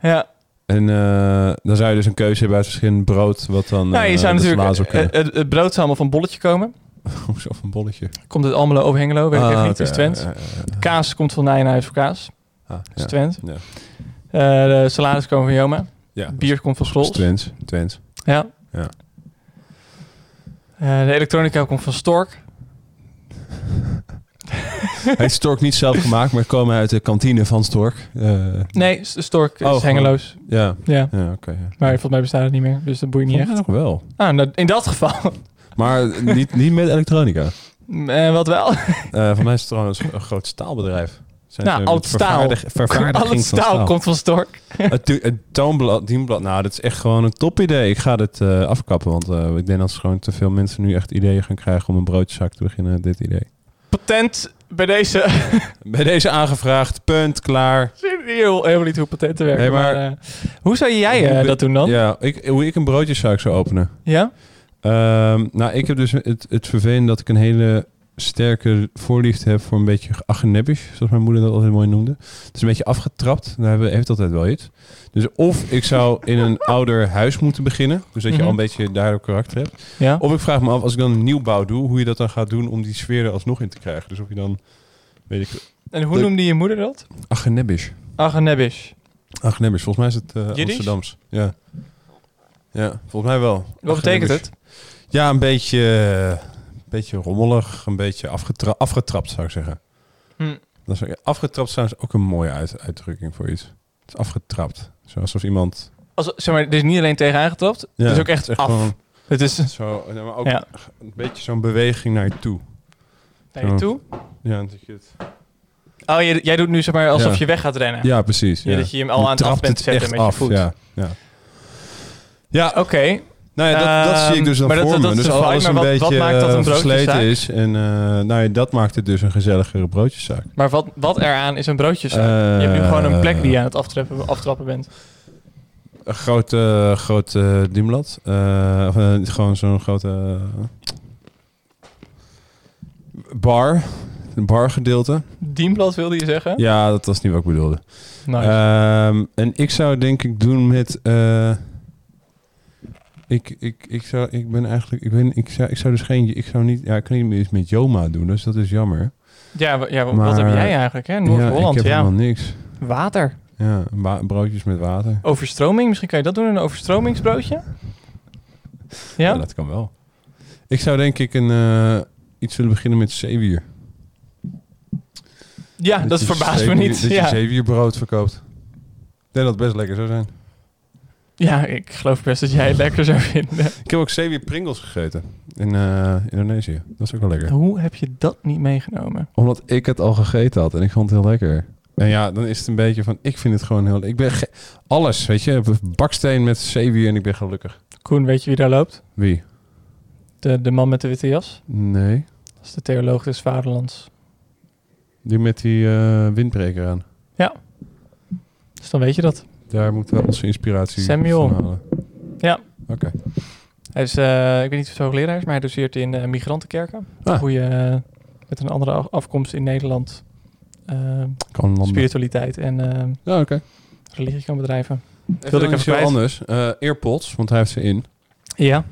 Ja. En eh, dan zou je dus een keuze hebben uit verschillend brood. Wat dan Nou, je eh, zou de eh, sla natuurlijk... zou kunnen. Het, het- het brood zou allemaal van bolletje komen. Hoezo van bolletje? Komt uit Almelo of Hengelo, weet ik Ah, even niet. oké, Het is Twent. ja, ja, ja, ja. Kaas komt van Nijenhuis voor Kaas. Ah, Dat is ja. Twent. Ja. Eh, de salades komen van Joma. Ja, dat Bier komt van Dat is School. Twents. Twents. Ja. Ja. Eh, de elektronica komt van Stork. Hij heeft Stork niet zelf gemaakt, maar komen uit de kantine van Stork. Eh, Nee, S- Stork is Oh, gewoon- hengeloos. Ja. Ja. Ja, oké. ja. Maar volgens mij bestaat het niet meer, dus dat boeit niet Volgens mij echt. nog wel. Ah, nou, in dat geval. Maar niet, niet met elektronica. Eh, wat wel? Eh van mij is het trouwens een groot staalbedrijf. Zijn nou, ze al met het staal. vervaardig- vervaardiging Al het van staal komt van Stork. Het, tu- het toonblad, dienblad, nou, dat is echt gewoon een topidee. Ik ga dit eh, afkappen, want eh, ik denk dat ze gewoon te veel mensen nu echt ideeën gaan krijgen om een broodjeszak te beginnen. met Dit idee. Patent bij deze. Bij deze aangevraagd, punt, klaar. Heel, helemaal niet hoe patenten werken. Nee, maar- maar, eh, hoe zou jij eh, Hoe be- dat doen dan? Ja? Ja, ik, hoe ik een broodjeszak zou openen. Ehm, nou, ik heb dus het, het vervelende dat ik een hele sterke voorliefde heb voor een beetje agenebbisch, zoals mijn moeder dat altijd mooi noemde. Het is een beetje afgetrapt, daar hebben- heeft altijd wel iets. Dus of ik zou in een ouder huis moeten beginnen, dus dat je Mhm. al een beetje daarop karakter hebt. Ja. Of ik vraag me af, als ik dan een nieuwbouw doe, hoe je dat dan gaat doen om die sfeer er alsnog in te krijgen. Dus of je dan, weet ik, eh, En hoe De- noemde je moeder dat? agenebbisch. Agenebisch. Agenebbisch, volgens mij is het eh, Jiddisch? Amsterdams. Ja. ja, volgens mij wel. Wat betekent Agenebbisch. het? Ja, een beetje, eh, een beetje rommelig, een beetje afgetra- afgetrapt zou ik zeggen. Hm. Dat is, afgetrapt is trouwens ook een mooie uit- uitdrukking voor iets. Het is afgetrapt. Zo alsof iemand... Als, zeg maar, er is niet alleen tegen aangetrapt, Ja, het is ook echt, het is echt af. gewoon- het is Zo, nee, maar ook Ja. een beetje zo'n beweging naar je toe. naar je toe. Ja, dat je het... Oh, jij, jij doet nu zeg maar alsof Ja. je weg gaat rennen. ja precies. Ja, dat je hem al aan het trapt af bent zetten echt met je af, voet. Ja, ja. Oké. Nou ja, dat, dat Ehm, zie ik dus dan maar dat- voor dat- me. dat is dus een alles vibe, een maar wat- beetje wat maakt dat een eh, versleten broodjeszaak? is. En eh, nou ja, dat maakt het dus een gezelligere broodjeszaak. Maar wat, wat eraan is een broodjeszaak? je hebt nu Eh, gewoon een plek die je aan het aftrappen, aftrappen bent. Een groot, eh, groot eh, dienblad. Eh, of, eh, gewoon zo'n grote eh, bar. Een bargedeelte. Dienblad wilde je zeggen? Ja, dat was niet wat ik bedoelde. Nice. Ehm, en ik zou denk ik doen met... eh, ik, ik, ik, zou, ik ben eigenlijk... Ik, ben, ik, zou, ik zou dus geen... Ik zou niet... Ja, ik kan niet meer iets met Joma doen, dus dat is jammer. ja, wa- ja wa- wat maar- heb jij eigenlijk? hè? ja, ik Noord-Holland, heb ja. helemaal niks. Water. Ja, wa- broodjes met water. Overstroming, misschien kan je dat doen, een overstromingsbroodje? Ja? Ja, dat kan wel. Ik zou denk ik een, eh, iets willen beginnen met zeewier. Ja, dat, je verbaast me zeewier- niet. Dat je Ja. zeewierbrood verkoopt. Ik denk dat het best lekker zou zijn. ja, ik geloof best dat jij het lekker zou vinden. Ik heb ook zeewier Pringles gegeten in eh, Indonesië. Dat is ook wel lekker. Hoe heb je dat niet meegenomen? Omdat ik het al gegeten had en ik vond het heel lekker. En ja, dan is het een beetje van, ik vind het gewoon heel... Ik ben ge- alles, weet je. Baksteen met zeewier en ik ben gelukkig. Koen, weet je wie daar loopt? Wie? De, de man met de witte jas? Nee. Dat is de theoloog des vaderlands. Die met die eh, windbreker aan. Dus dan weet je dat. Daar moeten we onze inspiratie Samuel. van halen. Ja. Oké. Hij is, eh, ik weet niet of het hoogleraar is, maar hij doseert in eh, migrantenkerken. Ah. Hoe je eh, met een andere af- afkomst in Nederland eh, Kan landen. spiritualiteit en eh, Ja, oké. religie kan bedrijven. Wilde ik even even heel kwijt. anders. Eh, Earpods, want hij heeft ze in. Ja.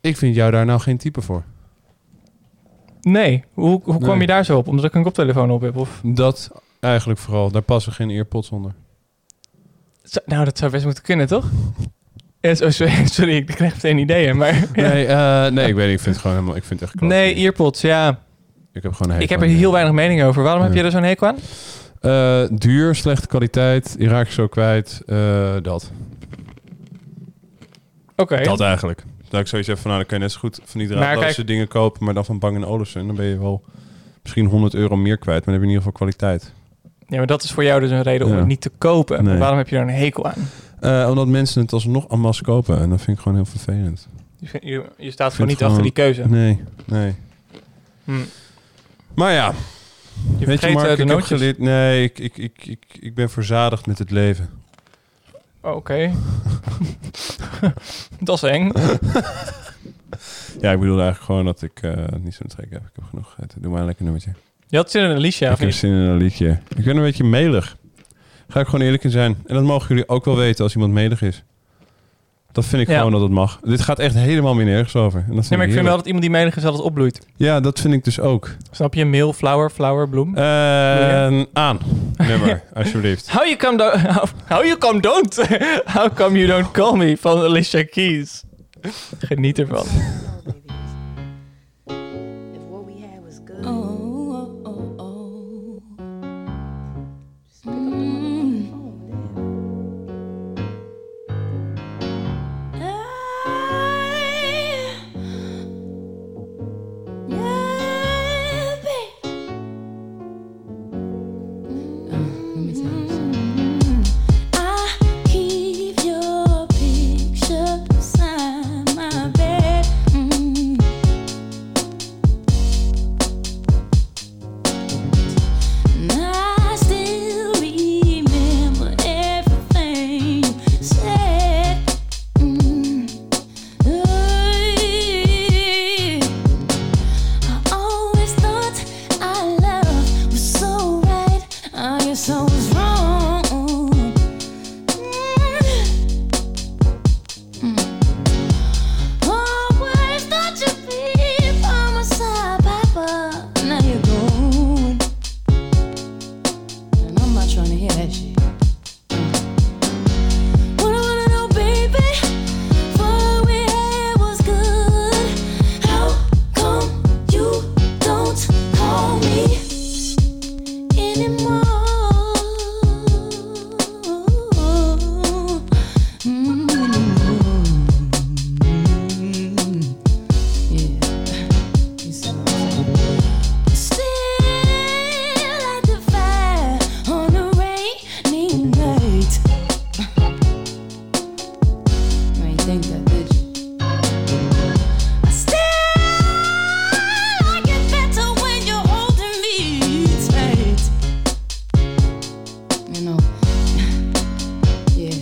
Ik vind jou daar nou geen type voor. Nee. Hoe, hoe kwam Nee. je daar zo op? Omdat ik een koptelefoon op heb? Of... Dat eigenlijk vooral. Daar passen geen earpods onder. Zou- Nou, dat zou best moeten kunnen, toch? Eh, zo- sorry, sorry, ik krijg meteen ideeën, maar... Nee, eh, nee, ik weet niet. Ik vind het gewoon helemaal... Ik vind het echt kloot. Nee, earpods, Dus ja. Ik heb gewoon een Ik hekel heb er aan heel die- weinig mening over. Waarom heb Ja. je er zo'n hekel aan? Eh, duur, slechte kwaliteit. Je raakt zo kwijt. eh, dat. Oké. Dat eigenlijk. Dat ik sowieso van, nou, dan kan je net zo goed van die Maar draadloze kijk- dingen kopen, maar dan van Bang Olufsen. Dan ben je wel misschien 100 euro meer kwijt, maar dan heb je in ieder geval kwaliteit. Ja, maar dat is voor jou dus een reden om Ja. het niet te kopen. Nee. Waarom heb je daar een hekel aan? Eh, omdat mensen het alsnog en masse kopen en dat vind ik gewoon heel vervelend. Je, vindt- je, je staat Ik vind gewoon niet het achter die keuze. Nee, nee. Hm. Maar ja, Je weet je vergeet Mark, eh, de ik heb nootjes. geleerd... Nee, ik, ik, ik, ik, ik ben verzadigd met het leven. Oké. dat is eng. Ja, ik bedoel eigenlijk gewoon dat ik eh, niet zo'n trek heb. Ik heb genoeg gegeten. Doe maar een lekker nummertje. Je had zin in een liedje, ik of heb niet? zin in een liedje. Ik ben een beetje melig. Ga ik gewoon eerlijk in zijn. En dat mogen jullie ook wel weten als iemand melig is. Dat vind ik Ja. gewoon dat het mag. Dit gaat echt helemaal meer nergens over. En dat vind Nee, maar ik vind wel heerlijk. dat iemand die menig is altijd opbloeit. Ja, dat vind ik dus ook. Snap je? Meel, flower, flower, bloem. Eh, aan. Nummer, alsjeblieft. How you come do- how, how you come don't? how come you don't call me? Van Alicia Keys. Geniet ervan. Oh, oh, oh, oh. Just pick up the motherfucking phone, damn. I- yeah, babe. I keep your picture beside my bed. Mm. And I still remember everything you said. Mm. Hey. I always thought our love was so right. I guess I was wrong. Mm. Always thought you'd be by my side, Papa. Now you're gone. And I'm not trying to hear that shit. What I wanna know, baby, for we had was good. How come you don't call me anymore? Mm. Yeah, you sound Still light the fire on a rainy night. You ain't think that, did you? I still like it better when you're holding me tight. You know, yeah.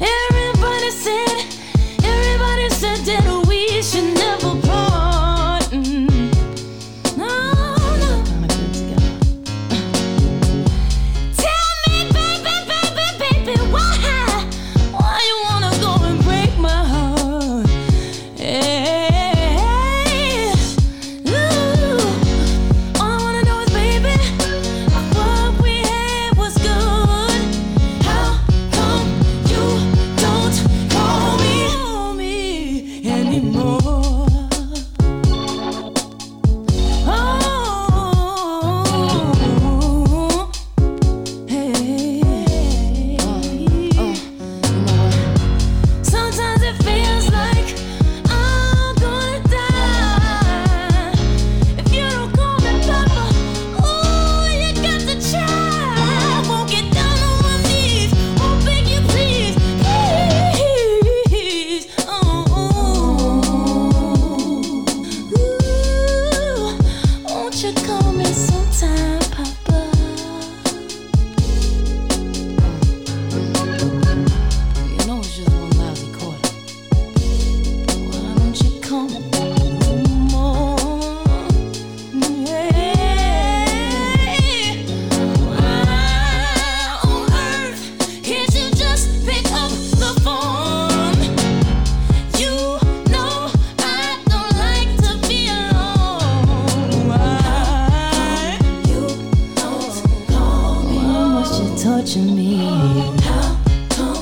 Everybody said, everybody said that we should never part. Mm. No, no. Tell me, baby, baby, baby, why? Why you wanna go and break my heart? Hey, ooh. All I wanna know is, baby, what we had was good. How come you don't call me, call me anymore? Oh, hey. Sometimes it feels like I'm gonna die if you don't call me Papa. Oh, you got to try. I won't get down on my knees. Oh, beg you please, please. Oh, ooh, won't you call me sometime, Papa? You know it's just one lousy quarter. Why don't you come more? Yeah. Why on earth can't you just pick up the phone? You know I don't like to be alone. Why you don't call me? Why must you torture me? How come?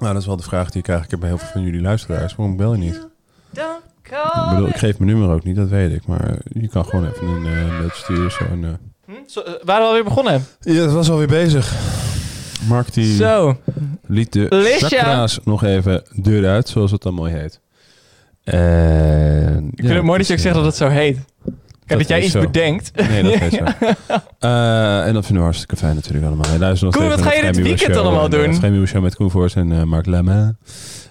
Nou, dat is wel de vraag die ik eigenlijk heb bij heel veel van jullie luisteraars. Waarom bel je niet? Ik bedoel, ik geef mijn nummer ook niet, dat weet ik. Maar je kan gewoon even een eh, mailtje sturen. Zo en, eh, Zo, eh, waren we alweer begonnen? Ja, het was alweer bezig. Mark die Zo. liet de Lisha. chakra's nog even deur uit, zoals het dan mooi heet. En, Ik vind het mooi dat dus, je ook zegt dat het zo heet. Kijk, dat, jij iets bedenkt. Nee, dat heet zo. Eh, en dat vinden we hartstikke fijn natuurlijk allemaal. Hey, luister nog Koen, steeds wat naar ga je het dit Vrijmuur weekend Show allemaal en, eh, doen? het Vrijmuur Show met Koen Voors en eh, Mark Lemme.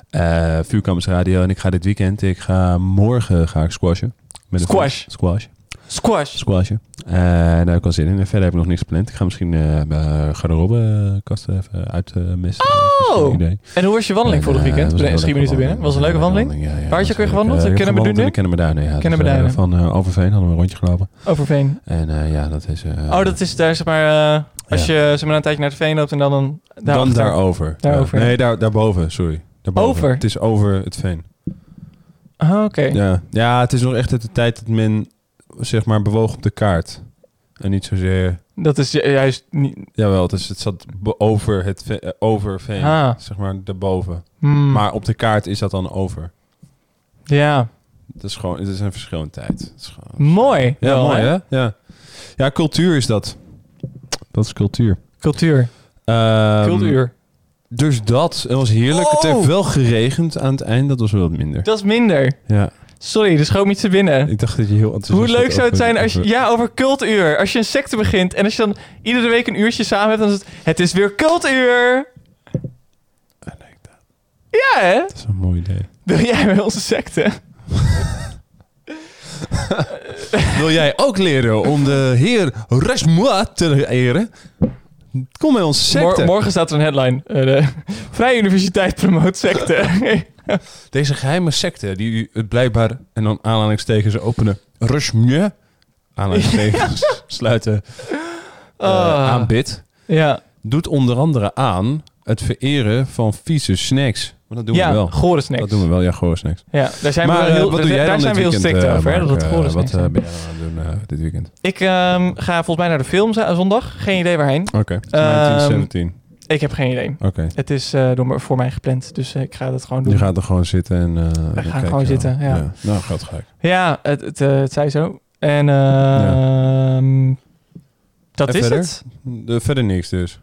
Eh Vuurkamers Radio. En ik ga dit weekend, ik ga morgen ga ik squashen. Met een Squash. vriend. Squash. Squash. Squashen. Eh, daar heb ik al zin in. En verder heb ik nog niks gepland. Ik ga misschien eh mijn garderobekast even eh, uitmesten. Oh! idee. En hoe was je wandeling En, vorig eh, weekend? was een Nee, Schiet me niet te binnen. Was een leuke wandeling? Waar had je ook weer gewandeld? Eh, ik heb Kennen we gewandeld in de Duinen? Kennemerduinen, ja. Kennen we Dus, eh, Duinen. Van eh, Overveen hadden we een rondje gelopen. Overveen. En eh, ja, dat is... eh, Oh, dat is daar zeg maar... eh, als je zeg maar een tijdje naar het veen loopt en dan... dan dan daarachter. daarover. Daarover. Ja. Nee, daar, daarboven, sorry. Daarboven. Over? Het is over het veen. Ah, Oké. Ja. ja, het is nog echt uit de tijd dat men, zeg maar, bewoog op de kaart. En niet zozeer... Dat is ju- juist niet... Jawel, dus het zat bo- over het ve- eh, over veen, Ah. zeg maar, daarboven. Hmm. Maar op de kaart is dat dan over. Ja, Het is gewoon, het is een verschil in tijd. Het is gewoon- mooi. Ja, Wel, mooi hè? Ja. ja, cultuur is dat. Dat is cultuur. Cultuur. Ehm, Cultuur. Dus dat. Het was heerlijk. Het Oh. heeft wel geregend aan het eind. Dat was wel wat minder. Dat is minder. Ja. Sorry, er schoot me iets te binnen. Ik dacht dat je heel enthousiast Hoe leuk was zou het over- zijn als je... over- Ja, over cultuur. Als je een secte begint en als je dan iedere week een uurtje samen hebt... dan is het... Het is weer cultuur! Ja, hè? Dat is een mooi idee. Wil jij bij onze secte? Wil jij ook leren om de heer Rasmoa te eren? Kom bij ons secte. Mor- morgen staat er een headline. eh, de Vrije Universiteit promoot secte. Deze geheime secte die u het blijkbaar, en dan aanhalingstekens openen, Rasmoa, aanhalingstekens sluiten, eh, Ah. aanbidt. Ja. Doet onder andere aan het vereren van vieze snacks. Maar dat doen Ja, we wel. gore snacks. Dat doen we wel, ja, gore snacks. Ja, daar zijn we maar, wel eh, heel- wat doe daar- jij daar dan zijn dit we heel weekend, strikt eh, over, hè, Mark? dat het Eh, gore Wat snacks eh, zijn. ben jij dan aan het doen eh, dit weekend? Ik ehm, ga volgens mij naar de film z- zondag. Geen idee waarheen. Oké. Ehm, 1917. ik heb geen idee. Oké. Het is eh, door me, voor mij gepland, dus eh, ik ga dat gewoon doen. Je gaat er gewoon zitten en... eh, dan We gaan kijk je gewoon wel. zitten, ja. Nou, gaat gelijk. Ja, het, het, eh, het zei zo. En ehm, dat En is verder? het. Eh, verder niks dus.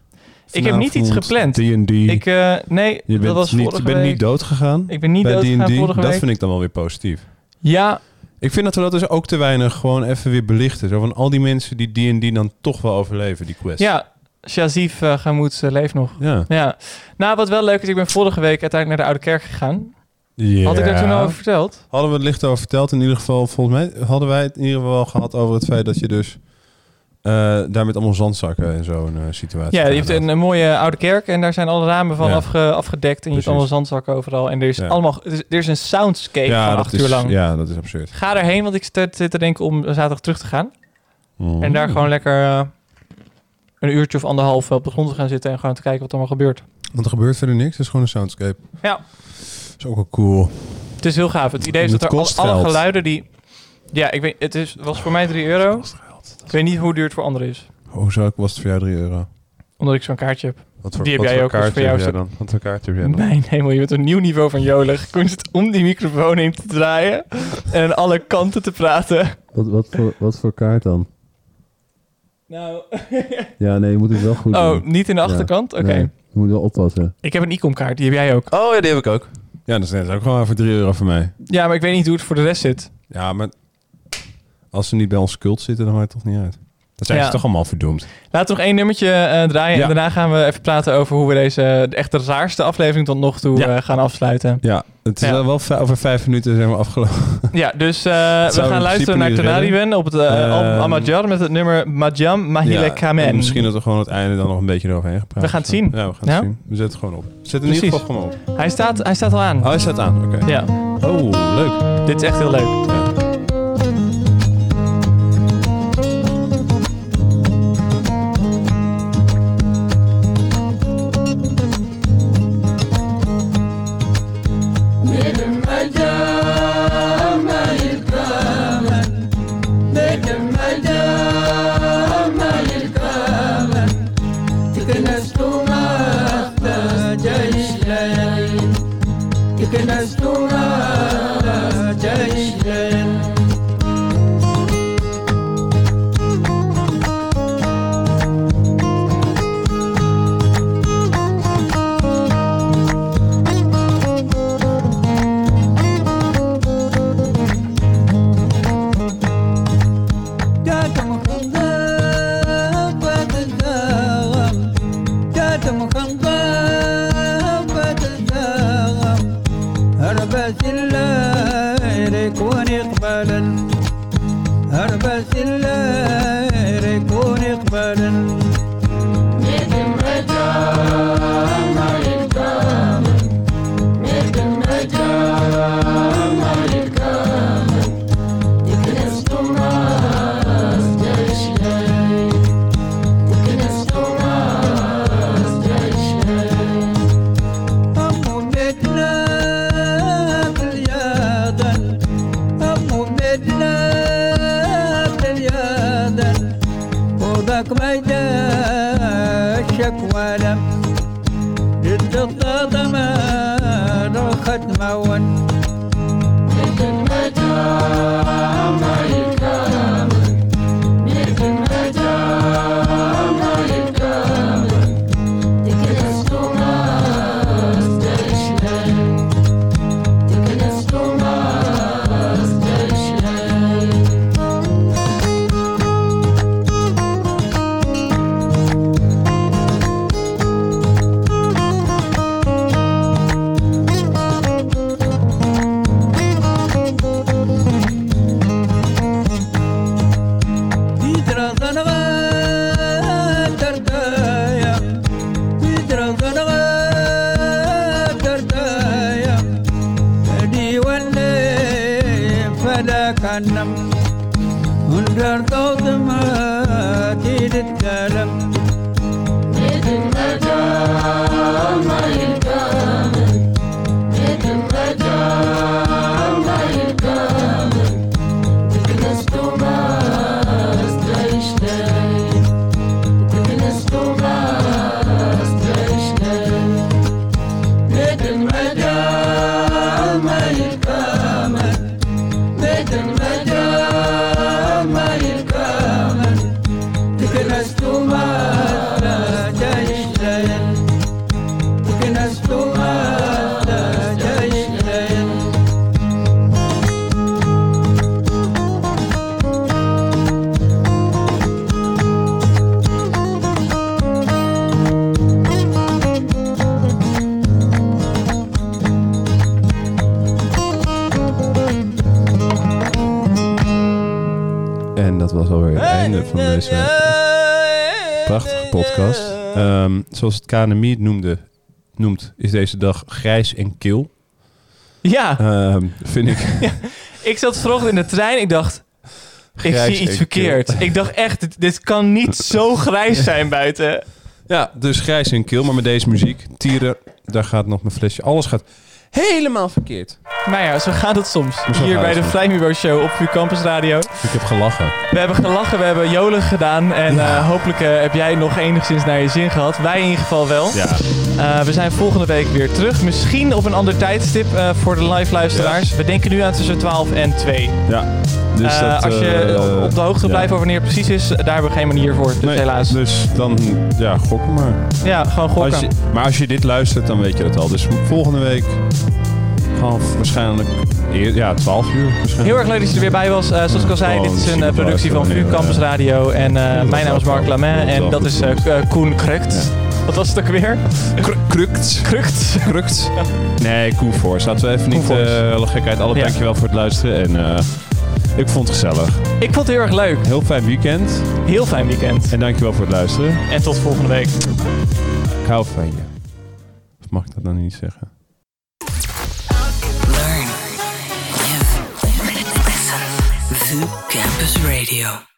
Ik heb niet iets gepland. Vanavond, D&D. Ik, eh, nee, Je dat bent, was niet, vorige je bent week. niet dood gegaan. Ik ben niet bij doodgegaan D&D. vorige Dat week. vind ik dan wel weer positief. Ja. Ik vind dat we dat dus ook te weinig gewoon even weer belichten. Zo van al die mensen die D&D dan toch wel overleven, die quest. Ja, Shazif uh, Gamoed eh, leeft nog. Ja. ja. Nou, wat wel leuk is, ik ben vorige week uiteindelijk naar de Oude Kerk gegaan. Had ik daar toen al over verteld? Hadden we het licht over verteld. In ieder geval, volgens mij hadden wij het in ieder geval wel gehad over het feit dat je dus eh, daar met allemaal zandzakken in zo'n eh, situatie Ja, je gaat. hebt een, een mooie eh, oude kerk en daar zijn alle ramen van Ja. afge- afgedekt. En je hebt Precies. allemaal zandzakken overal. En er is Ja. allemaal er is, er is een soundscape ja, van dat acht is, uur lang. Ja, dat is absurd. Ga erheen, want ik zit, zit te denken om zaterdag terug te gaan. Mm. En daar gewoon lekker eh, een uurtje of anderhalf op de grond te gaan zitten en gewoon te kijken wat er allemaal gebeurt. Want er gebeurt verder niks. Het is gewoon een soundscape. Ja. Dat is ook wel cool. Het is heel gaaf. Het idee is En dat het er al- kost alle geld. geluiden die... Ja, ik weet, het is, was voor mij 3 euro. Ik weet niet hoe duur het voor anderen is. Hoezo Oh, was het voor jou 3 euro? Omdat ik zo'n kaartje heb. Wat voor, die heb wat jij voor ook. dus kaartje voor jou heb jij is dan? Wat voor kaartje heb jij dan? Mijn hemel, je bent een nieuw niveau van jolig. Koen zit om die microfoon heen te draaien en aan alle kanten te praten. Wat, wat, voor, wat voor kaart dan? Nou, Ja, nee, je moet het wel goed Oh, doen. niet in de achterkant? Ja, Oké. nee, je moet wel oppassen. ik heb een icomkaart, die heb jij ook. Oh ja, die heb ik ook. Ja, dat is net ook gewoon voor 3 euro voor mij. Ja, maar ik weet niet hoe het voor de rest zit. Ja, maar als ze niet bij ons cult zitten, dan maakt het toch niet uit. Dan zijn Ja. ze toch allemaal verdoemd. Laten we nog één nummertje eh, draaien en daarna gaan we even praten over hoe we deze eh, echt de raarste aflevering tot nog toe eh, gaan afsluiten. Ja, het is Ja. wel vij- over vijf minuten zijn we afgelopen. Ja, dus eh, we in gaan luisteren principe naar niet Tenariwen redden. op het eh, album Ehm, Amajar met het nummer Majam Mahile Ja, en Kamen. Misschien dat we gewoon aan het einde dan nog een beetje eroverheen gepraat We gaan het hebben. zien. Ja, we gaan Ja? het zien. We zetten het gewoon op. Zet in ieder Precies. geval gewoon op. Hij staat, hij staat al aan. Oh, hij staat aan. Oké. Ja. Oh, leuk. Dit is echt heel leuk. Benim adam ayırkamam Benim adam ayırkamam Tıkınız tumakta cahişleyin Tıkınız tumakta cahişleyin Ja, dan mag ik wel, wat het daarom. Ja, dan mag ik wel, wat het daarom. هربت الليل كون اقبالا هربت الليل كون اقبالا Midden met jou, maar ik kan het. Midden met jou, maar ik kan het. Ik ben als Thomas, jij is jij. Ik ben als Thomas, jij is jij. أم بدنا باليادا أم بدنا باليادا وضك بيدا الشكوى لم الضغط ما الخد مون Midden met jou, maar ik kan het. Midden met jou, maar ik kan het. Ik ben als Thomas, jij is jij. Ik ben als Thomas, jij is jij. يدرغن غادر دايا يدرغن غادر دايا دي ولي فلا كنم ندر دوت ما تتكلم Midden met jou, maar ik kan het. Midden met jou, maar ik kan het. Ik ben als Thomas, jij is jij. Ik ben als Thomas, jij is jij. Midden met jou, maar ik kan het. Midden met jou, maar ik kan het. Ik ben als Thomas, jij is jij. Ik ben als Thomas, jij is jij. En dat was alweer het einde van deze prachtige podcast. Ehm, zoals het KNMI het noemde, noemt, is deze dag grijs en kil. Ehm, Ja. vind ik. Ik zat vanochtend in de trein. Ik dacht, ik Grijs zie en iets verkeerd. kil. Ik dacht echt, dit, dit kan niet zo grijs zijn buiten. Ja, dus grijs en kil, maar met deze muziek. Tieren, daar gaat nog mijn flesje. Alles gaat helemaal verkeerd. Maar Nou ja, zo gaat het soms. zo Hier gaat bij het de soms. Vrijmuur Show op Vuur Campus Radio. Ik heb gelachen. We hebben gelachen, we hebben jolig gedaan. En eh, hopelijk eh, heb jij nog enigszins naar je zin gehad. Wij in ieder geval wel. Ja. Eh, we zijn volgende week weer terug. Misschien op een ander tijdstip eh, voor de live luisteraars. We denken nu aan tussen 12 en 2. Ja. Dus Eh, dat, als je eh, op de hoogte ja. blijft over wanneer het precies is, daar hebben we geen manier voor. Dus helaas. Dus dan, ja, gokken maar. Ja, gewoon gokken. Als je- maar als je dit luistert, dan weet je het al. Dus volgende week gewoon waarschijnlijk eer- ja, 12 uur. Waarschijnlijk. Heel erg leuk dat je er weer bij was. Eh, zoals ik al zei, dit is een eh, productie van VU Campus Radio. En eh, mijn naam is Mark Lamin en dat is eh, K- eh, Koen Krukt. Wat was het ook weer? Krukt. Krukt. Krukt. Nee, Koen Force. Laten we even niet eh, alle gekheid. Alle dankjewel voor het luisteren. En eh, ik vond het gezellig. Ik vond het heel erg leuk. Heel fijn weekend. Heel fijn weekend. En dankjewel voor het luisteren. En tot volgende week. Ik hou van je. Of mag ik dat dan niet zeggen? Listen. VU Campus Radio.